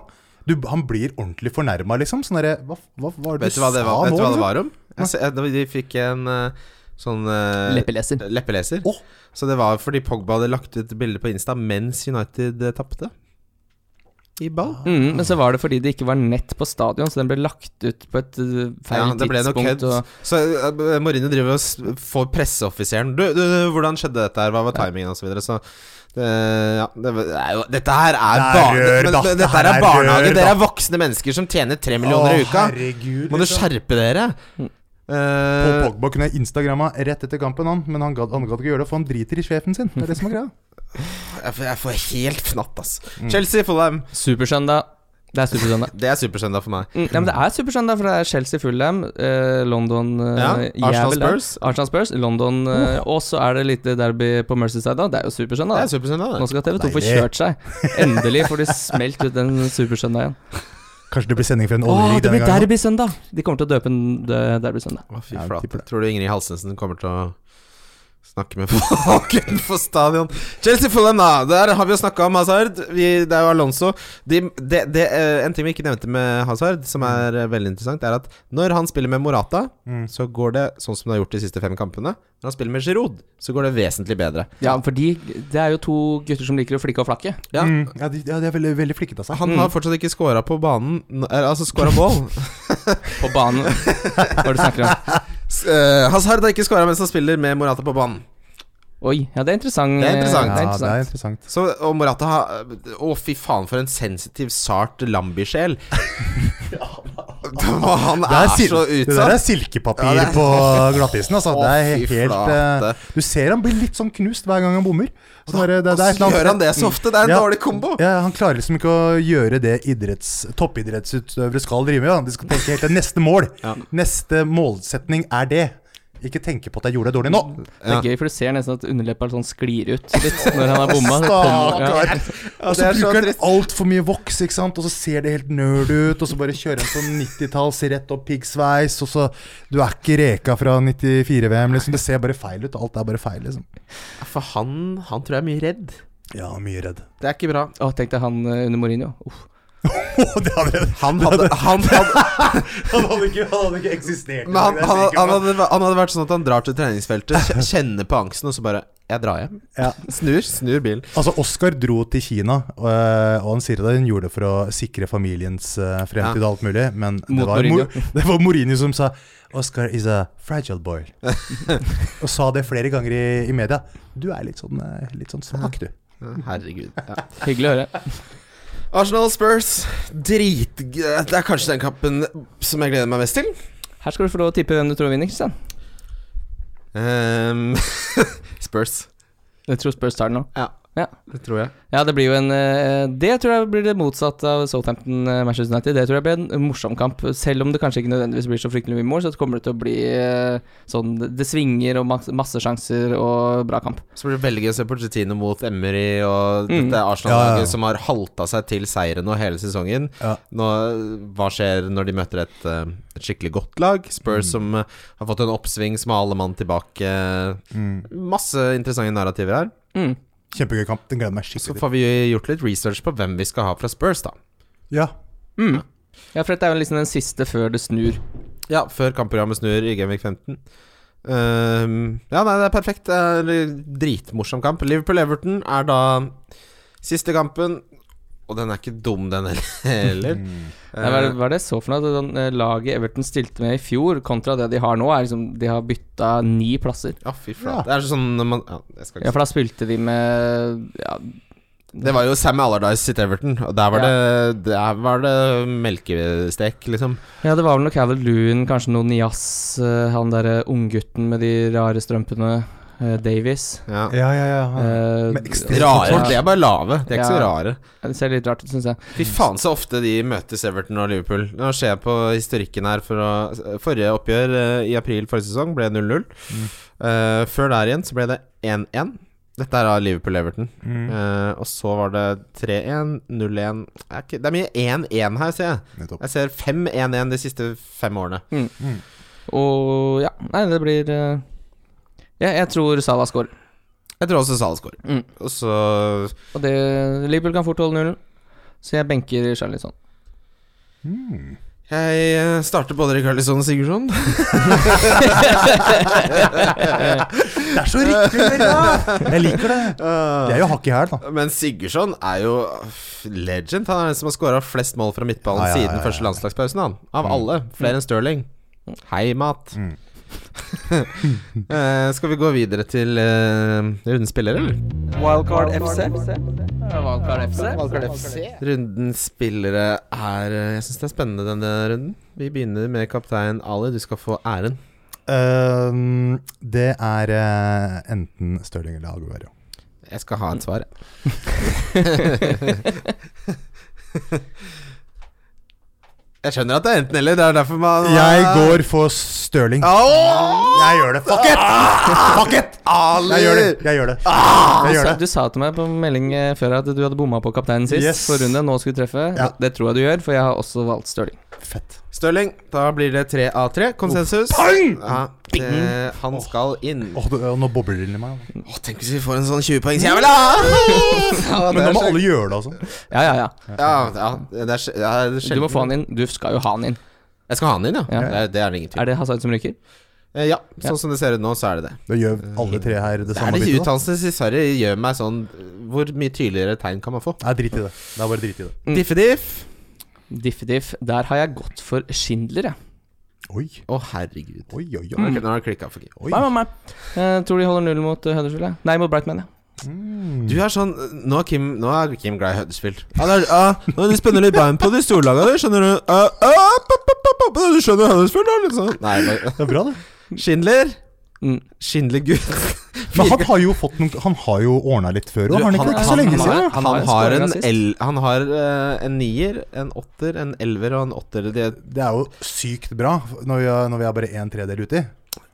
E: du, Han blir ordentlig fornærma, liksom. Sånn derre hva, hva var det
C: Vet
E: du
C: du hva det
E: sa
C: var, vet
E: nå?
C: du hva det
E: liksom?
C: var om? Jeg, se- jeg, de fikk en eh, sånn eh,
D: Leppeleser.
C: leppeleser.
E: Åh.
C: Så det var fordi Pogba hadde lagt ut bilde på Insta mens United eh, tapte. I ball.
E: Ah,
D: Mm, men så var det fordi det ikke var nett på stadion, så den ble lagt ut på et uh, feil
C: Ja, det ble noe
D: tidspunkt.
C: kødd.
D: Og,
C: Så eh, Mourinho driver og s- får presseoffiseren du, du, du, 'Hvordan skjedde dette her? Hva var timingen?' og så videre. Så det, ja, det, det er jo Dette her er,
E: Det er
C: barne-
E: rør,
C: men,
E: da.
C: men,
E: Det
C: Dette her
E: her
C: er
E: er
C: barnehage. Dere
E: rør, da.
C: er voksne mennesker som tjener tre millioner i
E: Å,
C: uka.
E: Herregud,
C: Må dere
E: liksom.
C: skjerpe dere?
E: Paul
C: Eh,
E: Pogba kunne instagramma rett etter kampen, han, men han gadd han gadd ikke gjøre det, for han driter i sjefen sin. Det er det som er greia.
C: jeg, får, jeg får helt fnatt, ass.
E: Mm.
C: Chelsea Fulham.
D: supersøndag. Det er supersøndag.
C: Det er supersøndag for meg.
D: Mm, ja, men det er supersøndag, for det er Chelsea Fulham, eh, London eh,
C: Ja, Arsenal
D: jævel der.
C: Spurs.
D: Arsenal Spurs, London eh, Og så er det lite derby på Mercyside, da. Det er jo
C: Det
D: supersøndag.
C: er
D: da.
C: supersøndag,
D: Nå
C: det.
D: skal TV2 få
E: Deilig.
D: kjørt seg. Endelig får de smelt ut den supersøndagen.
E: Kanskje det blir sending for en
D: Å, det
E: oljerig denne
D: blir
E: gangen.
D: derbysøndag! De kommer til å døpe den dø- derbysøndag.
C: Å, fy
E: Ja, jeg tipper
C: flate.
E: det.
C: Tror du Ingrid Halsensen kommer til å snakke med folk utenfor stadion? Chelsea Fulham, da. Der har vi jo snakka om Hazard. Vi, det er jo Alonso. De, det- det, eh, en ting vi ikke nevnte med Hazard, som er eh, veldig interessant, er at når han spiller med Morata, så går det sånn som det har gjort de siste fem kampene. Når han spiller med Giroud, så går det vesentlig bedre.
D: Ja, for de, det er jo to gutter som liker å flikke og flakke.
C: Ja.
E: Mm, ja, de, ja, de er veldig, altså. veldig flikkete av seg.
C: Han har fortsatt ikke scora på banen n- eh, Altså scora mål.
D: På banen. Hva er det du snakker om?
C: S- eh, Hazard har ikke scora mens han spiller med Morata på banen.
D: Oi, ja, det er interessant.
C: Det er interessant.
D: Ja,
E: Ja,
D: det er
E: det er
D: interessant.
E: interessant.
C: Så, og Morata har Å, fy faen, for en sensitiv, sart lambisjel. han
E: Det
C: er, Ah,
E: sil-
C: så
E: Det der er
C: utsatt.
E: silkepapir
C: Ja, det er-
E: på glattisen. Altså.
C: Å,
E: det er
C: fy
E: helt
C: flate.
E: eh, Du ser han blir litt sånn knust hver gang han bommer. Så bare, det, det er et
C: Hvordan
E: eller
C: gjør
E: annet-
C: han det så ofte? Det er en
E: Ja.
C: dårlig kombo.
E: Ja, han klarer liksom ikke å gjøre det idretts, toppidrettsutøvere skal drive med. da. De skal tenke helt til neste mål. Neste målsetning er det. Ikke tenke på at jeg gjorde det dårlig nå.
D: Det er gøy, for du ser nesten at underleppa sånn sklir ut litt når han har bomma. Altså, Det kommer- ja.
E: Stakkar. Og
C: det
E: så
C: er så
E: bruker han
C: trist.
E: altfor mye voks, ikke sant? og så ser det helt nerd ut. Og så bare kjører han sånn 90-talls rett opp piggsveis, og så Du er ikke reka fra 94-VM, liksom. Det ser bare feil ut. Alt er bare feil, liksom.
C: For han, han tror jeg er mye redd.
E: Ja, mye redd.
C: Det er ikke bra.
D: Å, tenk deg han eh, under Mourinho. Uff.
E: det hadde,
C: Han hadde, han hadde,
E: han hadde ikke, han hadde ikke eksistert.
C: men han, han, han, hadde, han hadde vært sånn at han drar til treningsfeltet, kj- kjenner på angsten, og så bare Jeg drar hjem.
E: Ja.
C: Snur, snur bilen.
E: Altså, Oscar dro til Kina, og, og han sier at han gjorde det for å sikre familiens eh, fremtid og alt mulig, men
D: Mot
E: det var,
D: Mourinho.
E: Mor- det var Mourinho som sa 'Oscar is a fragile boy'. og sa det flere ganger i, i media. Du er litt sånn, eh, litt sånn svak, du.
C: Herregud. Ja.
D: Hyggelig å høre.
C: Arsenal Spurs. Drit... Det er kanskje den kampen som jeg gleder meg mest til.
D: Her skal du få lov å tippe hvem du tror vinner, Kristian.
C: Ehm, Spurs.
D: Jeg tror Spurs tar den nå.
C: Ja.
D: Ja.
C: Det tror jeg.
D: Ja, det blir jo en eh, Det tror jeg blir det motsatt av Southampton eh, Manchester United. Det tror jeg blir en morsom kamp. Selv om det kanskje ikke nødvendigvis blir så fryktelig mye mål, så kommer det til å bli eh, sånn Det svinger og masse, masse sjanser og bra kamp.
C: Så blir det veldig gøy å se Pochettino mot Emery og
D: Mm.
C: dette Arsenal-laget
E: Ja, ja.
C: som har halta seg til seieren nå hele sesongen.
E: Ja.
C: Nå, hva skjer når de møter et, eh, et skikkelig godt lag?
E: Mm.
C: Spurs som eh, har fått en oppsving, som har alle mann tilbake. Masse interessante narrativer her.
D: Mm.
E: Mm. Kjempegøy kamp. Den gleder jeg meg
C: Så
E: skikkelig til.
C: får vi gjort litt research på hvem vi skal ha fra Spurs, da.
E: Ja.
D: Mm. Ja, for dette er jo liksom den siste før det snur.
C: Ja, før kampprogrammet snur i Gameweek 15. Ehm, ja, nei, det er perfekt. Det er en dritmorsom kamp. Liverpool-Everton er da siste kampen. Og den er ikke dum, den heller.
E: Mm.
D: Nei, hva, er det- hva er det jeg så for noe? Det sånn, eh, Laget Everton stilte med i fjor, kontra det de har nå, er liksom De har bytta ni plasser.
C: Ja, fy flate. Det er sånn når man, ja, jeg skal
D: Ja,
C: ikke.
D: for da spilte de med ja,
C: Det var jo Sam Allardyce sitt Everton, og der var, det, der var det melkestek, liksom.
D: ja, det var vel noe Calvert Lewin, kanskje noe Nias, eh, han derre unggutten med de rare strømpene, eh, Davies.
C: Ja.
E: Ja, ja, Ah, ja.
D: Eh,
E: Med ekstremt
C: Rare.
D: Ja.
C: De er bare lave. De er ikke
D: Ja.
C: så rare.
D: Ja, Det ser litt rart ut, syns jeg.
C: Fy faen så ofte de møtes Everton og Liverpool. Nå ser jeg på historikken her for å, Forrige oppgjør eh, i april forrige sesong ble 0-0. Eh, før der igjen så ble det 1-1. Dette er av Liverpool-Everton.
E: Mm.
C: Eh, og så var det 3-1, 0-1 Det er ikke- Det er mye 1-1 her, ser jeg.
E: Nettopp.
C: Jeg ser 5-1-1 de siste fem årene.
D: Og ja, nei, det blir eh, ja, Jeg tror Salah scorer.
C: Jeg tror også Salah scorer.
D: Mm.
C: Og så
D: Og det Liverpool kan fort holde nullen, så jeg benker Charlison.
E: Mm.
C: Jeg eh, starter både Rikarlison og Sigurdsson.
E: Det er så riktig! Vera! Jeg liker det. Det er jo hakk i hæl, da.
C: Men Sigurdsson er jo f- legend. Han er den som har skåra flest mål fra midtballen
E: Ja, ja, ja,
C: siden
E: ja, Mm.
C: første
E: ja.
C: landslagspausen, han. Av alle. Flere enn Stirling. Hei, mat.
E: Mm.
C: Eh, skal vi gå videre til uh, rundens spillere, eller?
A: Wildcard FC.
B: Valkar FC.
C: Rundens spillere er eh, Jeg syns det er spennende denne runden. Vi begynner med kaptein Ali. Du skal få æren.
E: Øhm, Mm. Ehm, det er eh, enten Stirling eller Aguero.
C: Jeg skal ha et svar. jeg skjønner at det er enten eller. Det er derfor man
E: Jeg går for Stirling. Jeg gjør det. Fuck it!
C: Ah,
E: Fuck it!
C: Ali!
E: Jeg gjør det. Jeg gjør det. Jeg gjør det.
D: Du sa til meg på melding eh, før at du hadde bomma på kapteinen sist.
E: Yes.
D: For runde nå skulle du treffe.
E: Ja.
D: Det tror jeg du gjør, for jeg har også valgt Stirling.
E: Fett.
C: Stirling, da blir det tre av tre. Konsensus. Ja, det, han skal inn.
E: Åh, det- åh, nå bobler det inni meg. altså. da.
C: Åh, tenk hvis vi får en sånn 20-poengs jeg vil ha!
E: Men nå må alle gjøre det, altså.
D: Ja, ja, ja.
C: ja, ja, det er, sj- ja, det er
D: Du må
C: sjelden.
D: få han inn. Du skal jo ha han inn.
C: Jeg skal ha han inn, ja.
D: Ja.
C: Det, er, det er det ingen tvil om.
D: Er det Hazard som ryker?
C: Eh, Ja, sånn som det ser ut nå, så er det det.
E: Da gjør alle tre her det
C: Det er
E: samme
C: det
E: byttet. da.
C: uttalelsene til Sarri gjør meg sånn Hvor mye tydeligere tegn kan man få?
E: Nei, drit i det. Det er bare drit i det.
D: Mm.
C: Diffediff.
D: Diff-diff. Der har jeg gått for Schindler, jeg.
E: Oi, Mm.
C: Å, herregud.
E: oi, oi. oi.
D: Mm.
C: Nå har det klikka for gitt.
E: oi.
D: Nei, nei, nei. Jeg tror de holder null mot eh, Huddersfield. jeg. Nei, mot Brightman, ja.
C: Du er sånn Nå er Kim, nå er Kim glad i Huddersfield. Ja, det er, ja, nå er de spenner litt bein på de storlaga der, skjønner du. Ja, ja, pop, pop, pop, pop, du skjønner Huddersfield, da, liksom. Nei, bare-
E: Det er bra, det.
C: Schindler.
D: Mm.
C: Schindler-gutt.
E: Men han har jo fått noen Han har jo ordna litt før òg, har han ikke? det? Ikke så lenge
D: han-
E: siden.
D: han-
C: Han,
D: har
C: har
D: en scoring
C: en,
D: assist.
C: el, han har eh, en nier, en åtter, en elver og en åtter. Det,
E: Det er jo sykt bra når vi har, når vi har bare en tredel uti.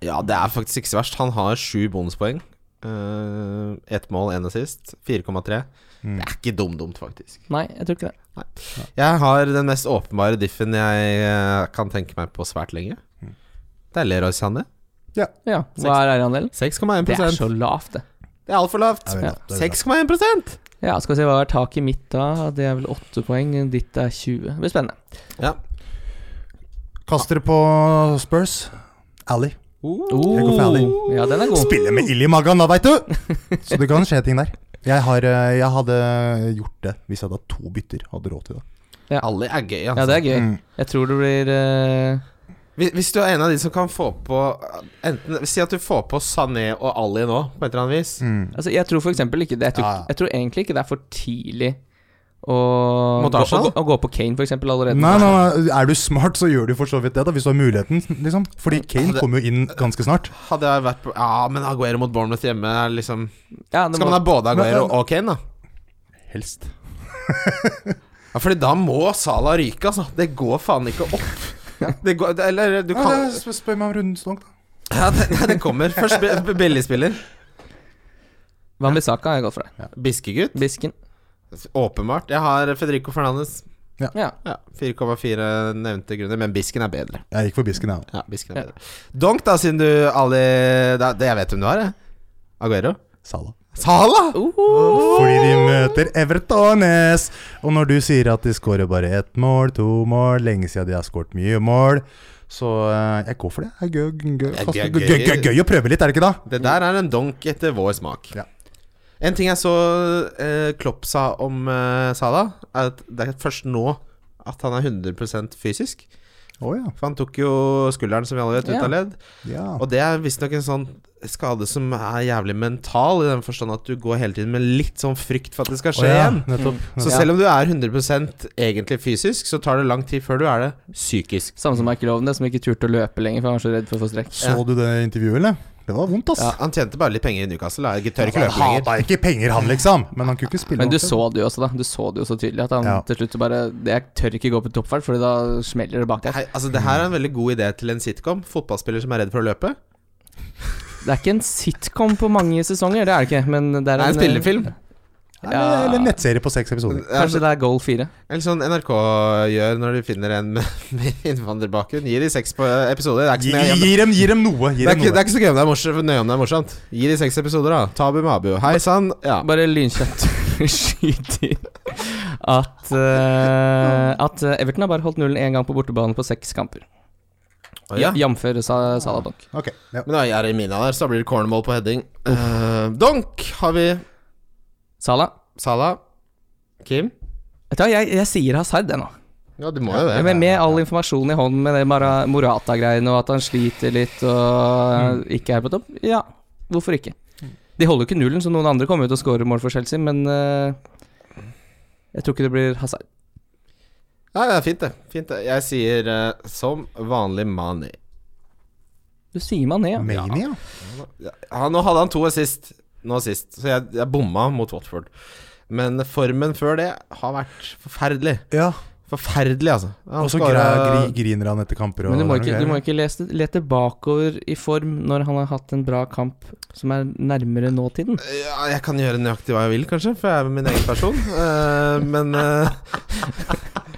C: ja, det er faktisk ikke så verst. Han har sju bonuspoeng. Uh, Ett mål, én assist. 4,3. Det er ikke dum-dumt, faktisk.
D: Nei, jeg tror ikke det.
C: Jeg har den mest åpenbare diffen jeg eh, kan tenke meg på svært lenge.
E: Mm.
C: Det er Leroy Sané.
D: Ja, Hva er eierandelen?
C: 6,1
D: Det er
C: Det
D: så lavt, det.
C: er altfor lavt.
E: Jeg vet
D: Ja.
E: det, det er bra.
C: 6,1
D: Ja, skal vi se hva er taket mitt da. Det er vel åtte poeng. Ditt er 20. Det blir spennende.
C: Ja.
E: Kast dere på Spurs. Alley. Tenk å få Alley.
D: Oh, ja, den er god.
E: Spiller med ild i magen, da, veit du! Så det kan skje ting der. Jeg, har, eh, jeg hadde gjort det hvis jeg hadde hatt to bytter. Hadde råd til det.
C: Alle er gøy,
D: Ja,
C: altså.
D: det er gøy.
E: Mm.
D: Jeg tror det blir eh,
C: Hvis- Hvis du er en av de som kan få på enten, Si at du får på Sané og Ali nå, på et eller annet vis.
E: Mm.
D: Altså, jeg tror for eksempel ikke det jeg tror,
E: Ja, ja.
D: jeg tror egentlig ikke det er for tidlig å
C: Mot
D: gå, å,
C: Arsenal?
D: gå- å gå på Kane, for eksempel, allerede.
E: Nei, nei, nei, er du smart, så gjør du for så vidt det, da, hvis du har muligheten. liksom Fordi Kane
C: det-
E: kommer jo inn ganske snart.
C: Hadde jeg vært på Ja, men Aguero mot Bournemouth hjemme er liksom
D: Ja, det
C: Skal man
D: må,
C: ha både Aguero
E: Men-
C: og Kane, da?
E: Helst.
C: Ja, fordi da må Salah ryke, altså. Det går faen ikke opp. Det går, det, eller du kan
E: Ja, sp- spør meg om rundens lang, da.
C: Ja, det, nei, det kommer. Først bi- bi- billigspiller.
D: Wambisaka har jeg gått for. det.
C: Biskegutt.
D: Bisken.
C: Åpenbart. Jeg har Federico Fernandes.
D: Ja.
C: Ja, 4,4 nevnte grunner, men Bisken er bedre.
E: Jeg gikk for bisken, jeg òg.
C: Ja, Bisken er
D: Ja.
C: bedre. Donk, da, siden du Ali da, det, Jeg vet hvem du har, jeg. Aguero.
E: Salah.
C: Salah! Uhuh.
E: Fordi de møter Evertones. Og når du sier at de skårer bare ett mål, to mål, lenge siden de har skåret mye mål, så eh, jeg går for det. Det er gøy, gøy,
C: Det er
E: kaste-
C: gøy,
E: gøy,
C: gøy.
E: gøy, gøy, gøy å prøve litt, er det ikke da?
C: Det der er en donk etter vår smak.
E: Ja.
C: En ting jeg så eh, Klopp sa om eh, Salah, er at det er først nå at han er 100 fysisk.
E: Å ja.
C: For han tok jo skulderen, som vi alle vet, ut
D: Ja.
C: av ledd.
E: ja.
C: Og det er visstnok en sånn skade som er jævlig mental, i den forstand at du går hele tiden med litt sånn frykt for at det skal
E: Å
C: skje
E: ja,
C: igjen.
E: Nettopp.
C: Så selv om du er 100 egentlig fysisk, så tar det lang tid før du er det psykisk.
D: Samme som Michael Owen, det, som ikke turte å løpe lenger, for han var så redd for å få strekk.
E: Så du det intervjuet, eller? Det var vondt, ass.
C: Ja, han tjente bare litt penger i Newcastle. da. Jeg tør ikke løpe
E: han
C: lenger.
E: hata ikke penger, han, liksom. Men han kunne ikke spille
D: Men du
E: ordentlig.
D: så det jo også, da. Du så det jo så tydelig at han
E: Ja.
D: til slutt bare Jeg tør ikke gå på toppfart, Fordi da smeller det bak der.
C: Hei, altså, det her er en veldig god idé til en sitcom. Fotballspiller som er redd for å løpe.
D: Det er ikke en sitcom på mange sesonger, det er det ikke. Men det er
C: Det er en spillefilm.
E: eh, Eller, eller en nettserie på seks episoder.
D: eh, Kanskje det er Goal 4.
C: Eller sånn NRK gjør når de finner en med med innvandrerbakgrunn. Gir de seks på episoder. Det er ikke
E: Gi,
C: så nøye om det,
E: gi, dem, gi dem noe! Gi
C: det, er ikke,
E: dem
C: det
E: noe.
C: er ikke så gøy om det er morsomt, nøye om det er morsomt. Gi de seks episoder, da. Tabu med Abu. Hei sann. Ja.
D: Bare lynkjapt skyter at eh, At eh, Everton har bare holdt nullen én gang på bortebane på seks kamper.
C: Ja.
D: Jamfør sa Salabank.
E: Ok, ja.
C: Men da er Jeremina der, så da blir det cornball på heading. Eh, donk har vi.
D: Sala.
C: Salah. Kim.
D: Vet du hva, jeg, jeg sier Hazard, jeg nå.
C: Ja, du må jo det.
D: Men med all informasjonen i hånden med det Mara- Morata-greiene og at han sliter litt
E: Mm.
D: og eh, ikke er på topp, ja, hvorfor ikke? De holder jo ikke nullen, så noen andre kommer jo til å skåre mål for Chelsea, men eh, jeg tror ikke det blir Hazard.
C: Nei, det er fint, det. Fint, det. Jeg sier eh, som vanlig Mani.
D: Du sier Mané, ja.
E: Mania?
C: Ja, nå hadde han to assist nå sist, så jeg, jeg bomma mot Watford. Men formen før det har vært forferdelig.
E: Ja.
C: Forferdelig, altså. Han
E: Og så
C: skåret-
E: gra- gri- griner han etter kamper og
D: Men du må
E: det er noe
D: ikke, du
E: greier.
D: må ikke lese, lete bakover i form når han har hatt en bra kamp som er nærmere nåtiden.
C: Ja, jeg kan gjøre nøyaktig hva jeg vil, kanskje, for jeg er min egen person. Eh, men eh,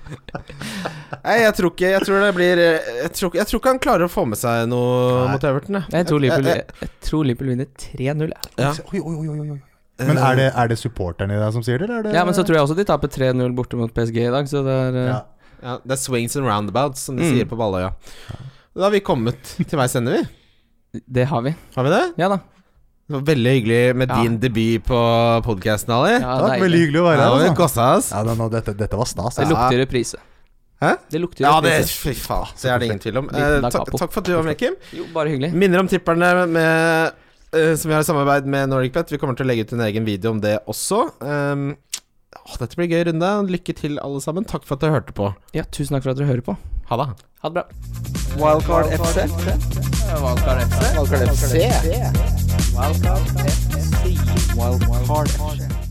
C: Nei, jeg tror ikke Jeg tror det blir eh, Jeg tror, jeg tror ikke han klarer å få med seg noe
E: Nei.
C: mot Everton. jeg.
D: Jeg tror
E: Eh,
D: Liverpool,
C: Jeg-
D: jeg, tror Liverpool vinner 3-0. jeg.
C: Ja.
E: Oi, oi, oi, oi, oi. Men er det, er det supporterne i deg som sier det, eller er det
D: Ja, men så tror jeg også de taper 3-0 borte mot PSG i dag, så det er eh,
E: ja.
C: Ja, det er swings and roundabouts, som de
D: Mm.
C: sier på Balløya. Da har vi kommet til veis ende, vi.
D: Det har vi.
C: Har vi det?
D: Ja da.
C: Det var veldig hyggelig med
D: Ja.
C: din debut på podkasten, Ali.
D: Ja,
E: Det var
D: deilig.
E: veldig hyggelig å
C: Her
E: være
C: har vi
E: her. altså.
C: kosa oss.
E: Ja, da, nå, dette, dette var stas.
D: Det
E: Altså.
D: lukter reprise.
C: Hæ?
D: Det lukter
C: Ja, det
D: reprise.
C: Fy faen, så er det ingen tvil om. Eh,
D: Liten da
C: takk,
D: capo.
C: takk for at du var med, Kim.
D: Jo, bare hyggelig.
C: Minner om tipperne med, eh, som vi har i samarbeid med NordicBet. Vi kommer til å legge ut en egen video om det også. Um, å, dette blir en gøy runde. Lykke til, alle sammen. Takk for at du hørte på.
D: Ja, tusen takk for at dere hører på.
C: Ha det.
D: Ha det bra.
A: Wildcard FC.
B: Wildcard FC.
A: Wildcard FC.
B: Wildcard FC.
A: Wildcard FC.